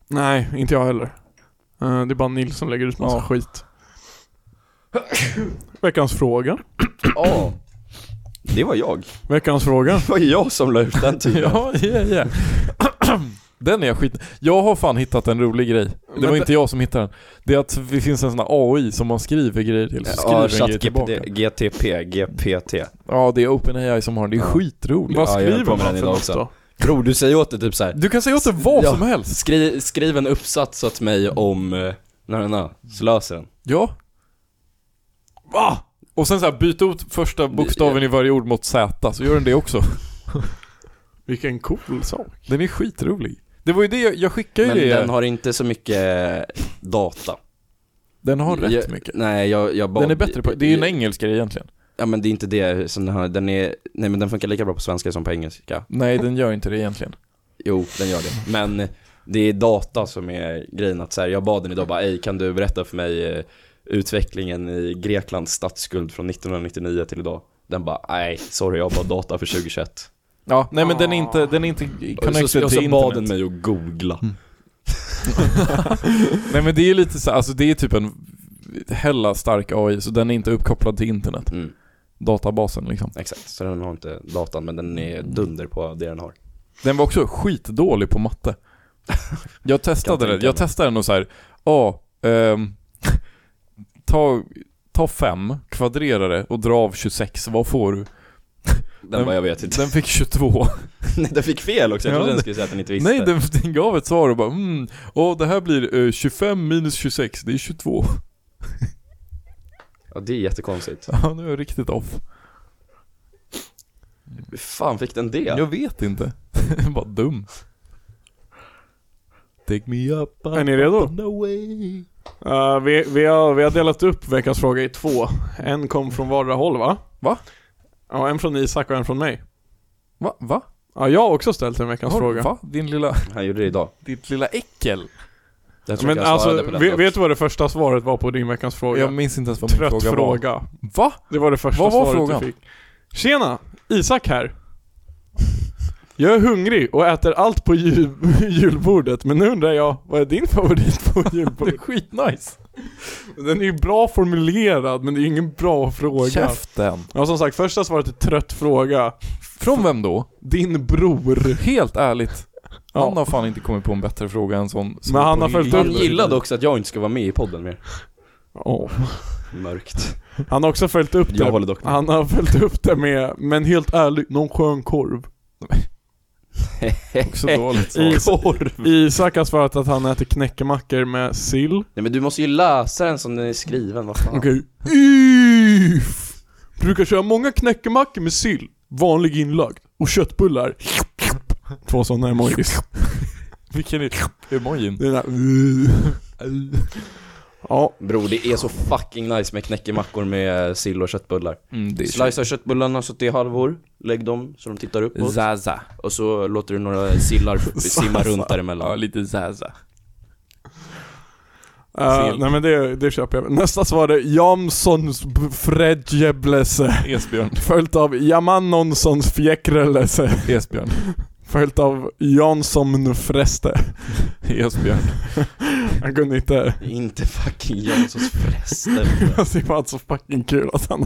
Speaker 4: Nej, inte jag heller. Eh, det är bara Nils som lägger ut massa
Speaker 3: Ja.
Speaker 4: skit. Veckans fråga.
Speaker 2: Ja. Det var jag.
Speaker 4: Veckans fråga.
Speaker 2: Det var jag som la ut den
Speaker 3: *laughs*
Speaker 2: tydligen.
Speaker 3: Ja, yeah, yeah. *clears throat* Den är skit. Jag har fan hittat en rolig grej. Det
Speaker 4: Men
Speaker 3: var
Speaker 4: det-
Speaker 3: inte jag som hittade den. Det är att det finns en sån här AI som man skriver grejer till, så skriver
Speaker 2: Ja,
Speaker 3: en grej
Speaker 2: chatt
Speaker 3: tillbaka.
Speaker 2: GTP, GPT.
Speaker 3: Ja, det är OpenAI som har den. Det är skitroligt.
Speaker 4: Vad
Speaker 2: Ja, jag höll
Speaker 4: skriver
Speaker 2: på med
Speaker 4: man
Speaker 2: den
Speaker 4: för
Speaker 2: idag
Speaker 4: något
Speaker 2: också.
Speaker 4: då?
Speaker 2: Bror, du säger åt det typ såhär.
Speaker 3: Du kan säga åt det vad
Speaker 2: Ja.
Speaker 3: som helst.
Speaker 2: Skri, skriv en uppsats åt mig om, eh, na, na, na, så löser den.
Speaker 3: Ja. Va? Och sen så här, byt ut första bokstaven i varje ord mot Z, så gör den det också.
Speaker 4: Vilken cool sak.
Speaker 3: Den är skitrolig. Det var ju det, jag, jag skickade ju
Speaker 2: Men
Speaker 3: det.
Speaker 2: den har inte så mycket eh, data.
Speaker 3: den har rätt
Speaker 2: jag,
Speaker 3: mycket.
Speaker 2: Nej, jag, jag bara...
Speaker 3: Den är bättre på, det är ju en engelsk grej egentligen.
Speaker 2: Ja men det är inte det som den har, den är, nej men den funkar lika bra på svenska som på engelska.
Speaker 3: Nej, den gör inte det egentligen.
Speaker 2: Jo, den gör det. Men det är data som är grejen att så här, jag bad den idag bara, ej kan du berätta för mig eh, utvecklingen i Greklands statsskuld från 1999 till idag? Den bara, nej, sorry jag har bara data för 2021.
Speaker 3: Ja, nej men den är inte, den är inte
Speaker 2: Och så,
Speaker 3: connected
Speaker 2: och så
Speaker 3: till internet. Mm.
Speaker 2: bad den mig att googla.
Speaker 3: Nej men det är lite så, alltså det är typ en hella stark AI, så den är inte uppkopplad till internet.
Speaker 2: Mm,
Speaker 3: Databasen liksom.
Speaker 2: exakt, så den har inte datan men den är
Speaker 3: Mm.
Speaker 2: dunder på det den har.
Speaker 3: Den var också skitdålig
Speaker 2: *laughs*
Speaker 3: på matte. Jag testade
Speaker 2: Kan
Speaker 3: den,
Speaker 2: tänka
Speaker 3: jag
Speaker 2: mig.
Speaker 3: testade den och så här, ja, ehm, *laughs* ta, ta fem, kvadrera det och dra av 26, vad får du?
Speaker 2: Den
Speaker 3: Den-
Speaker 2: bara, jag vet inte. *laughs*
Speaker 3: Den fick 22.
Speaker 2: Nej, den fick fel också, jag
Speaker 3: Ja,
Speaker 2: trodde den
Speaker 3: det-
Speaker 2: skulle säga att den inte visste.
Speaker 3: Nej, den, *laughs* den gav ett svar och bara mm, åh det här blir eh, 25 minus 26, det är 22.
Speaker 2: Ja, det är jättekonstigt.
Speaker 3: *laughs* Ja, nu är jag riktigt off.
Speaker 2: Hur fan fick den det?
Speaker 3: Jag vet inte. *laughs* Bara dum. Take me up,
Speaker 4: Är ni redo?
Speaker 3: and away.
Speaker 4: Eh, vi, vi, har, vi har delat upp veckans fråga i två. En kom från vardera håll va?
Speaker 3: Va?
Speaker 4: Ja, en från Isak och en från mig.
Speaker 3: Va? Va?
Speaker 4: Ja, jag har också ställt en veckans
Speaker 3: Har-
Speaker 4: fråga.
Speaker 3: Va? Din lilla,
Speaker 2: Han gjorde det idag.
Speaker 3: ditt lilla äckel.
Speaker 2: Jag tror
Speaker 4: Men
Speaker 2: jag svarade
Speaker 4: alltså,
Speaker 2: på den
Speaker 4: vet,
Speaker 2: dock.
Speaker 4: vet du vad det första svaret var på din veckans fråga?
Speaker 3: Jag minns inte ens vad min
Speaker 4: Trött
Speaker 3: fråga,
Speaker 4: fråga.
Speaker 3: var. Va?
Speaker 4: Det var det första
Speaker 3: Vad var
Speaker 4: svaret
Speaker 3: frågan?
Speaker 4: du fick. Tjena! Isak här. Jag är hungrig och äter allt på jul, *laughs* julbordet, men nu undrar jag, vad är din favorit
Speaker 3: *laughs*
Speaker 4: på
Speaker 3: Det är
Speaker 4: julbordet?
Speaker 3: skitnice.
Speaker 4: Den är ju bra formulerad, men det är ju ingen bra fråga.
Speaker 3: Käften.
Speaker 4: Ja, som sagt, första svaret är trött fråga.
Speaker 3: Från vem då?
Speaker 4: Din bror.
Speaker 3: Helt ärligt.
Speaker 4: Ja.
Speaker 3: Han har fan inte kommit på en bättre fråga än sån. som
Speaker 4: Men han
Speaker 3: på
Speaker 4: har följt
Speaker 3: min-
Speaker 2: Han gillade också att jag inte ska vara med i podden mer.
Speaker 4: Ja.
Speaker 2: Mörkt.
Speaker 4: Han har också följt upp
Speaker 2: Jag
Speaker 4: det.
Speaker 2: håller dock med.
Speaker 4: Han har följt upp det med, men helt ärligt, någon skön korv.
Speaker 3: Också dåligt svar.
Speaker 2: Alltså,
Speaker 4: Is- Isak har svarat att han äter knäckemackor med sill.
Speaker 2: Nej men du måste ju läsa den som den är skriven, vad fan.
Speaker 4: Okej. If. Brukar köra många knäckemackor med sill, vanlig inlagd, och köttbullar. Två sådana emojis.
Speaker 3: Vilken är emojin?
Speaker 4: Det är där. Ja,
Speaker 2: Bror det är så fucking nice med knäckemackor med eh, sill och köttbullar.
Speaker 3: Mm, det
Speaker 2: Slicea köttbullarna så till halvor, lägg dem så de tittar uppåt.
Speaker 3: Zaza.
Speaker 2: Och så låter du några *laughs* sillar simma runt
Speaker 3: Ja,
Speaker 2: däremellan.
Speaker 3: lite Zaza.
Speaker 4: eh,
Speaker 3: Sill.
Speaker 4: nej men det, det köper jag. Nästa svar är Jamsons b- Fredjeblesse.
Speaker 3: Esbjörn.
Speaker 4: Följt av Jamannonsons Fjäkrelese.
Speaker 3: Esbjörn.
Speaker 4: *laughs* Följt av
Speaker 3: *laughs*
Speaker 4: Jansson Freste.
Speaker 3: Esbjörn.
Speaker 4: Han kunde inte...
Speaker 2: Inte fucking Janssons frester.
Speaker 4: Alltså det var så fucking kul att han *laughs*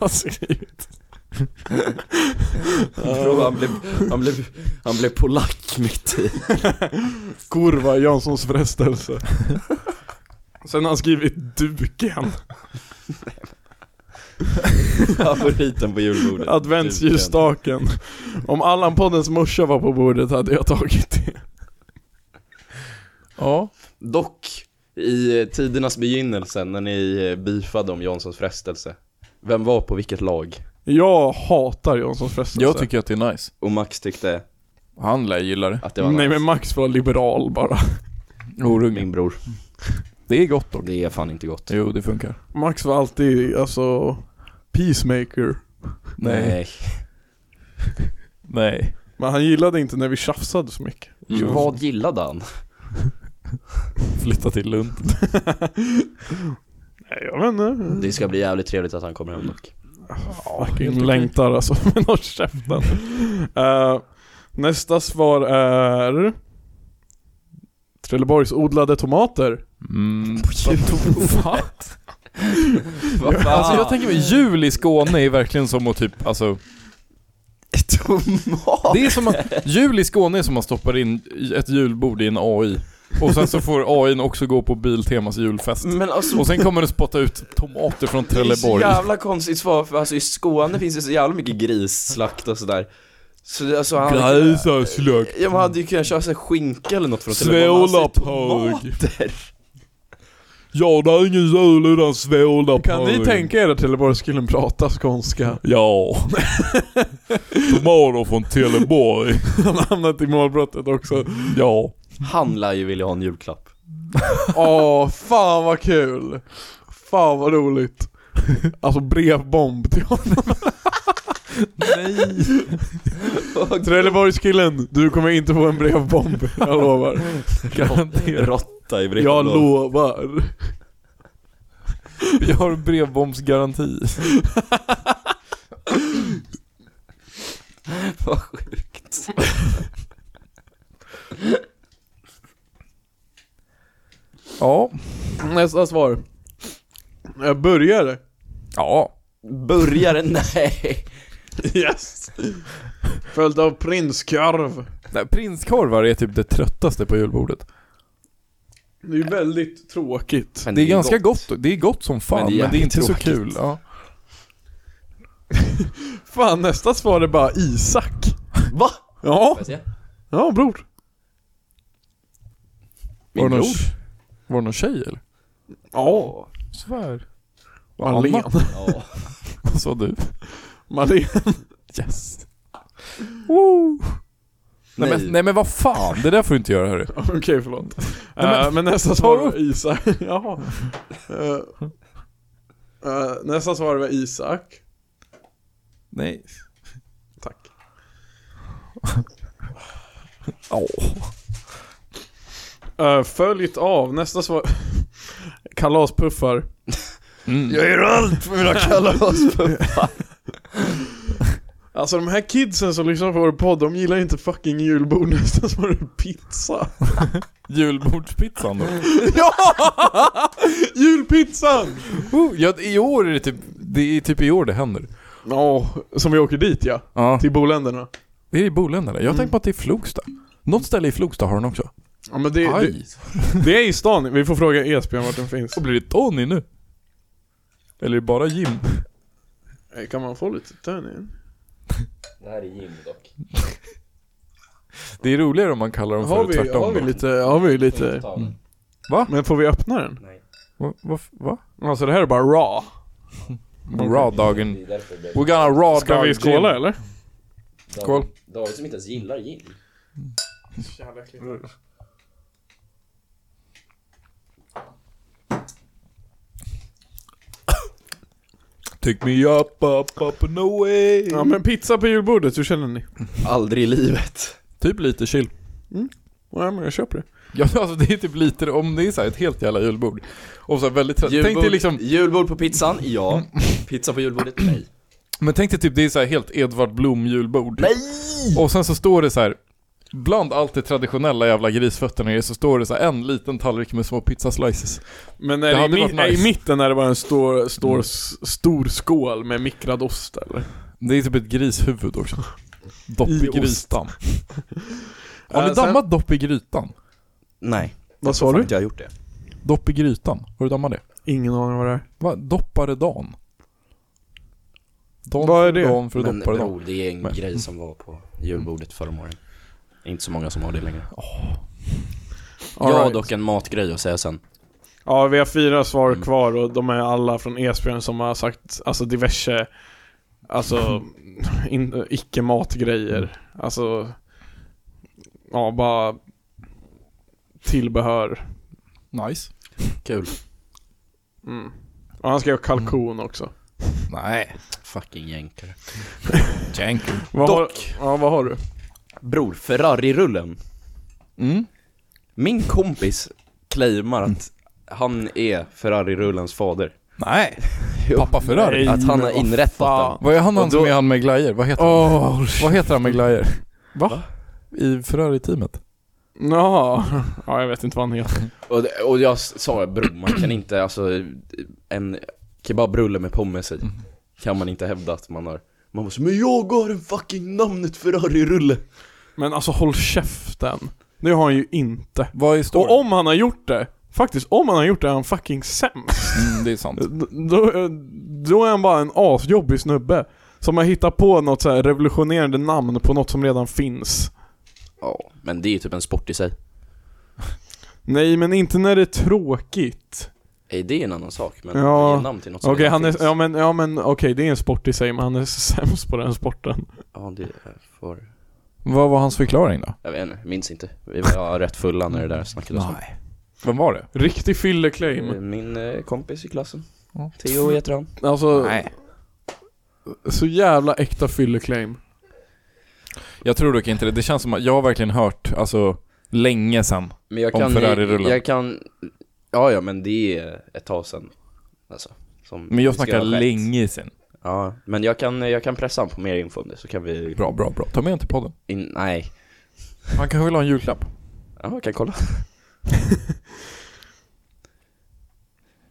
Speaker 4: har skrivit.
Speaker 2: *laughs* Bror han blev, han blev, han blev polack mitt i.
Speaker 3: *laughs*
Speaker 4: Kurva Janssons frestelse. Sen har han skrivit duken.
Speaker 2: *laughs* Favoriten på julbordet.
Speaker 4: Adventsljusstaken. Om Allan-poddens morsa var på bordet hade jag tagit det.
Speaker 3: Ja.
Speaker 2: Typ. Dock, i eh, tidernas begynnelse när ni eh, beefade om Janssons frestelse. Vem var på vilket lag?
Speaker 4: Jag hatar Janssons frestelse.
Speaker 3: Jag tycker att det är nice.
Speaker 2: Och Max tyckte
Speaker 3: Han lär gilla det.
Speaker 2: att det var nice.
Speaker 4: Nej men Max var liberal bara.
Speaker 3: Orungen.
Speaker 2: Min bror.
Speaker 3: Mm. Det är gott dock.
Speaker 2: Det är fan inte gott.
Speaker 3: Jo, det funkar.
Speaker 4: Max var alltid, alltså, peacemaker.
Speaker 3: Nej. Nej.
Speaker 4: Men han gillade inte när vi tjafsade så mycket.
Speaker 2: Jo. Vad gillade han?
Speaker 3: Flytta till Lund.
Speaker 4: Nej jag vet inte.
Speaker 2: Det ska bli jävligt trevligt att han kommer hem *laughs* dock.
Speaker 4: Ja, fucking längtar alltså. *laughs* Men håll käften. Eh, nästa svar är... Trelleborgs odlade tomater.
Speaker 3: Mm.
Speaker 4: *laughs*
Speaker 3: What?
Speaker 2: Vad fan?
Speaker 3: Alltså jag tänker mig, jul i Skåne är verkligen som att typ, alltså
Speaker 2: Tomat!
Speaker 3: Det är
Speaker 2: *laughs*
Speaker 3: som att, jul i Skåne är som att man stoppar in ett julbord i en AI Och sen så får AIn också gå på Biltemas julfest
Speaker 2: Men alltså,
Speaker 3: Och sen kommer det spotta ut tomater från Trelleborg
Speaker 2: Det är så jävla konstigt svar för alltså i Skåne finns det så jävla mycket grisslakt och sådär. Så det- alltså han...
Speaker 3: Gräsarslök
Speaker 2: Ja, man hade ju kunnat köra sig skinka eller något från
Speaker 3: Svålapög Ja det är ingen jul utan svålapög
Speaker 4: Kan ni tänka er att Trelleborgskillen pratar skånska? *laughs*
Speaker 3: Ja *laughs* Tomater från *laughs* Trelleborg
Speaker 4: Han har hamnat i målbrottet också.
Speaker 3: Ja
Speaker 2: Han lär ju vilja ha en julklapp.
Speaker 4: Åh, fan vad kul! Fan vad roligt! Alltså brevbomb till honom. Nej! *laughs* Trelleborgskillen, du kommer inte få en brevbomb. Jag lovar.
Speaker 3: Garanterat
Speaker 2: Råtta i
Speaker 4: Jag
Speaker 2: brevlådan.
Speaker 4: lovar.
Speaker 3: Vi har brevbombsgaranti
Speaker 2: Vad sjukt.
Speaker 3: Ja
Speaker 4: Nästa svar. Jag börjar.
Speaker 3: Ja
Speaker 2: Burgare? Nej.
Speaker 4: Yes! Följt av prinskorv.
Speaker 3: Nej, prinskorvar är typ det tröttaste på julbordet.
Speaker 4: Det är ju väldigt tråkigt.
Speaker 2: Men
Speaker 3: Det är ganska gott. det är gott som fan, men det är, inte
Speaker 2: jävligt
Speaker 3: så
Speaker 2: tråkigt.
Speaker 3: kul. Ja.
Speaker 4: Fan, nästa svar är bara Isak.
Speaker 2: Va?
Speaker 4: Ja,
Speaker 2: Får jag se?
Speaker 4: ja bror.
Speaker 3: Var,
Speaker 2: Min
Speaker 3: det någon,
Speaker 2: bror?
Speaker 3: var det någon tjej eller?
Speaker 4: Ja.
Speaker 3: Svär. Var det
Speaker 4: Marlene.
Speaker 3: Anna?
Speaker 2: Ja.
Speaker 3: Vad sa du?
Speaker 4: Malin.
Speaker 3: Yes. Woo. Nej,
Speaker 2: Nej.
Speaker 3: Men, nej men vad fan, det där får du inte göra hörru.
Speaker 4: Okej, förlåt.
Speaker 3: Nej,
Speaker 4: Eh,
Speaker 3: men-
Speaker 4: men, nästa svar
Speaker 3: Ta upp.
Speaker 4: var Isak. *laughs* Jaha. Eh, eh, nästa svar var Isak.
Speaker 3: Nej.
Speaker 4: Tack.
Speaker 3: Ja.
Speaker 4: Eh, följt av nästa svar. *laughs* Kalaspuffar.
Speaker 3: Mm.
Speaker 4: gör allt för mina kalaspuffar. Alltså de här kidsen som lyssnar på vår podd, de gillar inte fucking julbord *laughs* nästan som en pizza. *laughs*
Speaker 3: Julbordspizzan *laughs* då.
Speaker 4: ja! Julpizzan!
Speaker 3: Woo, Ja, i år är det typ, det är typ i år det händer.
Speaker 4: Ja, som vi åker dit ja.
Speaker 3: Ja.
Speaker 4: Till boländerna.
Speaker 3: Det är i Boländerna. Jag
Speaker 4: Mm.
Speaker 3: tänkte på att det är Flogsta. Något ställe i Flogsta har den också.
Speaker 4: Ja men det, det,
Speaker 3: Aj.
Speaker 4: det är i stan, vi får fråga Esbjörn vart den finns.
Speaker 3: Då blir det Tony nu. Eller är det bara Jim?
Speaker 4: Eh, Kan man få lite tön
Speaker 2: Det här är Jim dock.
Speaker 3: Det är roligare om man kallar dem
Speaker 4: Har
Speaker 3: för
Speaker 4: vi,
Speaker 3: tvärtom.
Speaker 4: har vi
Speaker 3: då.
Speaker 4: lite, har vi lite...
Speaker 2: Mm.
Speaker 4: Men får vi öppna den?
Speaker 3: Va? va, va?
Speaker 4: Alltså det här är bara raw.
Speaker 3: Raw-dagen. We're gonna raw
Speaker 4: Ska
Speaker 3: dog
Speaker 4: vi skåla
Speaker 3: gin.
Speaker 4: eller?
Speaker 3: Skål.
Speaker 2: David som inte ens gillar gin.
Speaker 3: Take me up, up, up and away.
Speaker 4: Ja men pizza på julbordet, hur känner ni?
Speaker 2: Aldrig i livet.
Speaker 3: Typ lite chill.
Speaker 4: Ja men jag köper det.
Speaker 3: *laughs* Ja, alltså det är typ lite, om det är så här ett helt jävla julbord. Och så här väldigt trött. Tänk dig liksom, Mm.
Speaker 2: julbord på pizzan? Ja. Pizza på julbordet? Nej.
Speaker 3: men tänk dig typ det är så här helt Edvard Blom julbord. Och sen så står det så här. Bland allt det traditionella jävla grisfötterna i så står det så här en liten tallrik med små pizzaslices.
Speaker 4: Men
Speaker 3: Det
Speaker 4: är
Speaker 3: hade
Speaker 4: det, i,
Speaker 3: varit
Speaker 4: mi- är
Speaker 3: nice.
Speaker 4: i mitten är det bara en stor, stor, s- stor skål med mikrad ost eller?
Speaker 3: Det är typ ett grishuvud också. Dopp
Speaker 4: I
Speaker 3: i
Speaker 4: ost. *laughs*
Speaker 3: grytan. Har ni
Speaker 4: Eh, sen-
Speaker 3: dammat dopp i grytan?
Speaker 2: Nej.
Speaker 4: Vad sa
Speaker 2: Fan
Speaker 4: du?
Speaker 2: inte jag har gjort det.
Speaker 3: Dopp i grytan, har du dammat det?
Speaker 4: Ingen aning vad det är.
Speaker 3: Va? Dopparedan? Dan
Speaker 4: Vad är
Speaker 3: för
Speaker 4: det?
Speaker 3: Dan för att
Speaker 2: Men
Speaker 3: doppa det då.
Speaker 2: bror, det är en
Speaker 3: Men-
Speaker 2: grej som var på julbordet förra året. Inte så många som har det längre.
Speaker 4: All
Speaker 2: jag har
Speaker 4: right.
Speaker 2: dock en matgrej att säga sen.
Speaker 4: Ja, vi har fyra svar
Speaker 2: Mm.
Speaker 4: kvar och de är alla från E Esbjörn som har sagt alltså diverse
Speaker 2: *laughs*
Speaker 4: Alltså in, icke matgrejer. Alltså Ja, bara tillbehör.
Speaker 3: Nice.
Speaker 2: Kul.
Speaker 4: Mm. Och han skrev kalkon
Speaker 2: Mm.
Speaker 4: också.
Speaker 3: Nej.
Speaker 2: Fucking jänkare.
Speaker 3: Jank.
Speaker 4: Vad har, ja, vad har du?
Speaker 2: Bror, Ferrari-rullen.
Speaker 3: Mm.
Speaker 2: Min kompis claimar att
Speaker 3: Mm.
Speaker 2: han är Ferrari-rullens fader.
Speaker 3: Nej.
Speaker 2: *laughs* Jo.
Speaker 3: Pappa Ferrari.
Speaker 4: Nej.
Speaker 2: Att han har
Speaker 4: vad
Speaker 2: inrättat
Speaker 4: fan.
Speaker 2: den.
Speaker 3: Vad är han,
Speaker 2: Och
Speaker 3: han som
Speaker 2: då- oh,
Speaker 3: är han med glajjor? Vad heter han?
Speaker 4: Åh,
Speaker 3: Vad heter han med glajjor?
Speaker 4: Va?
Speaker 3: I Ferrari-teamet?
Speaker 4: Ja. *laughs* ja, jag vet inte vad han heter.
Speaker 2: Och, det- och jag s- sa bror, man kan inte, alltså en kebabrulle med pommes i
Speaker 3: Mm.
Speaker 2: kan man inte hävda att man har. Man måste, men jag har en fucking namnet Ferrari-rulle.
Speaker 4: Men alltså håll käften. Det har han ju inte.
Speaker 3: Vad är storyn?
Speaker 4: Och om han har gjort det, faktiskt om han har gjort det är han fucking sämst.
Speaker 3: Mm, det är sant.
Speaker 4: D- Då, då är han bara en asjobbig snubbe. Som har hittat på något så här revolutionerande namn på något som redan finns.
Speaker 2: Ja, men det är ju typ en sport i sig.
Speaker 4: Nej men inte när det är tråkigt.
Speaker 2: Eh, Det är en annan sak, men
Speaker 4: Ja.
Speaker 2: ja. ge namn till något som
Speaker 4: Okej
Speaker 2: redan
Speaker 4: han är,
Speaker 2: finns.
Speaker 4: ja men, ja men okej det är en sport i sig men han är *laughs* sämst på den sporten.
Speaker 2: ja, det är för...
Speaker 3: Vad var hans förklaring då?
Speaker 2: Jag vet inte, minns inte. Vi var ja, rätt fulla när det där snackades om.
Speaker 3: Vem var det?
Speaker 4: Riktig fylleclaim.
Speaker 2: Eh, Min eh, kompis i klassen.
Speaker 3: Ja.
Speaker 2: Theo heter han.
Speaker 4: Alltså, så jävla äkta fylleclaim.
Speaker 3: Jag tror dock inte det. Det känns som att jag har verkligen hört, alltså, länge sedan.
Speaker 2: Men jag
Speaker 3: Om
Speaker 2: kan,
Speaker 3: Ferrari-rullen.
Speaker 2: jag kan, ja ja men det är ett tag sedan alltså, som
Speaker 3: Men jag
Speaker 2: det ska
Speaker 3: snackar
Speaker 2: ha skett.
Speaker 3: länge sedan.
Speaker 2: Ja, men jag kan, jag kan pressa honom på mer info om det så kan vi,
Speaker 3: Bra, bra, bra. Ta med honom till podden.
Speaker 2: in, nej,
Speaker 3: Han kanske vill ha en julklapp.
Speaker 2: ja jag kan *laughs* kolla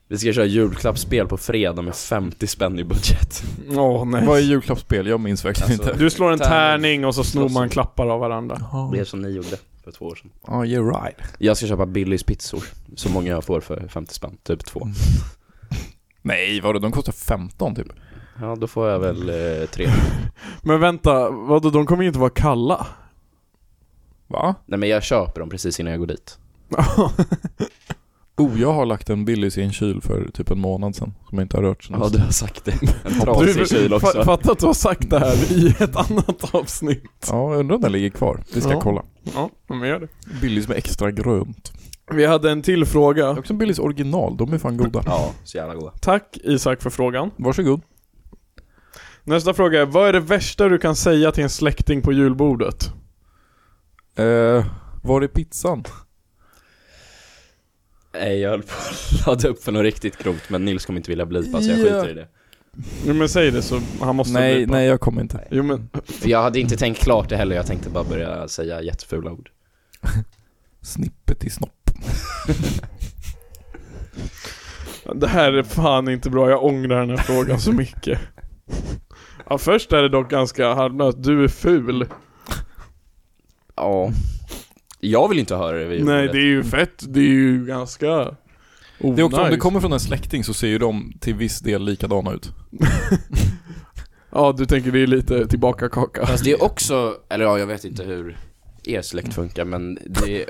Speaker 2: Vi ska köra julklappsspel på fredag med 50 spänn i budget
Speaker 4: Åh nej.
Speaker 3: Vad är julklappsspel? Jag minns verkligen
Speaker 2: Alltså,
Speaker 3: inte.
Speaker 4: Du slår en
Speaker 2: Tärning.
Speaker 4: tärning och så snor man klappar av varandra.
Speaker 3: Ja,
Speaker 2: Det är som ni gjorde för två år sedan
Speaker 3: oh, you're right.
Speaker 2: Jag ska köpa Billys pizzor, så många jag får för 50 spänn, typ två
Speaker 3: Nej, vadå? De kostar 15 typ.
Speaker 2: Ja då får jag väl eh, tre
Speaker 4: Men vänta, vadå de kommer ju inte vara kalla. *laughs*
Speaker 3: Va?
Speaker 2: Nej men jag köper dem precis innan jag går dit
Speaker 3: Oh, jag har lagt en Billys i en kyl för typ en månad sedan. Som jag inte har rört sedan.
Speaker 2: Ja du har sagt det, *laughs* en
Speaker 4: Du,
Speaker 2: trasig kyl också
Speaker 4: fa- Fatta att du har sagt det här i ett *laughs* annat avsnitt.
Speaker 3: Ja, jag undrar om den ligger kvar. Vi ska
Speaker 4: Ja.
Speaker 3: kolla.
Speaker 4: Ja, men gör det.
Speaker 3: Billys med extra grönt.
Speaker 4: Vi hade en till
Speaker 3: Det är
Speaker 4: fråga.
Speaker 3: också en Billys original. De är fan goda.
Speaker 2: Ja, så jävla goda.
Speaker 4: Tack Isak för frågan.
Speaker 3: Varsågod.
Speaker 4: Nästa fråga är, vad är det värsta du kan säga till en släkting på julbordet?
Speaker 3: Eh, var är pizzan?
Speaker 2: Nej jag höll på att ladda upp för något riktigt grovt men Nils kommer inte vilja blipa så jag
Speaker 3: Ja.
Speaker 2: skiter i det.
Speaker 4: Jo men säg det så han måste
Speaker 3: Nej,
Speaker 4: bli på.
Speaker 3: nej jag kommer inte.
Speaker 4: Jo men,
Speaker 2: Jag hade inte tänkt klart det heller, jag tänkte bara börja säga jättefula ord.
Speaker 3: Snippet i snopp.
Speaker 4: det här är fan inte bra. Jag ångrar den här frågan
Speaker 3: *laughs*
Speaker 4: så mycket. Ja, först är det dock ganska harmlöst. Du är ful.
Speaker 2: Ja. Jag vill inte höra det vid
Speaker 4: Nej,
Speaker 2: ordet.
Speaker 4: det är ju fett. Det är ju ganska... Oh,
Speaker 3: Det är också, om
Speaker 4: nice.
Speaker 3: det kommer från en släkting så ser ju de till viss del likadana ut.
Speaker 4: Ja, du tänker det är lite tillbaka kaka.
Speaker 2: Fast det är också, eller ja jag vet inte hur er släkt funkar men det är,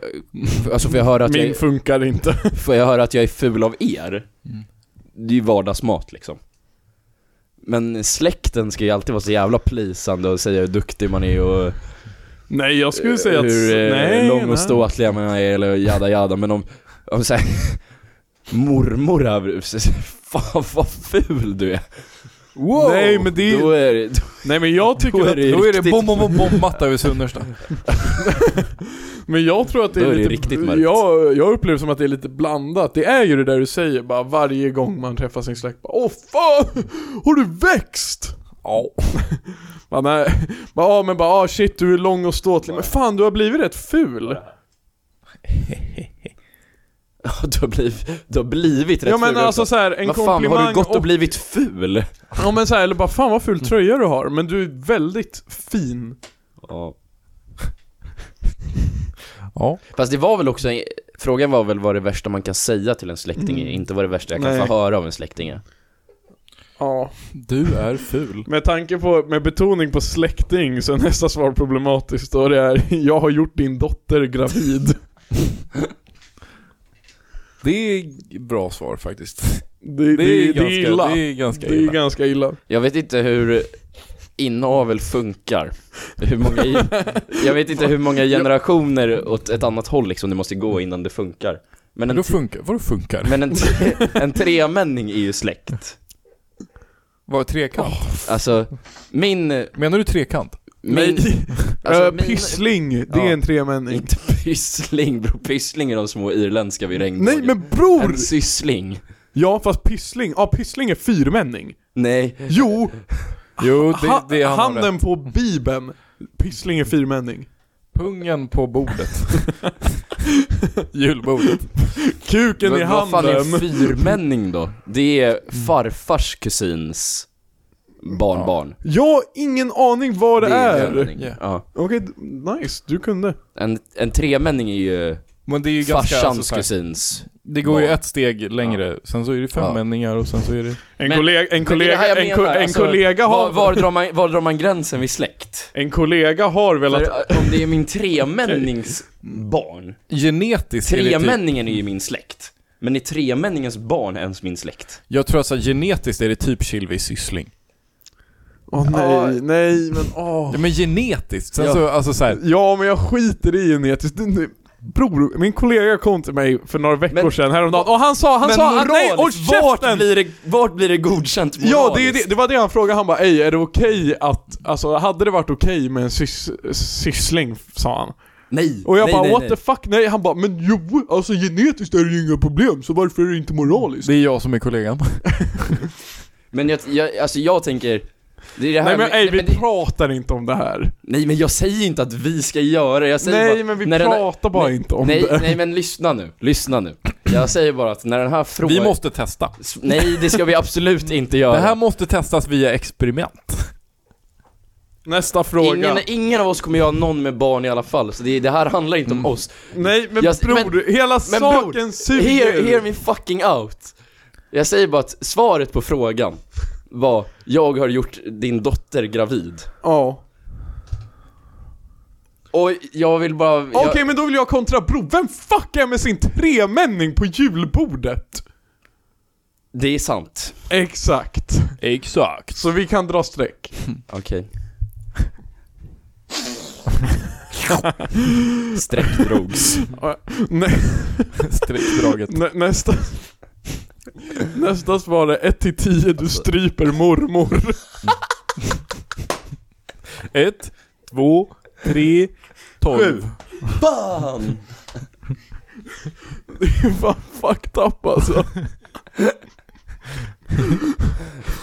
Speaker 2: alltså får jag höra att
Speaker 4: Min
Speaker 2: jag,
Speaker 4: funkar inte.
Speaker 2: får jag höra att jag är ful av er? Det är ju vardagsmat liksom. Men släkten ska ju alltid vara så jävla plisande och säga hur duktig man är och
Speaker 4: Nej, jag skulle säga att...
Speaker 2: hur eh,
Speaker 4: nej,
Speaker 2: lång
Speaker 4: nej.
Speaker 2: och ståtliga man är eller jada jada men om, om såhär *laughs* mormor här, fan *laughs* vad ful du är.
Speaker 3: Wow!
Speaker 4: Nej, men det är...
Speaker 2: Då är *laughs* det, då,
Speaker 4: Nej men jag tycker
Speaker 2: Då är
Speaker 4: att,
Speaker 2: det
Speaker 3: Då är det
Speaker 2: riktigt-
Speaker 3: bom, bom, bom, bom, matta över Sunnersta.
Speaker 4: men jag tror att det är,
Speaker 2: Då är det
Speaker 4: lite,
Speaker 2: riktigt mörkt.
Speaker 4: jag, jag upplever som att det är lite blandat. Det är ju det där du säger bara varje gång man träffar sin släkt bara Åh fan! Har du växt?
Speaker 3: Ja.
Speaker 4: Bara, nej. Bara, ja men bara ah, shit du är lång och ståtlig men fan du har blivit rätt ful.
Speaker 2: du, har blivit, du har blivit rätt
Speaker 4: Ja men
Speaker 2: ful
Speaker 4: alltså
Speaker 2: också.
Speaker 4: så här, en
Speaker 2: Vad fan
Speaker 4: komplimang
Speaker 2: har du gått och Mm.
Speaker 4: och,
Speaker 2: blivit ful?
Speaker 4: Ja men så här, eller bara fan vad ful tröja du har men du är väldigt fin.
Speaker 2: Ja.
Speaker 3: Ja.
Speaker 2: Fast det var väl också, en- frågan var väl vad det värsta man kan säga till en släkting är, inte vad det värsta jag kan
Speaker 4: Mm. Nej.
Speaker 2: få höra av en släkting är.
Speaker 4: Ja.
Speaker 3: Du är ful.
Speaker 4: Med tanke på, med betoning på släkting så är nästa svar problematiskt och det är *laughs* Jag har gjort din dotter gravid.
Speaker 3: Det är bra svar faktiskt. *laughs*
Speaker 4: Det,
Speaker 3: Det är, ganska,
Speaker 4: det är illa.
Speaker 3: Det är ganska
Speaker 4: Det är
Speaker 3: illa.
Speaker 4: ganska illa.
Speaker 2: Jag vet inte hur inavel funkar. Hur många, jag vet inte hur många generationer åt ett annat håll liksom det måste gå innan det funkar. Men en,
Speaker 3: Vadå funkar? Vadå funkar?
Speaker 2: men en, en tremänning är ju släkt.
Speaker 3: Vad är trekant?
Speaker 2: Alltså, min...
Speaker 3: Menar du trekant?
Speaker 2: min
Speaker 4: Alltså, *laughs*
Speaker 2: min-
Speaker 4: pyssling, det
Speaker 2: Ja.
Speaker 4: är en tremänning.
Speaker 2: Inte pyssling bror, pyssling är de små irländska vid regnbågen.
Speaker 4: Nej men bror!
Speaker 2: En syssling.
Speaker 4: Ja fast pyssling, ja pyssling är fyrmänning.
Speaker 2: Nej,
Speaker 4: Jo,
Speaker 3: Jo,
Speaker 4: ha,
Speaker 3: det, det han har rätt.
Speaker 4: handen på bibeln. Pyssling är fyrmänning.
Speaker 3: Pungen på bordet. *laughs* Julbordet.
Speaker 4: Kuken i
Speaker 2: vad, vad fan är en
Speaker 4: handen. Mm.
Speaker 2: fyrmänning då? Det är farfars kusins barnbarn.
Speaker 4: Jag har ingen aning vad det,
Speaker 2: det är en
Speaker 4: är.
Speaker 2: fyrmänning.
Speaker 3: Yeah.
Speaker 2: Ja.
Speaker 4: Okej, d- nice. Du kunde.
Speaker 2: En, en tremänning är ju
Speaker 3: Men det är ju ganska...
Speaker 2: farsans
Speaker 3: alltså, så här,
Speaker 2: kusins.
Speaker 3: det går ju ett steg längre, sen så är det femmänningar och sen så är det...
Speaker 4: En
Speaker 2: Men-
Speaker 4: kollega, en
Speaker 2: Men det är det
Speaker 4: kollega,
Speaker 2: här jag
Speaker 4: en, ko-
Speaker 2: menar,
Speaker 4: en
Speaker 2: alltså,
Speaker 4: kollega har...
Speaker 2: Var, var, drar man, var drar man gränsen vid släkt?
Speaker 4: En kollega har velat...
Speaker 2: För eh, om det är min
Speaker 4: *laughs*
Speaker 2: tremännings barn,
Speaker 3: Genetiskt är det typ,
Speaker 2: tremänningen är ju min släkt. Men är tremänningens barn ens min släkt?
Speaker 3: Jag tror alltså genetiskt är det typ Kilvis syssling.
Speaker 4: Åh nej, nej men åh.
Speaker 3: Ja men genetiskt, sen
Speaker 2: Ja.
Speaker 3: så, alltså så här,
Speaker 4: Ja men jag skiter i genetiskt. Det- det- Bror, min kollega kom till mig för några veckor
Speaker 2: Men-
Speaker 4: sedan häromdagen och han sa, han sa,
Speaker 2: moraliskt,
Speaker 4: nej, och
Speaker 2: vart,
Speaker 4: käften!
Speaker 2: blir det, vart blir det godkänt moraliskt?
Speaker 4: Ja, det, är det, det var det han frågade. Han bara Ej, är det okej att... Alltså, hade det varit okej med en sys, syssling? Sa han.
Speaker 2: Nej,
Speaker 4: Och jag
Speaker 2: nej,
Speaker 4: bara
Speaker 2: nej,
Speaker 4: what
Speaker 2: nej.
Speaker 4: the fuck? Nej, han bara men jo, alltså genetiskt är det ju inga problem, så varför är det inte moraliskt?
Speaker 3: det är jag som är kollegan.
Speaker 2: Men jag, jag, alltså jag tänker, det är det
Speaker 4: Nej
Speaker 2: här
Speaker 4: men
Speaker 2: med-
Speaker 4: ej, vi
Speaker 2: men det,
Speaker 4: pratar inte om det här.
Speaker 2: nej men jag säger inte att vi ska göra det, jag säger
Speaker 4: Nej
Speaker 2: bara,
Speaker 4: men vi
Speaker 2: när den här-
Speaker 4: pratar bara
Speaker 2: nej,
Speaker 4: inte om
Speaker 2: nej,
Speaker 4: det.
Speaker 2: nej men lyssna nu, lyssna nu. Jag säger bara att när den här frågan...
Speaker 3: Vi måste testa.
Speaker 2: S- Nej, det ska vi absolut inte göra.
Speaker 3: Det här måste testas via experiment.
Speaker 4: Nästa fråga.
Speaker 2: ingen, ingen av oss kommer göra någon med barn i alla fall, så det, det här handlar inte om oss.
Speaker 4: Nej men
Speaker 2: Jag-
Speaker 4: bror, hela
Speaker 2: men
Speaker 4: Mm. saken
Speaker 2: bror, Hear,
Speaker 4: suger.
Speaker 2: hear me fucking out. Jag säger bara att svaret på frågan var, jag har gjort din dotter gravid.
Speaker 4: Ja.
Speaker 2: Och jag vill bara... jag-
Speaker 4: Okej men då vill jag kontra bror, vem fuck är med sin tremänning på julbordet?
Speaker 2: Det är sant.
Speaker 4: Exakt.
Speaker 2: *laughs*
Speaker 3: Exakt.
Speaker 4: Så vi kan dra streck.
Speaker 2: Okej. Streck drogs.
Speaker 4: Nej.
Speaker 3: *laughs* Streckdraget.
Speaker 4: Nä, nästa Nästa svar är 1 till 10, du
Speaker 2: Alltså-
Speaker 4: stryper mormor.
Speaker 2: *laughs*
Speaker 3: Ett, två, tre, tolv.
Speaker 2: Bam!
Speaker 4: Det är fan fucked up alltså.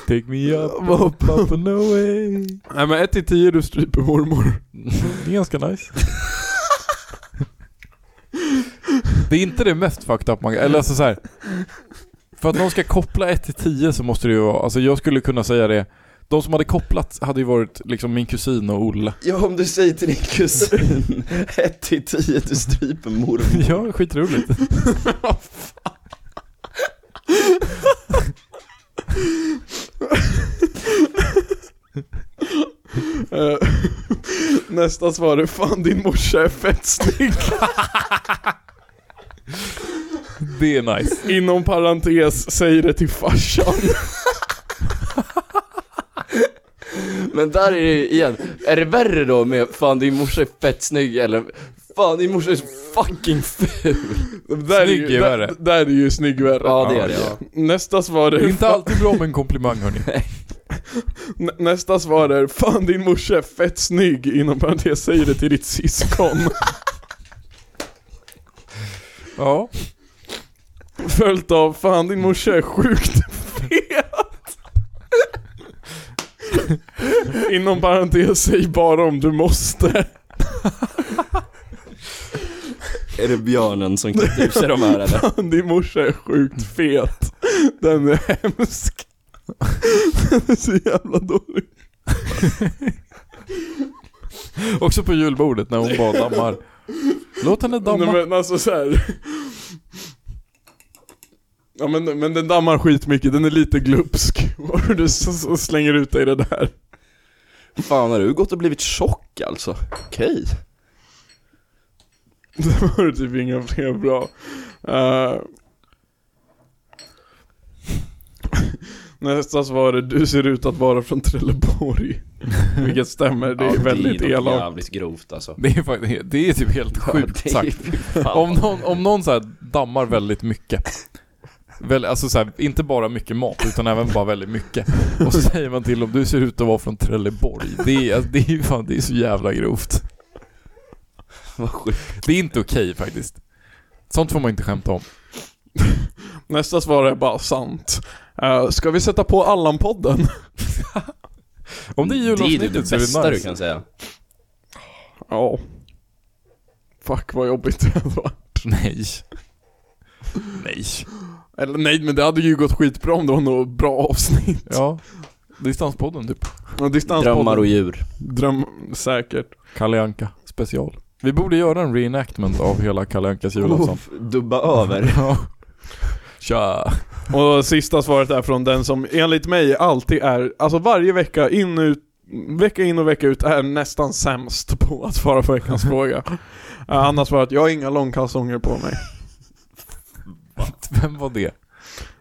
Speaker 3: Take me *laughs* up, up, up and away.
Speaker 4: Nej men 1 till 10, du stryper mormor.
Speaker 3: Det är ganska nice. *laughs* det är inte det mest fucked up man Eller alltså så här. För att någon ska koppla 1 till 10 så måste det ju vara, alltså jag skulle kunna säga det. De som hade kopplat hade ju varit liksom min kusin och Olle.
Speaker 2: Ja, om du säger till din kusin *laughs* 1 till 10, du stryper mormor.
Speaker 3: *laughs* Ja, skitroligt.
Speaker 4: Eh, Nästa svar är fan din morsa är fett snygg.
Speaker 3: Det är nice.
Speaker 4: Inom parentes, säg det till farsan.
Speaker 2: Men där är det igen, är det värre då med 'Fan din morsa är fett snygg' eller 'Fan din morsa är så fucking ful'
Speaker 4: Där är
Speaker 3: Snygg är
Speaker 4: ju,
Speaker 3: värre.
Speaker 4: där, där är ju snygg värre.
Speaker 2: Ja, det är det, ja.
Speaker 4: Nästa svar
Speaker 3: Det är
Speaker 4: är...
Speaker 3: inte alltid bra med en komplimang *laughs* hörni.
Speaker 4: Nä- Nästa svar är 'Fan din morsa är fett snygg' inom parentes säger det till ditt syskon. *laughs*
Speaker 3: Ja.
Speaker 4: Följt av 'Fan din morsa är sjukt fet' *laughs* Inom parentes säg bara om du måste.
Speaker 2: Är det björnen som klipper ur sig de här eller?
Speaker 4: Fan din morsa är sjukt fet. Den är hemsk. Den är så jävla dålig.
Speaker 3: Också på julbordet när
Speaker 4: *laughs*
Speaker 3: hon bara dammar. Låt henne
Speaker 4: Nej,
Speaker 3: damma.
Speaker 4: men alltså så här. Ja men, men den dammar skitmycket, den är lite glupsk. *laughs* Och du s- s- slänger ut dig i det där.
Speaker 2: *laughs* Fan har du gått och blivit tjock alltså? Okej.
Speaker 4: Det var typ inga fler bra. Eh, Nästa svar är du ser ut att vara från Trelleborg. Vilket stämmer, det är väldigt
Speaker 2: det är något
Speaker 4: elakt.
Speaker 2: jävligt grovt alltså.
Speaker 3: Det är, faktiskt, det är typ helt sjukt
Speaker 2: Ja, det är-
Speaker 3: sagt.
Speaker 2: fy fan.
Speaker 3: Om någon, om någon så här dammar väldigt mycket. Väl, alltså så här, inte bara mycket mat utan även bara väldigt mycket. Och så säger man till om du ser ut att vara från Trelleborg. Det är, alltså, det är ju fan, det är så jävla grovt.
Speaker 2: Vad sjukt.
Speaker 3: Det är inte okej faktiskt. Sånt får man inte skämta om.
Speaker 4: Nästa svar är bara sant. Uh, ska vi sätta på Allan-podden?
Speaker 3: Om det är
Speaker 2: det, är det
Speaker 3: julavsnittet så är
Speaker 2: bästa
Speaker 3: det
Speaker 2: du
Speaker 3: nice.
Speaker 2: kan säga.
Speaker 4: Ja. Fuck vad jobbigt det var.
Speaker 3: Nej. Nej.
Speaker 4: Eller nej, men det hade ju gått skitbra om det var något bra avsnitt.
Speaker 3: Ja. Distanspodden typ.
Speaker 4: Ja. Distanspodden.
Speaker 2: Drömmar och djur.
Speaker 4: Dröm, säkert.
Speaker 3: Kalle Anka special. Vi borde göra en reenactment av hela Kalle Ankas julafton.
Speaker 2: Uff, dubba över.
Speaker 3: *laughs* Ja. Tja.
Speaker 4: Och sista svaret är från den som enligt mig alltid är, alltså varje vecka in och ut, vecka in och vecka ut är nästan sämst på att svara på veckans fråga. Uh, han har svarat, jag har inga långkalsonger på mig.
Speaker 3: Vem var det?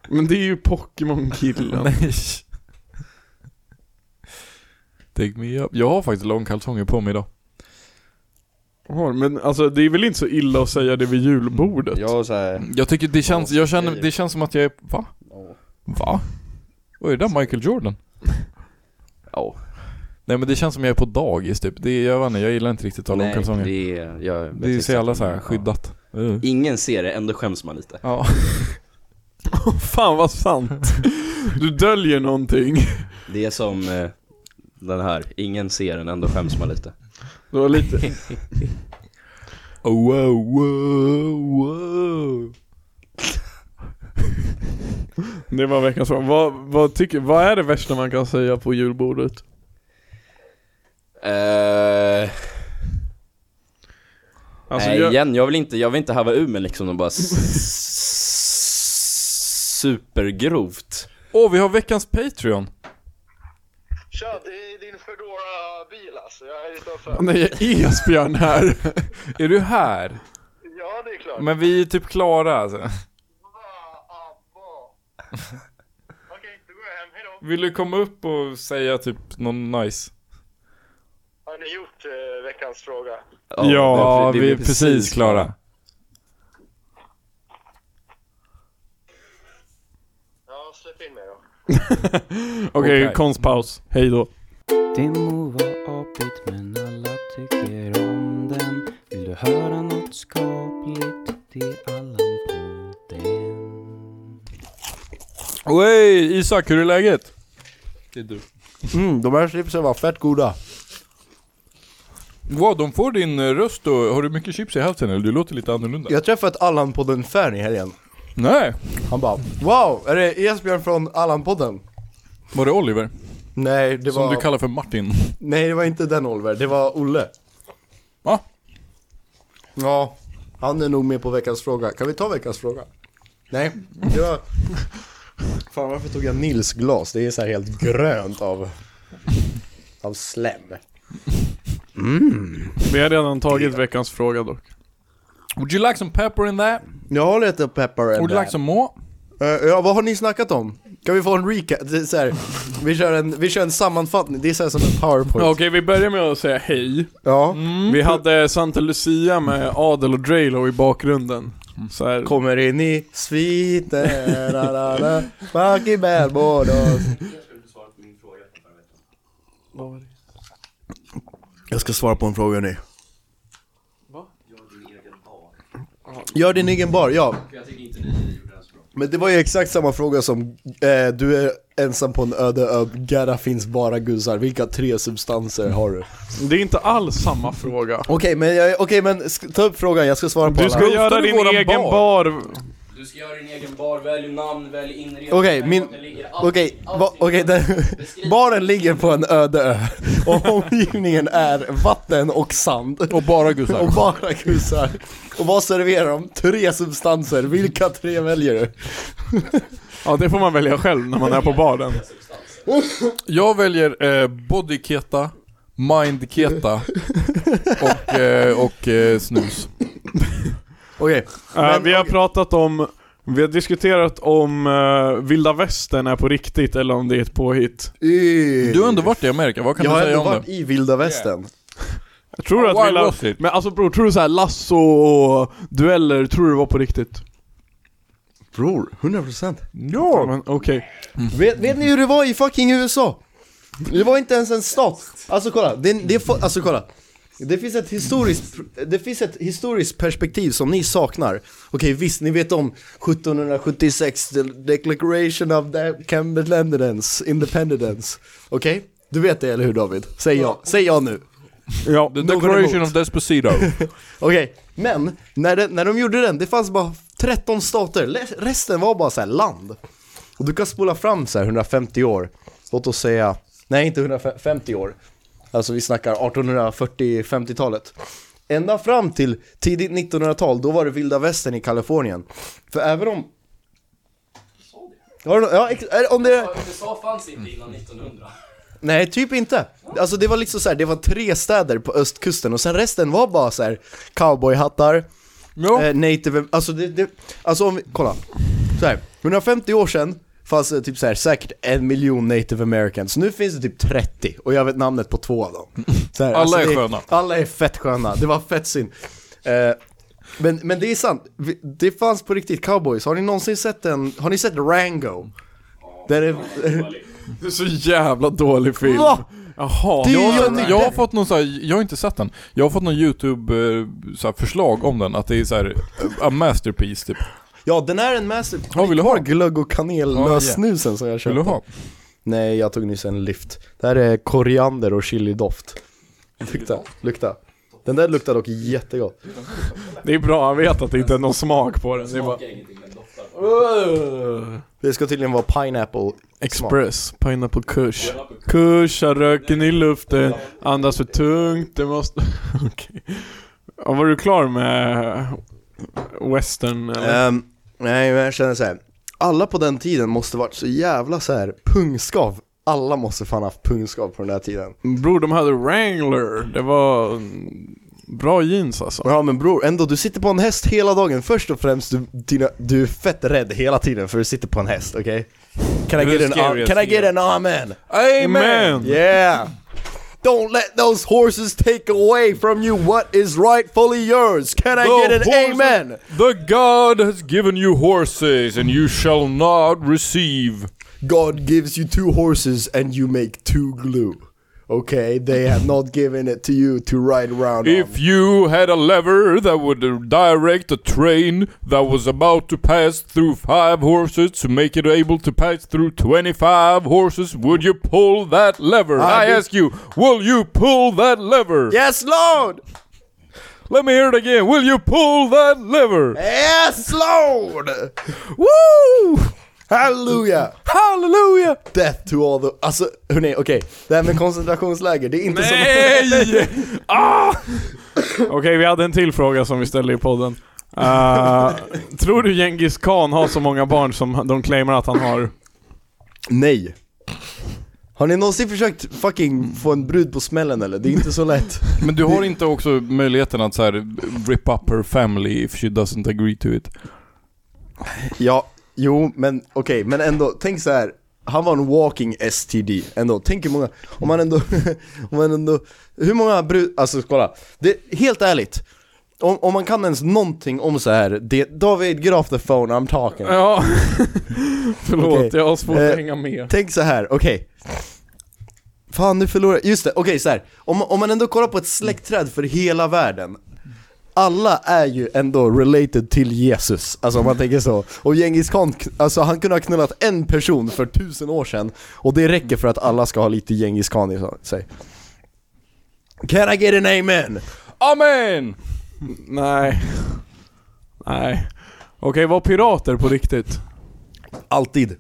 Speaker 4: Men det är ju Pokémon-killen.
Speaker 3: Nej. Take me up. Jag har faktiskt långkalsonger på mig idag.
Speaker 4: Har- Men alltså det är väl inte så illa att säga det vid julbordet?
Speaker 2: Jag såhär...
Speaker 3: Jag tycker det känns, jag känner,
Speaker 2: okej.
Speaker 3: det känns som att jag är, va? Va? Vad är det där Michael Jordan?
Speaker 2: Ja.
Speaker 3: Nej men det känns som jag är på dagis typ. Det, jag vet inte, jag gillar inte riktigt att ha
Speaker 2: Nej,
Speaker 3: långkalsonger. Det,
Speaker 2: det är... Jag vet
Speaker 3: är
Speaker 2: exakt
Speaker 3: så jävla
Speaker 2: vad du
Speaker 3: såhär
Speaker 2: menar.
Speaker 3: skyddat. Uh.
Speaker 2: Ingen ser det, ändå skäms man lite.
Speaker 3: Ja.
Speaker 4: Fan vad sant. Du döljer någonting.
Speaker 2: Det är som eh, den här, ingen ser den, ändå skäms man lite.
Speaker 4: Det var lite,
Speaker 3: Oh, wow, wow, wow.
Speaker 4: det var veckans fråga. Vad, vad, tycker, vad är det värsta man kan säga på julbordet?
Speaker 2: Eh,
Speaker 4: Alltså,
Speaker 2: nej
Speaker 4: jag,
Speaker 2: igen, jag vill inte, jag vill inte häva ur mig liksom och bara s- supergrovt.
Speaker 3: Åh, vi har veckans Patreon.
Speaker 7: Tja, det är din Foodora-bil alltså. Jag är utanför.
Speaker 4: Nej, Esbjörn här.
Speaker 3: *laughs* Är du här?
Speaker 7: Ja, det är klart.
Speaker 3: Men vi är ju typ klara alltså.
Speaker 7: Ah, ah, bah. Okej, då går jag hem. Hejdå.
Speaker 3: Vill du komma upp och säga typ någon nice?
Speaker 7: Har ni gjort eh, veckans fråga?
Speaker 3: Ja,
Speaker 2: det-
Speaker 3: vi,
Speaker 2: det- det-
Speaker 3: är precis klara.
Speaker 7: Ja, släpp in mig då.
Speaker 4: Okej,
Speaker 3: Okej.
Speaker 4: konstpaus. Hej då.
Speaker 8: Det må vara apigt men alla tycker om den Vill du höra något skapligt? Det är Allan på den
Speaker 3: Oj, Isak, hur är läget? Det är du.
Speaker 9: Mm, de här chipsen var fett goda.
Speaker 3: Wow, de får din eh, röst och har du mycket chips i hälften eller? Du låter lite annorlunda.
Speaker 9: Jag träffade Allan på den fan i helgen.
Speaker 3: Nej,
Speaker 9: Han bara Wow, är det Esbjörn från Allan-podden?
Speaker 3: var det Oliver?
Speaker 9: Nej det,
Speaker 3: Som
Speaker 9: var,
Speaker 3: du kallar för Martin.
Speaker 9: nej, det var inte den Oliver, det var Olle.
Speaker 3: Va?
Speaker 9: Ja, han är nog med på veckans fråga. Kan vi ta veckans fråga? Nej,
Speaker 3: *laughs*
Speaker 9: det var... Fan varför tog jag Nils glas? Det är så här helt grönt av... Av slem.
Speaker 4: Vi har redan tagit veckans fråga dock.
Speaker 3: Would you like some pepper in that?
Speaker 9: Jag har lite peppar
Speaker 3: Would you like some more?
Speaker 9: Eh, ja, vad har ni snackat om? Kan vi få en recap? Det är så här, vi, kör en, vi kör en sammanfattning, det är så här som en
Speaker 4: Okej, *laughs*
Speaker 9: powerpoint.
Speaker 4: vi börjar med att säga hej.
Speaker 9: Ja.
Speaker 4: Vi hade Santa Lucia med Adel och Draylo i bakgrunden. Så här.
Speaker 9: Kommer in i sviten, la, la, la, bak i bärbådos Jag ska svara på en fråga nu Gör din egen bar, ja. Men det var ju exakt samma fråga som eh, Du är ensam på en öde ö, Gara finns bara gussar Vilka tre substanser har du? Okej
Speaker 4: Det är inte alls samma fråga.
Speaker 9: men, jag- okej men sk- ta upp frågan, jag ska svara på
Speaker 4: Du
Speaker 9: alla
Speaker 4: ska göra
Speaker 3: du
Speaker 4: din
Speaker 3: våran
Speaker 4: egen
Speaker 3: bar?
Speaker 4: bar.
Speaker 2: Du ska göra din egen bar, välj namn, välj inredning.
Speaker 9: Okej,
Speaker 2: välj
Speaker 9: min-
Speaker 2: var den ligger, allt-
Speaker 9: Okej,
Speaker 2: allt
Speaker 9: va-
Speaker 2: är-
Speaker 9: okej, där- baren ligger på en öde ö och omgivningen är vatten och sand.
Speaker 10: Och bara gussar.
Speaker 9: Och bara kusar. Och vad serverar de? Tre substanser, vilka tre väljer du?
Speaker 4: Ja det får man välja själv när man *laughs* är på baren.
Speaker 10: Jag väljer eh, body keta, mind
Speaker 4: *laughs*
Speaker 10: keta och, eh, och eh, snus.
Speaker 9: Okej,
Speaker 4: Eh,
Speaker 9: Men-
Speaker 4: vi har pratat om, vi har diskuterat om eh, vilda västern är på riktigt eller om det är ett påhitt.
Speaker 10: Du har ändå varit i Amerika, vad kan
Speaker 9: Jag
Speaker 10: du
Speaker 9: har
Speaker 10: säga
Speaker 9: ändå
Speaker 10: om
Speaker 9: varit
Speaker 10: det?
Speaker 9: i vilda västern.
Speaker 4: Jag tror
Speaker 10: Why
Speaker 4: att vilda...
Speaker 10: was it?
Speaker 4: Men alltså bror, tror du så här lasso och dueller, tror du det var på riktigt?
Speaker 9: Bror, 100%.
Speaker 4: Ja! Men okej.
Speaker 9: Vet, vet ni hur det var i fucking USA? Det var inte ens en stat. Alltså kolla, det, det, får- alltså, kolla. Det, finns ett historiskt, det finns ett historiskt perspektiv som ni saknar. Okej visst, ni vet om 1776, the declaration of the Cambridlandedance, independence. Okej? Du vet det eller hur David? Säg ja, säg ja nu.
Speaker 4: Ja,
Speaker 10: The
Speaker 9: Någon
Speaker 10: Declaration
Speaker 9: emot.
Speaker 10: of Despacito.
Speaker 9: Okej, men när, det, när de gjorde den, det fanns bara 13 stater, Le- resten var bara så här land. Och du kan spola fram så här 150 år, låt oss säga, nej inte 150 år, alltså vi snackar 1840-50-talet. Ända fram till tidigt 1900-tal, då var det vilda västern i Kalifornien. För även om... Har du nå- Ja, ex- är- om det...
Speaker 2: USA fanns inte innan 1900.
Speaker 9: Nej, typ inte. Alltså det var liksom så här, det var tre städer på östkusten och sen resten var bara så här cowboyhattar,
Speaker 10: Ja.
Speaker 9: eh, native, alltså det, det, alltså om vi, kolla. Så här, 150 år sedan fanns det typ så här, säkert en miljon native americans, nu finns det typ 30 och jag vet namnet på två
Speaker 10: *laughs*
Speaker 9: av dem. Så här, alltså,
Speaker 10: Alla är
Speaker 9: det,
Speaker 10: sköna.
Speaker 9: Alla är fett sköna, det var fett synd. Eh, men, men det är sant, Vi- det fanns på riktigt cowboys, har ni någonsin sett en, har ni sett Rango? Där det,
Speaker 4: Det är så jävla dålig film.
Speaker 9: Va?
Speaker 4: *laughs* Jaha.
Speaker 9: Det är ju
Speaker 10: Jag,
Speaker 9: Johnny
Speaker 10: jag har
Speaker 9: Depp.
Speaker 10: fått någon så här, jag har inte sett den. Jag har fått någon youtube eh, så här, förslag om den, att det är så här, eh, a masterpiece typ.
Speaker 9: Ja, den är en master...
Speaker 10: Ja, vill du ha?
Speaker 9: glögg och kanel
Speaker 10: Ja, ja.
Speaker 9: snusen som jag
Speaker 10: Vill du ha?
Speaker 9: Nej, jag tog nyss en lyft. Det här är koriander och chilidoft. Lukta, lukta. Den där luktar dock jättegott.
Speaker 4: Det är bra, jag vet att det inte är någon smak på den. Det är bara... Ugh.
Speaker 9: Det ska tydligen vara pineapple
Speaker 4: Express, pineapple kush. Kusha röken i luften, andas för tungt, det måste... *laughs* Okej. Ja, var du klar med western eller?
Speaker 9: Ehm, nej, men jag känner så här. Alla på den tiden måste varit så jävla så här pungskav. Alla måste fan haft pungskav på den här tiden.
Speaker 4: Bror, de hade Wrangler. Det var mm, bra jeans alltså.
Speaker 9: Ja men bror, ändå du sitter på en häst hela dagen. Först och främst, du, dina, du är fett rädd hela tiden för du sitter på en häst, okej? Can I get an, a- can I get an amen?
Speaker 10: Amen!
Speaker 4: Men!
Speaker 9: Yeah. Don't let those horses take away from you what is rightfully yours. Can I
Speaker 10: The
Speaker 9: get an
Speaker 10: horses-
Speaker 9: amen?
Speaker 10: The God has given you horses and you shall not receive.
Speaker 9: God gives you two horses and you make two glue. Okay, they have
Speaker 10: *laughs*
Speaker 9: not given it to you to ride around on.
Speaker 10: If you had a lever that would direct a train that was about to pass through five horses to make it able to pass through 25 horses, would you pull that lever? I
Speaker 9: I do-
Speaker 10: ask you, will you pull that lever?
Speaker 9: Yes, Lord!
Speaker 10: Let me hear it again. Will you pull that lever?
Speaker 9: Yes, Lord!
Speaker 10: Woo!
Speaker 9: Hallelujah!
Speaker 10: Hallelujah!
Speaker 9: Death to all the... Alltså, hörni, okej. Det här med koncentrationsläger, det är inte som...
Speaker 10: Hey!
Speaker 4: Okej, vi hade en till fråga som vi ställde i podden. Eh, tror du Genghis Khan har så många barn som de claimar att han har?
Speaker 9: Nej. Har ni någonsin försökt fucking få en brud på smällen eller? Det är inte så lätt.
Speaker 10: Men du har inte också möjligheten att så här rip up her family if she doesn't agree to it?
Speaker 9: Ja, jo, men okej, men ändå, tänk så här. Han var en walking STD, ändå. Tänk hur många, om man ändå, *laughs* om man ändå, hur många brud, alltså kolla. Det, helt ärligt, om, om man kan ens någonting om så här, det, David, get off the phone, I'm talking.
Speaker 4: Ja. *laughs* Förlåt,
Speaker 9: Okej.
Speaker 4: jag har svårt
Speaker 9: Eh,
Speaker 4: att hänga med.
Speaker 9: Tänk så här, okej. Fan, nu förlorar jag, just det, okej så här. Om, om man ändå kollar på ett släktträd för hela världen. Alla är ju ändå related till Jesus, alltså om man tänker så. Och Djengis Khan, alltså han kunde ha knullat en person för tusen år sedan och det räcker för att alla ska ha lite Djengis Khan i sig. Can I get an amen?
Speaker 10: Amen!
Speaker 4: Nej. Nej. Okej, var pirater på riktigt?
Speaker 9: Alltid.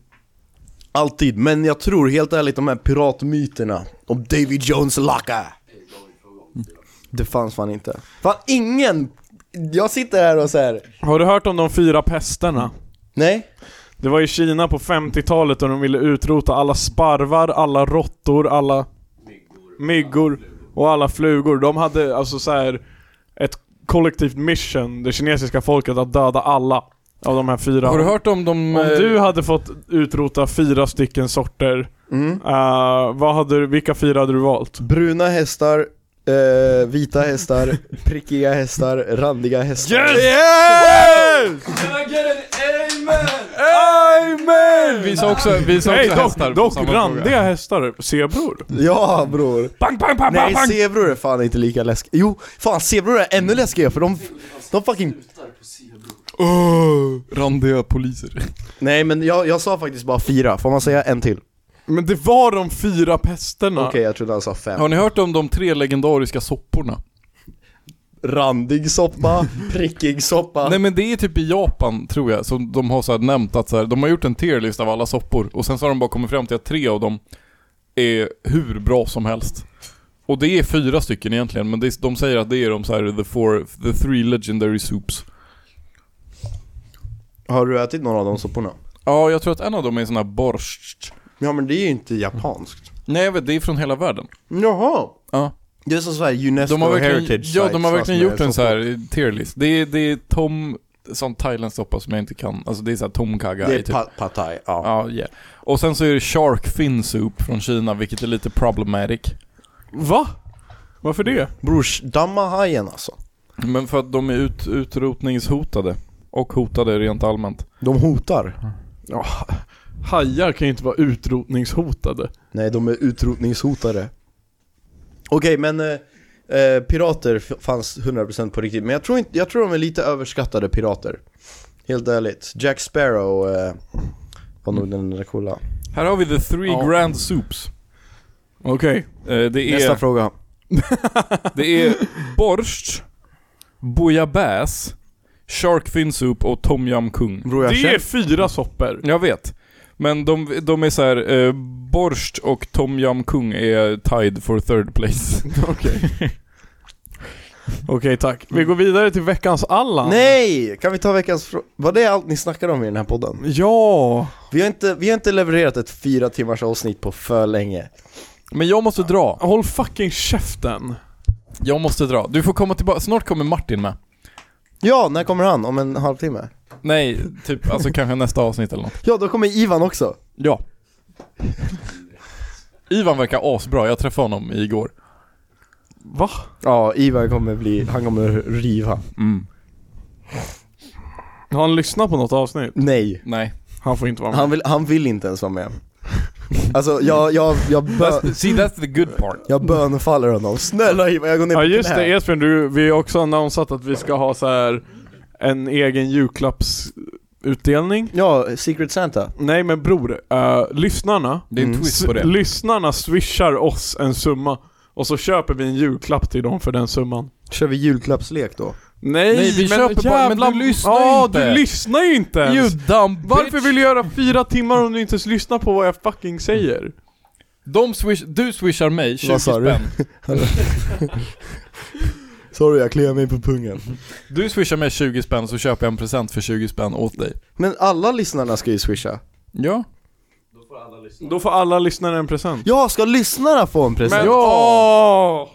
Speaker 9: Alltid. Men jag tror helt ärligt de här piratmyterna om David Jones lacka. Det fanns fan inte. Fan ingen! Jag sitter här och säger
Speaker 4: Har du hört om de fyra pesterna?
Speaker 9: nej.
Speaker 4: Det var i Kina på 50-talet och de ville utrota alla sparvar, alla råttor, alla myggor och alla flugor. De hade alltså så här ett kollektivt mission, det kinesiska folket, att döda alla av de här fyra.
Speaker 3: Har du hört om de...
Speaker 4: Om
Speaker 3: eh,
Speaker 4: du hade fått utrota fyra stycken sorter,
Speaker 9: Mm.
Speaker 4: eh, vad hade du, vilka fyra hade du valt?
Speaker 9: Bruna hästar, eh, vita hästar, prickiga hästar, randiga hästar.
Speaker 3: Amen! Visa också, visa också
Speaker 4: Nej,
Speaker 3: hästar
Speaker 4: dock,
Speaker 3: på
Speaker 4: dock
Speaker 3: samma
Speaker 4: randiga hästar, zebror.
Speaker 9: Ja bror.
Speaker 3: Bang, bang, bang,
Speaker 9: Nej
Speaker 3: bang, bang!
Speaker 9: zebror är fan inte lika läskiga. Jo, fan zebror är ännu läskigare för de, de fucking
Speaker 3: Åh, randiga poliser.
Speaker 9: Nej men jag, jag sa faktiskt bara fyra, får man säga en till?
Speaker 4: Men det var de fyra pesterna.
Speaker 9: Okej jag trodde han sa fem
Speaker 3: Har ni hört om de tre legendariska sopporna?
Speaker 9: Randig *laughs* soppa, prickig soppa
Speaker 3: Nej men det är typ i Japan tror jag, som de har så här nämnt att så här, de har gjort en tier list av alla soppor och sen så har de bara kommit fram till att tre av dem är hur bra som helst. Och det är fyra stycken egentligen, men det är, de säger att det är de så här, the four, the three legendary soups.
Speaker 9: Har du ätit någon av de sopporna?
Speaker 3: Ja, jag tror att en av dem är sån här borscht.
Speaker 9: Ja men det är ju inte japanskt
Speaker 3: Nej jag vet, det är från hela världen.
Speaker 9: Jaha!
Speaker 3: Ja.
Speaker 9: Det är som såhär Unesco
Speaker 3: De har verkligen,
Speaker 9: heritage
Speaker 3: ja,
Speaker 9: sites, alltså,
Speaker 3: de har verkligen
Speaker 9: fast
Speaker 3: gjort
Speaker 9: med
Speaker 3: en så
Speaker 9: soppor.
Speaker 3: här tier list. Det är, det är Tom, sån thailändsk soppa som jag inte kan, alltså det är så här Tom Kaga
Speaker 9: Det
Speaker 3: i
Speaker 9: är
Speaker 3: typ.
Speaker 9: pa- pad thai, ja.
Speaker 3: Ja, yeah. Och sen så är det Shark Fin Soup från Kina, vilket är lite problematic.
Speaker 4: Va? Varför det?
Speaker 9: Brors, damma hajen alltså
Speaker 3: Men för att de är ut, utrotningshotade. Och hotade rent allmänt.
Speaker 9: De hotar
Speaker 4: Ja, hajar kan ju inte vara utrotningshotade.
Speaker 9: Nej de är utrotningshotade Okej men eh, eh, Pirater f- fanns 100% på riktigt, men jag tror, inte, jag tror de är lite överskattade pirater Helt ärligt, Jack Sparrow eh, var nog den där coola
Speaker 3: Här har vi the three
Speaker 4: Ja.
Speaker 3: grand soups.
Speaker 4: Okej.
Speaker 3: Eh, det,
Speaker 9: Nästa
Speaker 3: är,
Speaker 9: fråga
Speaker 3: det är borscht, bouillabaisse, shark fin soup och tom yum kung.
Speaker 9: Bror jag
Speaker 4: Det
Speaker 9: känner
Speaker 4: är fyra sopper.
Speaker 3: Jag vet. Men de, de är så här, eh, borscht och tom yum kung är tied for third place.
Speaker 4: Okej. Okej, tack. Vi går vidare till veckans Allan.
Speaker 9: Nej! Kan vi ta veckans fråga? Var det allt ni snackade om i den här podden?
Speaker 4: Ja!
Speaker 9: Vi har inte, vi har inte levererat ett fyra timmars avsnitt på för länge
Speaker 3: *laughs* Men jag måste dra.
Speaker 4: Håll fucking käften.
Speaker 3: Jag måste dra. Du får komma tillbaka, snart kommer Martin med.
Speaker 9: Ja, när kommer han? Om en halvtimme?
Speaker 3: Nej, typ alltså kanske nästa avsnitt eller något.
Speaker 9: Ja, då kommer Ivan också!
Speaker 3: Ja. *laughs* Ivan verkar asbra, jag träffade honom igår.
Speaker 4: Va?
Speaker 9: Ja, Ivan kommer bli, han kommer riva
Speaker 4: Har han lyssnat på något avsnitt?
Speaker 9: Nej,
Speaker 3: Nej.
Speaker 4: Han får inte vara med.
Speaker 9: han vill, han vill inte ens
Speaker 4: *laughs*
Speaker 9: vara med Alltså jag, jag, jag, bö,
Speaker 3: See that's the good part.
Speaker 9: jag bönfaller honom Snälla Ivan, jag går ner på
Speaker 4: Ja just
Speaker 9: knä.
Speaker 4: det Esbjörn, du, vi har också annonsat att vi ska ha så här en egen julklappsutdelning.
Speaker 9: Ja, Secret Santa
Speaker 4: Nej men bror, eh, lyssnarna,
Speaker 3: Det är en
Speaker 9: Mm.
Speaker 3: twist på
Speaker 4: s-
Speaker 3: det.
Speaker 4: lyssnarna swishar oss en summa och så köper vi en julklapp till dem för den summan.
Speaker 9: Kör vi julklappslek då?
Speaker 4: Nej,
Speaker 3: Nej, vi
Speaker 4: men
Speaker 3: köper bara- men
Speaker 4: jävla-
Speaker 3: du lyssnar
Speaker 4: ja,
Speaker 3: inte.
Speaker 4: du lyssnar ju inte ens.
Speaker 3: You dumb bitch.
Speaker 4: Varför vill du göra fyra timmar om du inte ens lyssnar på vad jag fucking säger?
Speaker 3: De swish, du swishar mig 20
Speaker 9: Vad sa du?
Speaker 3: spänn.
Speaker 9: Sorry, jag kliar mig på pungen
Speaker 3: Du swishar mig 20 spänn så köper jag en present för 20 spänn åt dig.
Speaker 9: Men alla lyssnarna ska ju swisha
Speaker 3: Ja.
Speaker 4: Då får alla lyssnare en present.
Speaker 9: Ja, ska lyssnarna få en present?
Speaker 4: Men ja!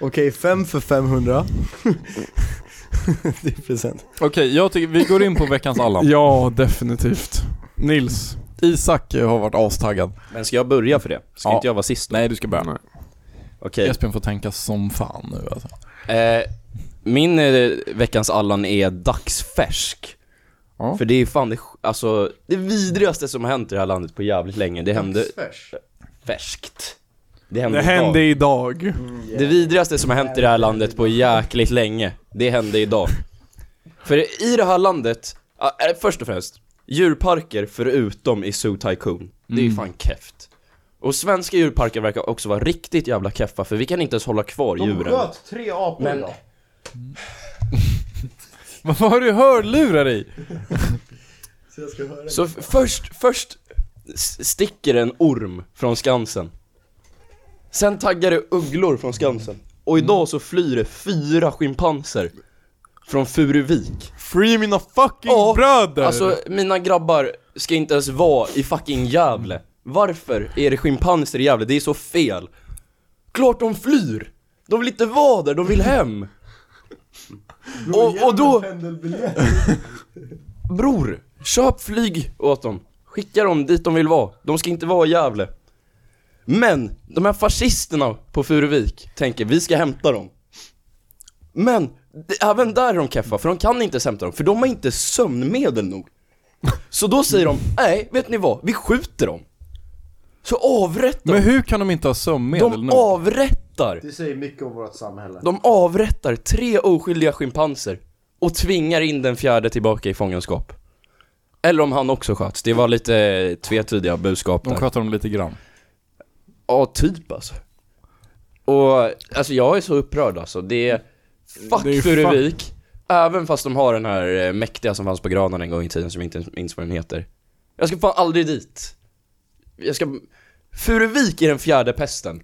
Speaker 9: Okej, fem för 500 *laughs* Det är present
Speaker 3: Okej, jag tycker vi går in på veckans Allan.
Speaker 4: Ja, definitivt. Nils.
Speaker 3: Isak eh, har varit astaggad.
Speaker 2: Men ska jag börja för det? Ska
Speaker 3: Ja.
Speaker 2: inte jag vara sist då?
Speaker 3: Nej, du ska börja.
Speaker 2: Okej.
Speaker 3: Esbjörn får tänka som fan nu alltså.
Speaker 2: Eh, min eh, veckans Allan är dagsfärsk.
Speaker 3: Ja.
Speaker 2: För det är fan det, sj- alltså, det vidrigaste som har hänt i det här landet på jävligt länge. Det hände färskt. Det hände,
Speaker 4: Det
Speaker 2: idag. Mm,
Speaker 4: hände idag.
Speaker 2: Det vidrigaste som har hänt i det här landet på jäkligt länge, det hände idag. För i det här landet, ja, eh, först och främst, djurparker förutom i Zoo Tycoon. Det är
Speaker 4: Mm.
Speaker 2: ju fan kefft. Och svenska djurparker verkar också vara riktigt jävla keffa för vi kan inte ens hålla kvar djuren.
Speaker 9: tre apor
Speaker 2: Men-
Speaker 3: Vad har du hörlurar i?
Speaker 9: Så jag ska höra.
Speaker 2: Så f- först, först s- sticker en orm från Skansen. Sen taggar det ugglor från Skansen. Och idag så flyr det fyra schimpanser från Furuvik.
Speaker 4: Free mina fucking
Speaker 2: Ja,
Speaker 4: bröder!
Speaker 2: Alltså mina grabbar ska inte ens vara i fucking Gävle. Varför är det schimpanser i Gävle? Det är så fel. Klart de flyr! De vill inte vara där, de vill hem. Och, och då... Bror, köp flyg åt dem. Skicka dem dit de vill vara. De ska inte vara i Gävle. Men, de här fascisterna på Furuvik tänker vi ska hämta dem. Men, det- även där är de keffa, för de kan inte ens hämta dem, för de har inte sömnmedel nog. Så då säger de, nej, vet ni vad? Vi skjuter dem. Så avrättar de.
Speaker 3: Men hur kan de inte ha sömnmedel
Speaker 2: De
Speaker 3: nu?
Speaker 2: avrättar.
Speaker 9: Det säger mycket om vårt samhälle.
Speaker 2: De avrättar tre oskyldiga schimpanser och tvingar in den fjärde tillbaka i fångenskap. Eller om han också sköts, det var lite eh, tvetydiga budskap
Speaker 3: De
Speaker 2: där.
Speaker 3: sköter dem lite grann.
Speaker 2: Ja, typ alltså. Och alltså jag är så upprörd alltså. Det är fuck
Speaker 4: Det är ju
Speaker 2: Furuvik. Även fast de har den här eh, mäktiga som fanns på Granen en gång i tiden som jag inte ens minns vad den heter. Jag ska fan aldrig dit. Jag ska... Furuvik är den fjärde pesten.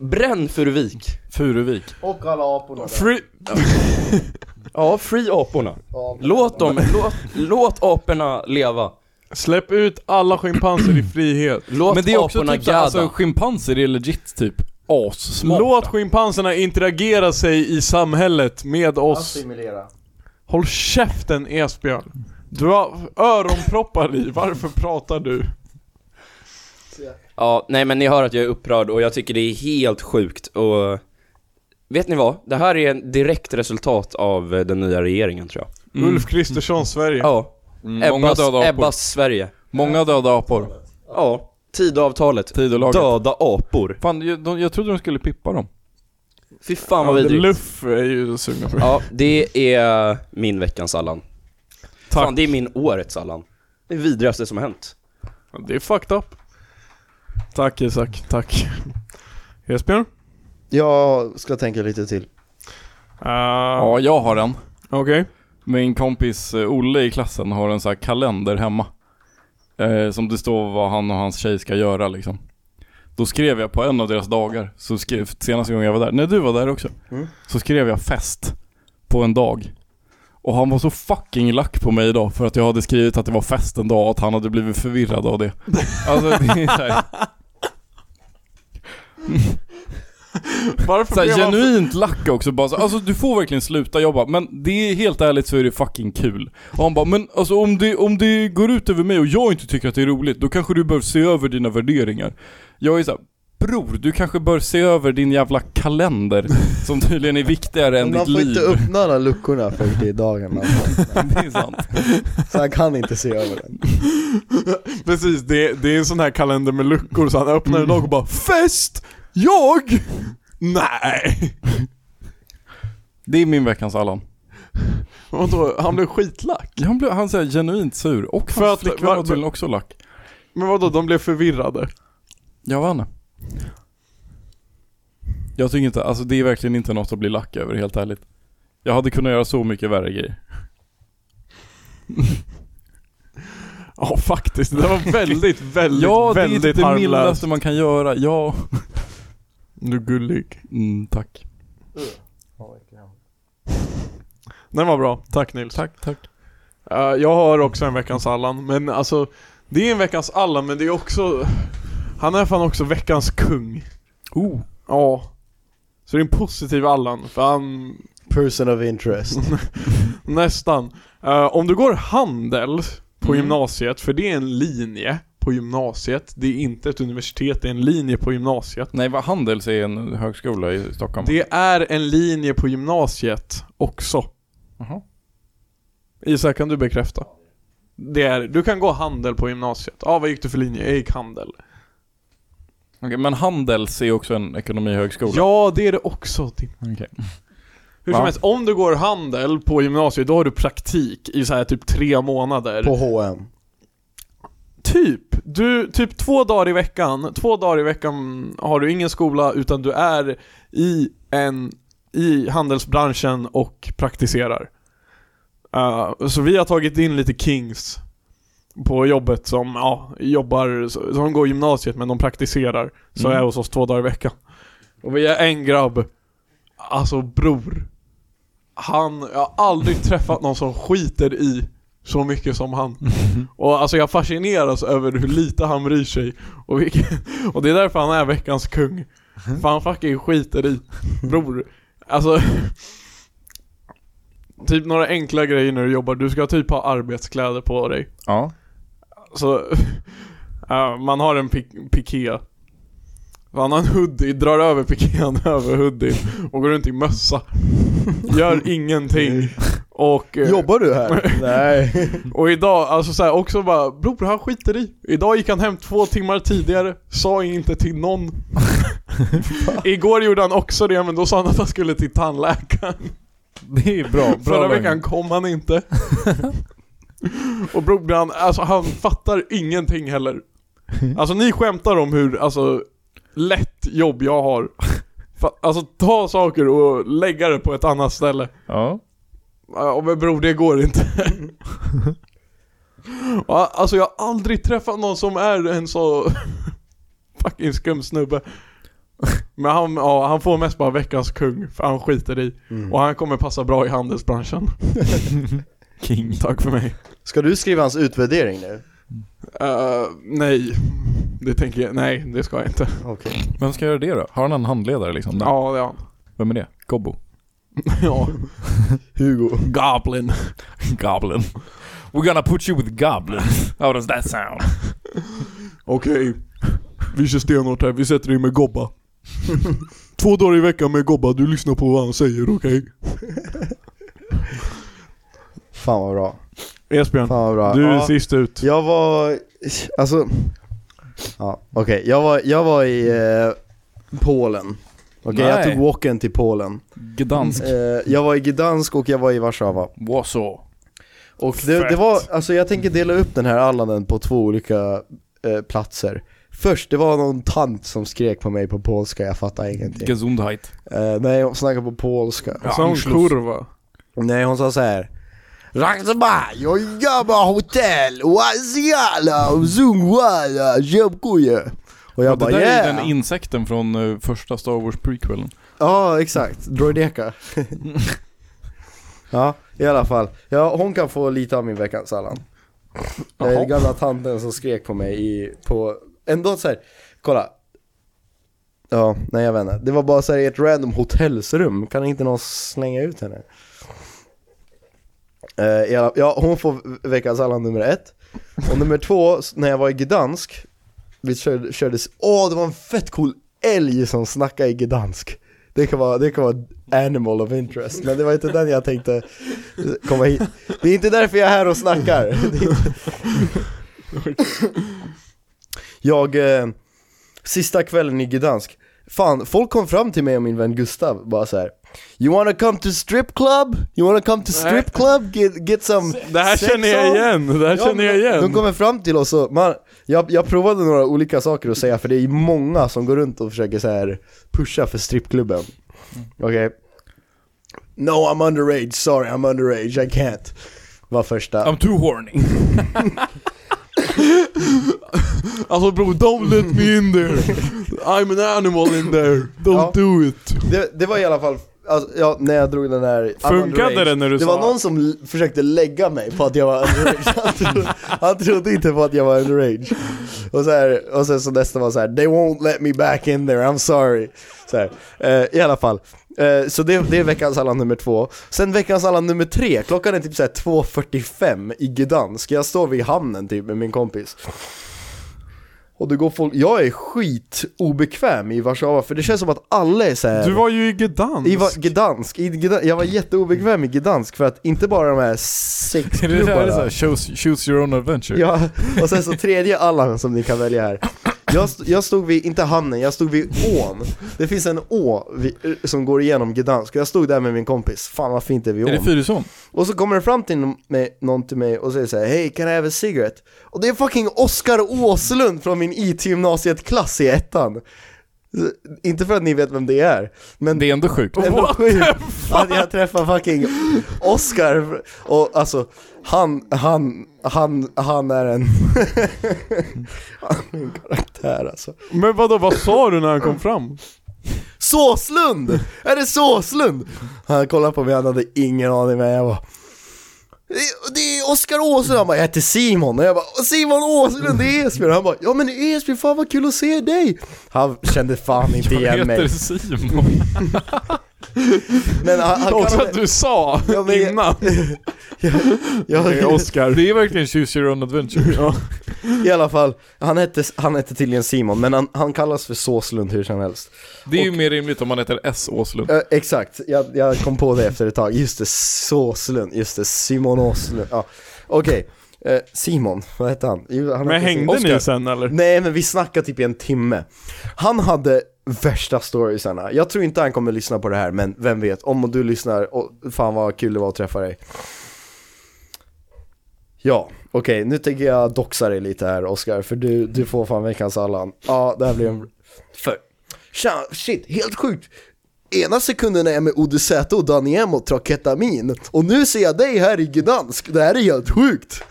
Speaker 2: Bränn Furuvik.
Speaker 3: Furuvik.
Speaker 9: Och alla aporna där.
Speaker 2: Free... ja, free aporna.
Speaker 9: Ja.
Speaker 2: Låt dem, låt, låt aporna leva.
Speaker 4: Släpp ut alla schimpanser i frihet.
Speaker 2: Låt
Speaker 3: Men det är också
Speaker 2: aporna
Speaker 3: typ så-
Speaker 2: gadda.
Speaker 3: alltså schimpanser är legit typ assmarta.
Speaker 4: Låt schimpanserna interagera sig i samhället med oss.
Speaker 9: Assimilera.
Speaker 4: Håll käften Esbjörn. Du har öronproppar i, varför pratar du?
Speaker 2: Ja, nej men ni hör att jag är upprörd och jag tycker det är helt sjukt och Vet ni vad? Det här är en direkt resultat av eh, den nya regeringen tror jag
Speaker 4: Ulf Kristersson, Sverige.
Speaker 2: Ja,
Speaker 3: Mm, många
Speaker 2: Ebbas,
Speaker 3: döda apor.
Speaker 2: Ebbas Sverige
Speaker 3: Många döda apor.
Speaker 2: Ja, Tidöavtalet
Speaker 3: Tidölaget.
Speaker 2: Döda apor
Speaker 3: Fan, jag, de, jag trodde de skulle pippa dem.
Speaker 2: Fy fan
Speaker 4: Ja,
Speaker 2: vad
Speaker 4: det-
Speaker 2: vidrigt
Speaker 4: Luff är ju sugna på.
Speaker 2: Ja, det är min veckans Allan
Speaker 4: Tack.
Speaker 2: Fan, det är min årets Allan Det är det vidrigaste som har hänt
Speaker 4: Det är fucked up. Tack Isak, tack. Esbjörn?
Speaker 9: Jag ska tänka lite till.
Speaker 4: Uh,
Speaker 3: Ja, jag har en.
Speaker 4: Okej.
Speaker 3: Min kompis eh, Olle i klassen har en sån här kalender hemma. Eh, som det står vad han och hans tjej ska göra liksom. Då skrev jag på en av deras dagar, så skrev, senaste gången jag var där, när du var där också.
Speaker 2: Mm.
Speaker 3: Så skrev jag fest på en dag. Och han var så fucking lack på mig idag för att jag hade skrivit att det var fest en dag och att han hade blivit förvirrad av det. Alltså det är såhär,
Speaker 4: Varför
Speaker 3: såhär
Speaker 4: blev han-
Speaker 3: genuint lack också bara så, Alltså du får verkligen sluta jobba men det är helt ärligt så är det fucking kul. Och han bara, men alltså om det, om det går ut över mig och jag inte tycker att det är roligt då kanske du bör se över dina värderingar. Jag är såhär, bror du kanske bör se över din jävla kalender som tydligen är viktigare än
Speaker 9: Men man
Speaker 3: ditt
Speaker 9: får
Speaker 3: liv.
Speaker 9: inte öppna alla luckorna för det är dagen alltså.
Speaker 3: *laughs* Det är sant.
Speaker 9: *laughs* Så han kan inte se över den.
Speaker 4: Precis, det, det är en sån här kalender med luckor så han öppnar en dag och bara Fest! Jag? Nej!
Speaker 3: Det är min veckans Allan.
Speaker 4: Vadå, han blev skitlack.
Speaker 3: Ja, Han blev han säger genuint sur och
Speaker 4: För
Speaker 3: hans
Speaker 4: att-
Speaker 3: flickvän
Speaker 4: var-
Speaker 3: var tydligen också lack.
Speaker 4: Men vadå, de blev förvirrade.
Speaker 3: Jag vann. Jag tycker inte, alltså det är verkligen inte något att bli lack över helt ärligt. Jag hade kunnat göra så mycket värre grejer.
Speaker 4: *laughs* Ja faktiskt, det var väldigt,
Speaker 3: *laughs*
Speaker 4: väldigt,
Speaker 3: ja, det är
Speaker 4: väldigt
Speaker 3: typ det
Speaker 4: harmlöst.
Speaker 3: mildaste man kan göra. Ja.
Speaker 4: Du är gullig.
Speaker 3: Mm, tack.
Speaker 4: Den var bra, tack Nils.
Speaker 3: Tack, tack.
Speaker 4: Eh, jag har också en veckans Allan, men alltså Det är en veckans Allan men det är också Han är fan också veckans kung.
Speaker 3: Oh.
Speaker 4: Ja. Så det är en positiv Allan, för han
Speaker 9: Person of interest.
Speaker 4: Nästan. Eh, om du går handel på
Speaker 3: Mm.
Speaker 4: gymnasiet, för det är en linje på gymnasiet, det är inte ett universitet, det är en linje på gymnasiet.
Speaker 3: Nej, vad Handels är en högskola i Stockholm.
Speaker 4: Det är en linje på gymnasiet också.
Speaker 3: Jaha.
Speaker 4: Isak, kan du bekräfta? Det är, du kan gå handel på gymnasiet. Ja, ah, vad gick du för linje? Jag gick handel.
Speaker 3: Okej, men Handels är också en ekonomihögskola.
Speaker 4: Ja, det är det också. Tim.
Speaker 3: Okej.
Speaker 4: Hur som
Speaker 3: Va?
Speaker 4: helst, om du går handel på gymnasiet, då har du praktik i så här typ tre månader.
Speaker 9: På H&M
Speaker 4: Typ. Du, typ två dagar i veckan, två dagar i veckan har du ingen skola utan du är i en, i handelsbranschen och praktiserar. Eh, så vi har tagit in lite kings på jobbet som ja, jobbar, så- som går gymnasiet men de praktiserar. Så
Speaker 3: Mm.
Speaker 4: är hos oss två dagar i veckan. Och vi är en grabb. Alltså bror. Han, jag har aldrig träffat någon som skiter i så mycket som han. Och alltså jag fascineras över hur lite han bryr sig. Och, vilken, och det är därför han är veckans kung. För han fucking skiter i. Bror. Alltså. Typ några enkla grejer när du jobbar. Du ska typ ha arbetskläder på dig.
Speaker 3: Ja.
Speaker 4: Så ja, man har en pik- piké. Han har en hoodie, drar över pikén över hoodien och går runt i mössa. Gör ingenting. Och, eh,
Speaker 9: Jobbar
Speaker 3: *laughs*
Speaker 9: du här? Nej.
Speaker 4: och idag, alltså så här, också bara bror han skiter i. Idag gick han hem två timmar tidigare, sa inte till någon. Igår gjorde han också det men då sa han att han skulle till tandläkaren.
Speaker 3: Det är bra. bra
Speaker 4: *laughs* Förra
Speaker 3: lögn.
Speaker 4: veckan kom han inte. och bror, han, alltså han fattar ingenting heller. Alltså ni skämtar om hur, alltså, lätt jobb jag har. Fa- Alltså ta saker och lägga det på ett annat ställe.
Speaker 3: Ja.
Speaker 4: Ja men bror det går *laughs* inte. Ja, alltså jag har aldrig träffat någon som är en så *laughs* fucking skum snubbe. Men han, ja, han får mest bara veckans kung, för han skiter i. Och han kommer passa bra i *laughs* handelsbranschen.
Speaker 3: King.
Speaker 4: Tack för mig.
Speaker 9: Ska du skriva hans utvärdering nu?
Speaker 4: Eh, nej, det tänker jag, nej det ska jag inte.
Speaker 9: Okej.
Speaker 3: Vem ska göra det då? Har han en handledare liksom? Ja.
Speaker 4: Ja det är han.
Speaker 3: Vem är det? *laughs* Gobbo?
Speaker 4: Ja.
Speaker 9: Hugo.
Speaker 3: *laughs*
Speaker 4: Goblin.
Speaker 3: Goblin. We're gonna put you with Goblin. How does that sound?
Speaker 4: Okej, vi kör stenhårt här, vi sätter dig med Gobba. Två dagar i veckan med Gobba, du lyssnar på vad han säger, okej?
Speaker 9: Fan vad bra.
Speaker 4: Esbjörn,
Speaker 9: Fan vad bra.
Speaker 4: du är
Speaker 9: Ja.
Speaker 4: sist ut.
Speaker 9: Jag var, alltså, ja, okej. Jag, var, jag var i eh, Polen. Okej, jag
Speaker 3: Nej.
Speaker 9: tog walken till Polen.
Speaker 3: Gdansk.
Speaker 9: Eh, jag var i Gdansk och jag var i Warszawa.
Speaker 3: Warsaw.
Speaker 9: Och det, det var, alltså jag tänker dela upp den här Allanen på två olika eh, platser. Först, det var någon tant som skrek på mig på polska, jag fattar ingenting.
Speaker 3: Gesundheit.
Speaker 9: Eh, nej, hon snackade på polska.
Speaker 4: Ja, Sån
Speaker 3: Anschluss.
Speaker 4: kurva.
Speaker 9: Nej, hon sa så här. Rakzba, jag jobbar hotell, wasiala, zungwala, jämkuye. Och jag
Speaker 3: det
Speaker 9: bara
Speaker 3: där är ju
Speaker 9: yeah!
Speaker 3: den insekten från eh, första Star Wars prequelen.
Speaker 9: Ja,
Speaker 3: *laughs*
Speaker 9: exakt. Droideka. ja, i alla fall. Ja, hon kan få lite av min veckans Allan. Det är
Speaker 4: Jaha.
Speaker 9: gamla tanten som skrek på mig i, på, ändå så här, kolla. Ja, nej jag vet inte. Det var bara så här i ett random hotellsrum, kan inte någon slänga ut henne? Eh, i alla, ja, hon får veckans Allan nummer ett. Och nummer två, s- när jag var i Gdansk, vi körde, kördes, åh det var en fett cool älg som snackade i Gdansk. Det kan, vara, det kan vara animal of interest, men det var inte den jag tänkte eh, komma hit. Det är inte därför jag är här och snackar. *laughs* Det är inte... Jag, eh, sista kvällen i Gdansk, fan folk kom fram till mig och min vän Gustav bara så här. You wanna come to strip club? You wanna come to strip club? Get, get some
Speaker 4: Det här
Speaker 9: sex
Speaker 4: känner jag
Speaker 9: on?"
Speaker 4: igen, det här
Speaker 9: Ja,
Speaker 4: känner jag
Speaker 9: men de-
Speaker 4: igen.
Speaker 9: De kommer fram till oss och man, jag, jag provade några olika saker att säga för det är många som går runt och försöker så här pusha för strippklubben.
Speaker 4: Mm.
Speaker 9: Okej. No I'm underage, sorry I'm underage, I can't. Var första.
Speaker 3: I'm too *laughs* horny.
Speaker 4: Alltså bro, don't let me in there.
Speaker 9: *laughs*
Speaker 4: I'm an animal in there.
Speaker 9: Ja.
Speaker 4: Don't do it.
Speaker 9: Det, det var i alla fall, alltså, ja, när jag drog den här I'm
Speaker 4: Funkade
Speaker 9: underage,
Speaker 4: det när du
Speaker 9: Det
Speaker 4: sa-
Speaker 9: var någon som l- försökte lägga mig på att jag var underage. Han trodde, han trodde inte på att jag var underage. Och, så här, och sen så nästa var så här, they won't let me back in there, I'm sorry. Så här, eh, I alla fall. Eh, så det, det är veckans Allan nummer två. Sen veckans Allan nummer tre, klockan är typ så här 2.45 i Gdansk. Jag står vid hamnen typ med min kompis. Och det går folk, jag är skit obekväm i Warszawa för det känns som att alla är så här.
Speaker 4: Du var ju i Gdansk.
Speaker 9: I va- Gdansk, i Gdansk, jag var jätteobekväm i Gdansk för att inte bara de här
Speaker 4: *laughs*
Speaker 9: sex
Speaker 3: är det så här, är det så här,
Speaker 9: klubbarna.
Speaker 3: choose, choose your own adventure?
Speaker 9: Ja, och sen så tredje Allan som ni kan välja här. Jag, st- jag stod vid, inte hamnen, jag stod vid ån. Det finns en å vid, som går igenom Gdansk och jag stod där med min kompis. Fan vad fint det är vid
Speaker 3: Är det
Speaker 9: ån.
Speaker 3: Fyrisån?
Speaker 9: Och så kommer det fram till no- mig, någon till mig och säger så här: Hey, can I have a cigarette? Och det är fucking Oskar Åslund från min IT-gymnasiet-klass i ettan. Inte för att ni vet vem det är, men
Speaker 3: Det är ändå sjukt.
Speaker 9: det var sjukt att jag träffade fucking Oscar och alltså han, han, han, han är en, *laughs* han är en karaktär alltså.
Speaker 4: Men vadå, vad sa du när han kom fram?
Speaker 9: Såslund! Är det Såslund? Han kollade på mig, han hade ingen aning men jag bara "Det- det är Oskar Åslund, han bara jag heter Simon och jag bara Simon Åslund det är Esbjörn, han bara ja men Esbjörn fan vad kul att se dig! Han
Speaker 4: *laughs*
Speaker 9: kände fan inte igen mig.
Speaker 3: Simon.
Speaker 9: Men han, han
Speaker 4: Också
Speaker 9: kallade-
Speaker 4: att du sa
Speaker 9: Ja, men jag-
Speaker 4: innan. Det är
Speaker 9: jag,
Speaker 4: Oscar.
Speaker 3: Det är verkligen choose your own adventure. *laughs*
Speaker 9: I alla fall, han hette, han hette tydligen Simon men han, han kallas för Såslund hur som helst.
Speaker 3: Det är ju mer rimligt om man heter S. Åslund.
Speaker 9: Eh, exakt, jag, jag kom på det efter ett tag. Just det, Såslund, just det, Simon Åslund. Ja. Okej, eh, Simon, vad hette han? Jo, han
Speaker 4: Men
Speaker 9: hette
Speaker 4: hängde
Speaker 9: Oscar.
Speaker 4: ni sen eller?
Speaker 9: Nej men vi snackade typ i en timme. Han hade värsta storiesarna. Jag tror inte han kommer lyssna på det här men vem vet, om du lyssnar, och fan vad kul det var att träffa dig. Ja, okej nu tänker jag doxa dig lite här Oscar för du, du får fan veckans Allan. Ja, det här blir en... För... Tja, shit, helt sjukt. Ena sekunden är jag med Odysäte och Daniem och tar ketamin och nu ser jag dig här i Gdansk, det här är helt sjukt.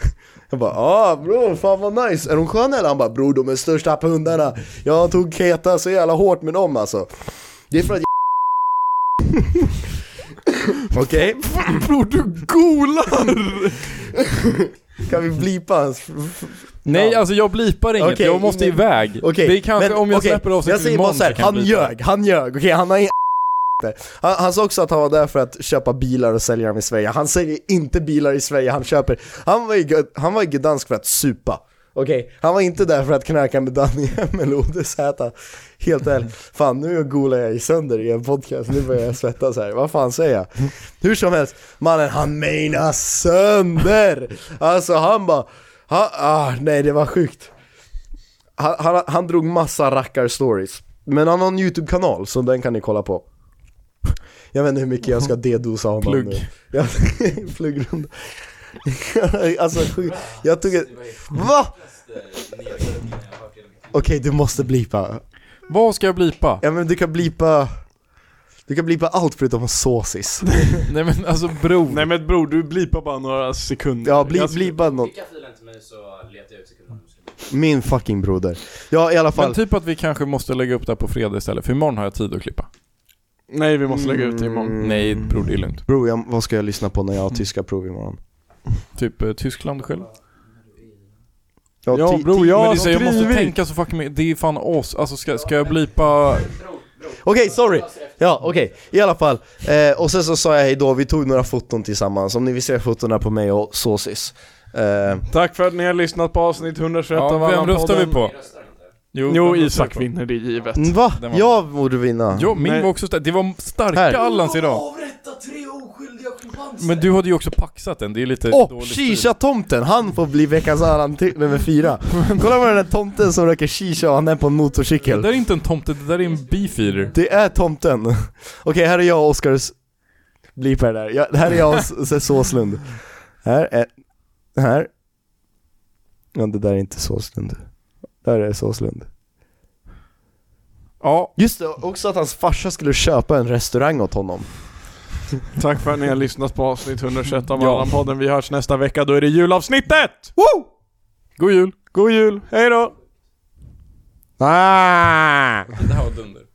Speaker 9: Jag bara ah bror, fan vad nice, är de sköna eller? Han bara bror de är största pundarna, jag tog keta så jävla hårt med dem alltså. Det är för att jag- *laughs* Okej,
Speaker 4: Bror du golar!
Speaker 9: kan vi blipa hans... f- f-
Speaker 3: Nej,
Speaker 9: Ja.
Speaker 3: alltså jag blipar inget.
Speaker 9: Okej,
Speaker 3: jag måste
Speaker 9: ingen-
Speaker 3: iväg.
Speaker 9: Okej,
Speaker 3: Det är kanske om jag
Speaker 9: okej,
Speaker 3: släpper
Speaker 9: Jag
Speaker 3: avsnittet
Speaker 9: säger bara
Speaker 3: imorgon
Speaker 9: såhär,
Speaker 3: kan jag
Speaker 9: han
Speaker 3: blipa.
Speaker 9: ljög, han ljög, okej han har ingen *laughs* han, han sa också att han var där för att köpa bilar och sälja dem i Sverige, han säljer inte bilar i Sverige, han köper Han var i, Gu- han var i Gdansk för att supa Okej, han var inte där för att knarka med Daniel *laughs* eller Odesäta Helt ärligt, fan nu golar jag i sönder i en podcast, nu börjar jag svettas här, vad fan säger jag? Hur som helst, mannen han menar sönder! Alltså han bara, ha, ah, nej det var sjukt han, han, han drog massa rackar-stories. Men han har en YouTube-kanal, så den kan ni kolla på. Jag vet inte hur mycket jag ska dedosa honom
Speaker 3: Plugg.
Speaker 9: nu. *laughs* Jag, pluggrunda. *laughs* alltså sjukt. Jag tog ett... Va? Okej, du måste blipa.
Speaker 3: Vad ska jag blipa?
Speaker 9: Ja men du kan blipa... Du kan blipa allt förutom såsis.
Speaker 3: Nej men alltså bror.
Speaker 4: Nej men bror, du blipar bara några sekunder.
Speaker 9: Ja, bli,
Speaker 4: Jag ska-
Speaker 9: blipa något.
Speaker 2: Skicka filen till mig så letar jag ut sekunden.
Speaker 9: Min fucking broder. Ja, i alla fall.
Speaker 3: Men typ att vi kanske måste lägga upp det här på fredag istället, för imorgon har jag tid att klippa.
Speaker 4: Nej vi måste lägga ut det imorgon.
Speaker 3: Nej bror, det är lugnt.
Speaker 9: Mm. Bro, jag, vad ska jag lyssna på när jag har tyska prov imorgon?
Speaker 3: Typ eh, Tyskland själv.
Speaker 4: Ja
Speaker 9: ti-
Speaker 4: bror, jag
Speaker 9: ti-
Speaker 3: men det
Speaker 4: har
Speaker 3: är så, jag måste
Speaker 4: skrivit.
Speaker 3: tänka så fucking mycket. Det är fan oss. Alltså ska, ska jag blipa...
Speaker 9: Okej, sorry! Ja, okej. I alla fall. Eh, och sen så sa jag hejdå, vi tog några foton tillsammans. Om ni vill se fotona på mig och Såsis. Eh,
Speaker 4: Tack för att ni har lyssnat på avsnitt 121 av
Speaker 3: Ja, vem
Speaker 4: Allan-podden.
Speaker 3: röstar vi på?
Speaker 4: Jo,
Speaker 3: vem röstar vi
Speaker 4: Isak
Speaker 3: på?
Speaker 4: vinner, det är givet.
Speaker 9: mm, va?
Speaker 3: Den var-
Speaker 9: Jag borde vinna.
Speaker 3: Jo, min
Speaker 4: Nej.
Speaker 3: var också stark. Det var starka
Speaker 9: Här.
Speaker 3: Allans idag. Men du hade ju också paxat den, det är lite
Speaker 9: Och
Speaker 3: dålig
Speaker 9: Shisha-tomten, han får bli veckans Allan till- nummer fyra. Kolla på den där tomten som röker shisha och han är på en
Speaker 3: Det där
Speaker 9: motorcykel.
Speaker 3: är inte en tomte, det där är en beefeater.
Speaker 9: Det är tomten. Okej, här är jag och Oskars... Blipa det där. Ja, här är jag och S- S- Såslund. Här är... Här. Ja, det där är inte Såslund. Där är Såslund.
Speaker 3: Ja,
Speaker 9: Just det, också att hans farsa skulle köpa en restaurang åt honom.
Speaker 4: Tack för att ni har lyssnat på avsnitt 121 av
Speaker 3: Ja.
Speaker 4: Allan-podden. Vi hörs nästa vecka, då är det julavsnittet!
Speaker 3: god jul!
Speaker 4: God jul, hej då!
Speaker 3: Det här var dunder.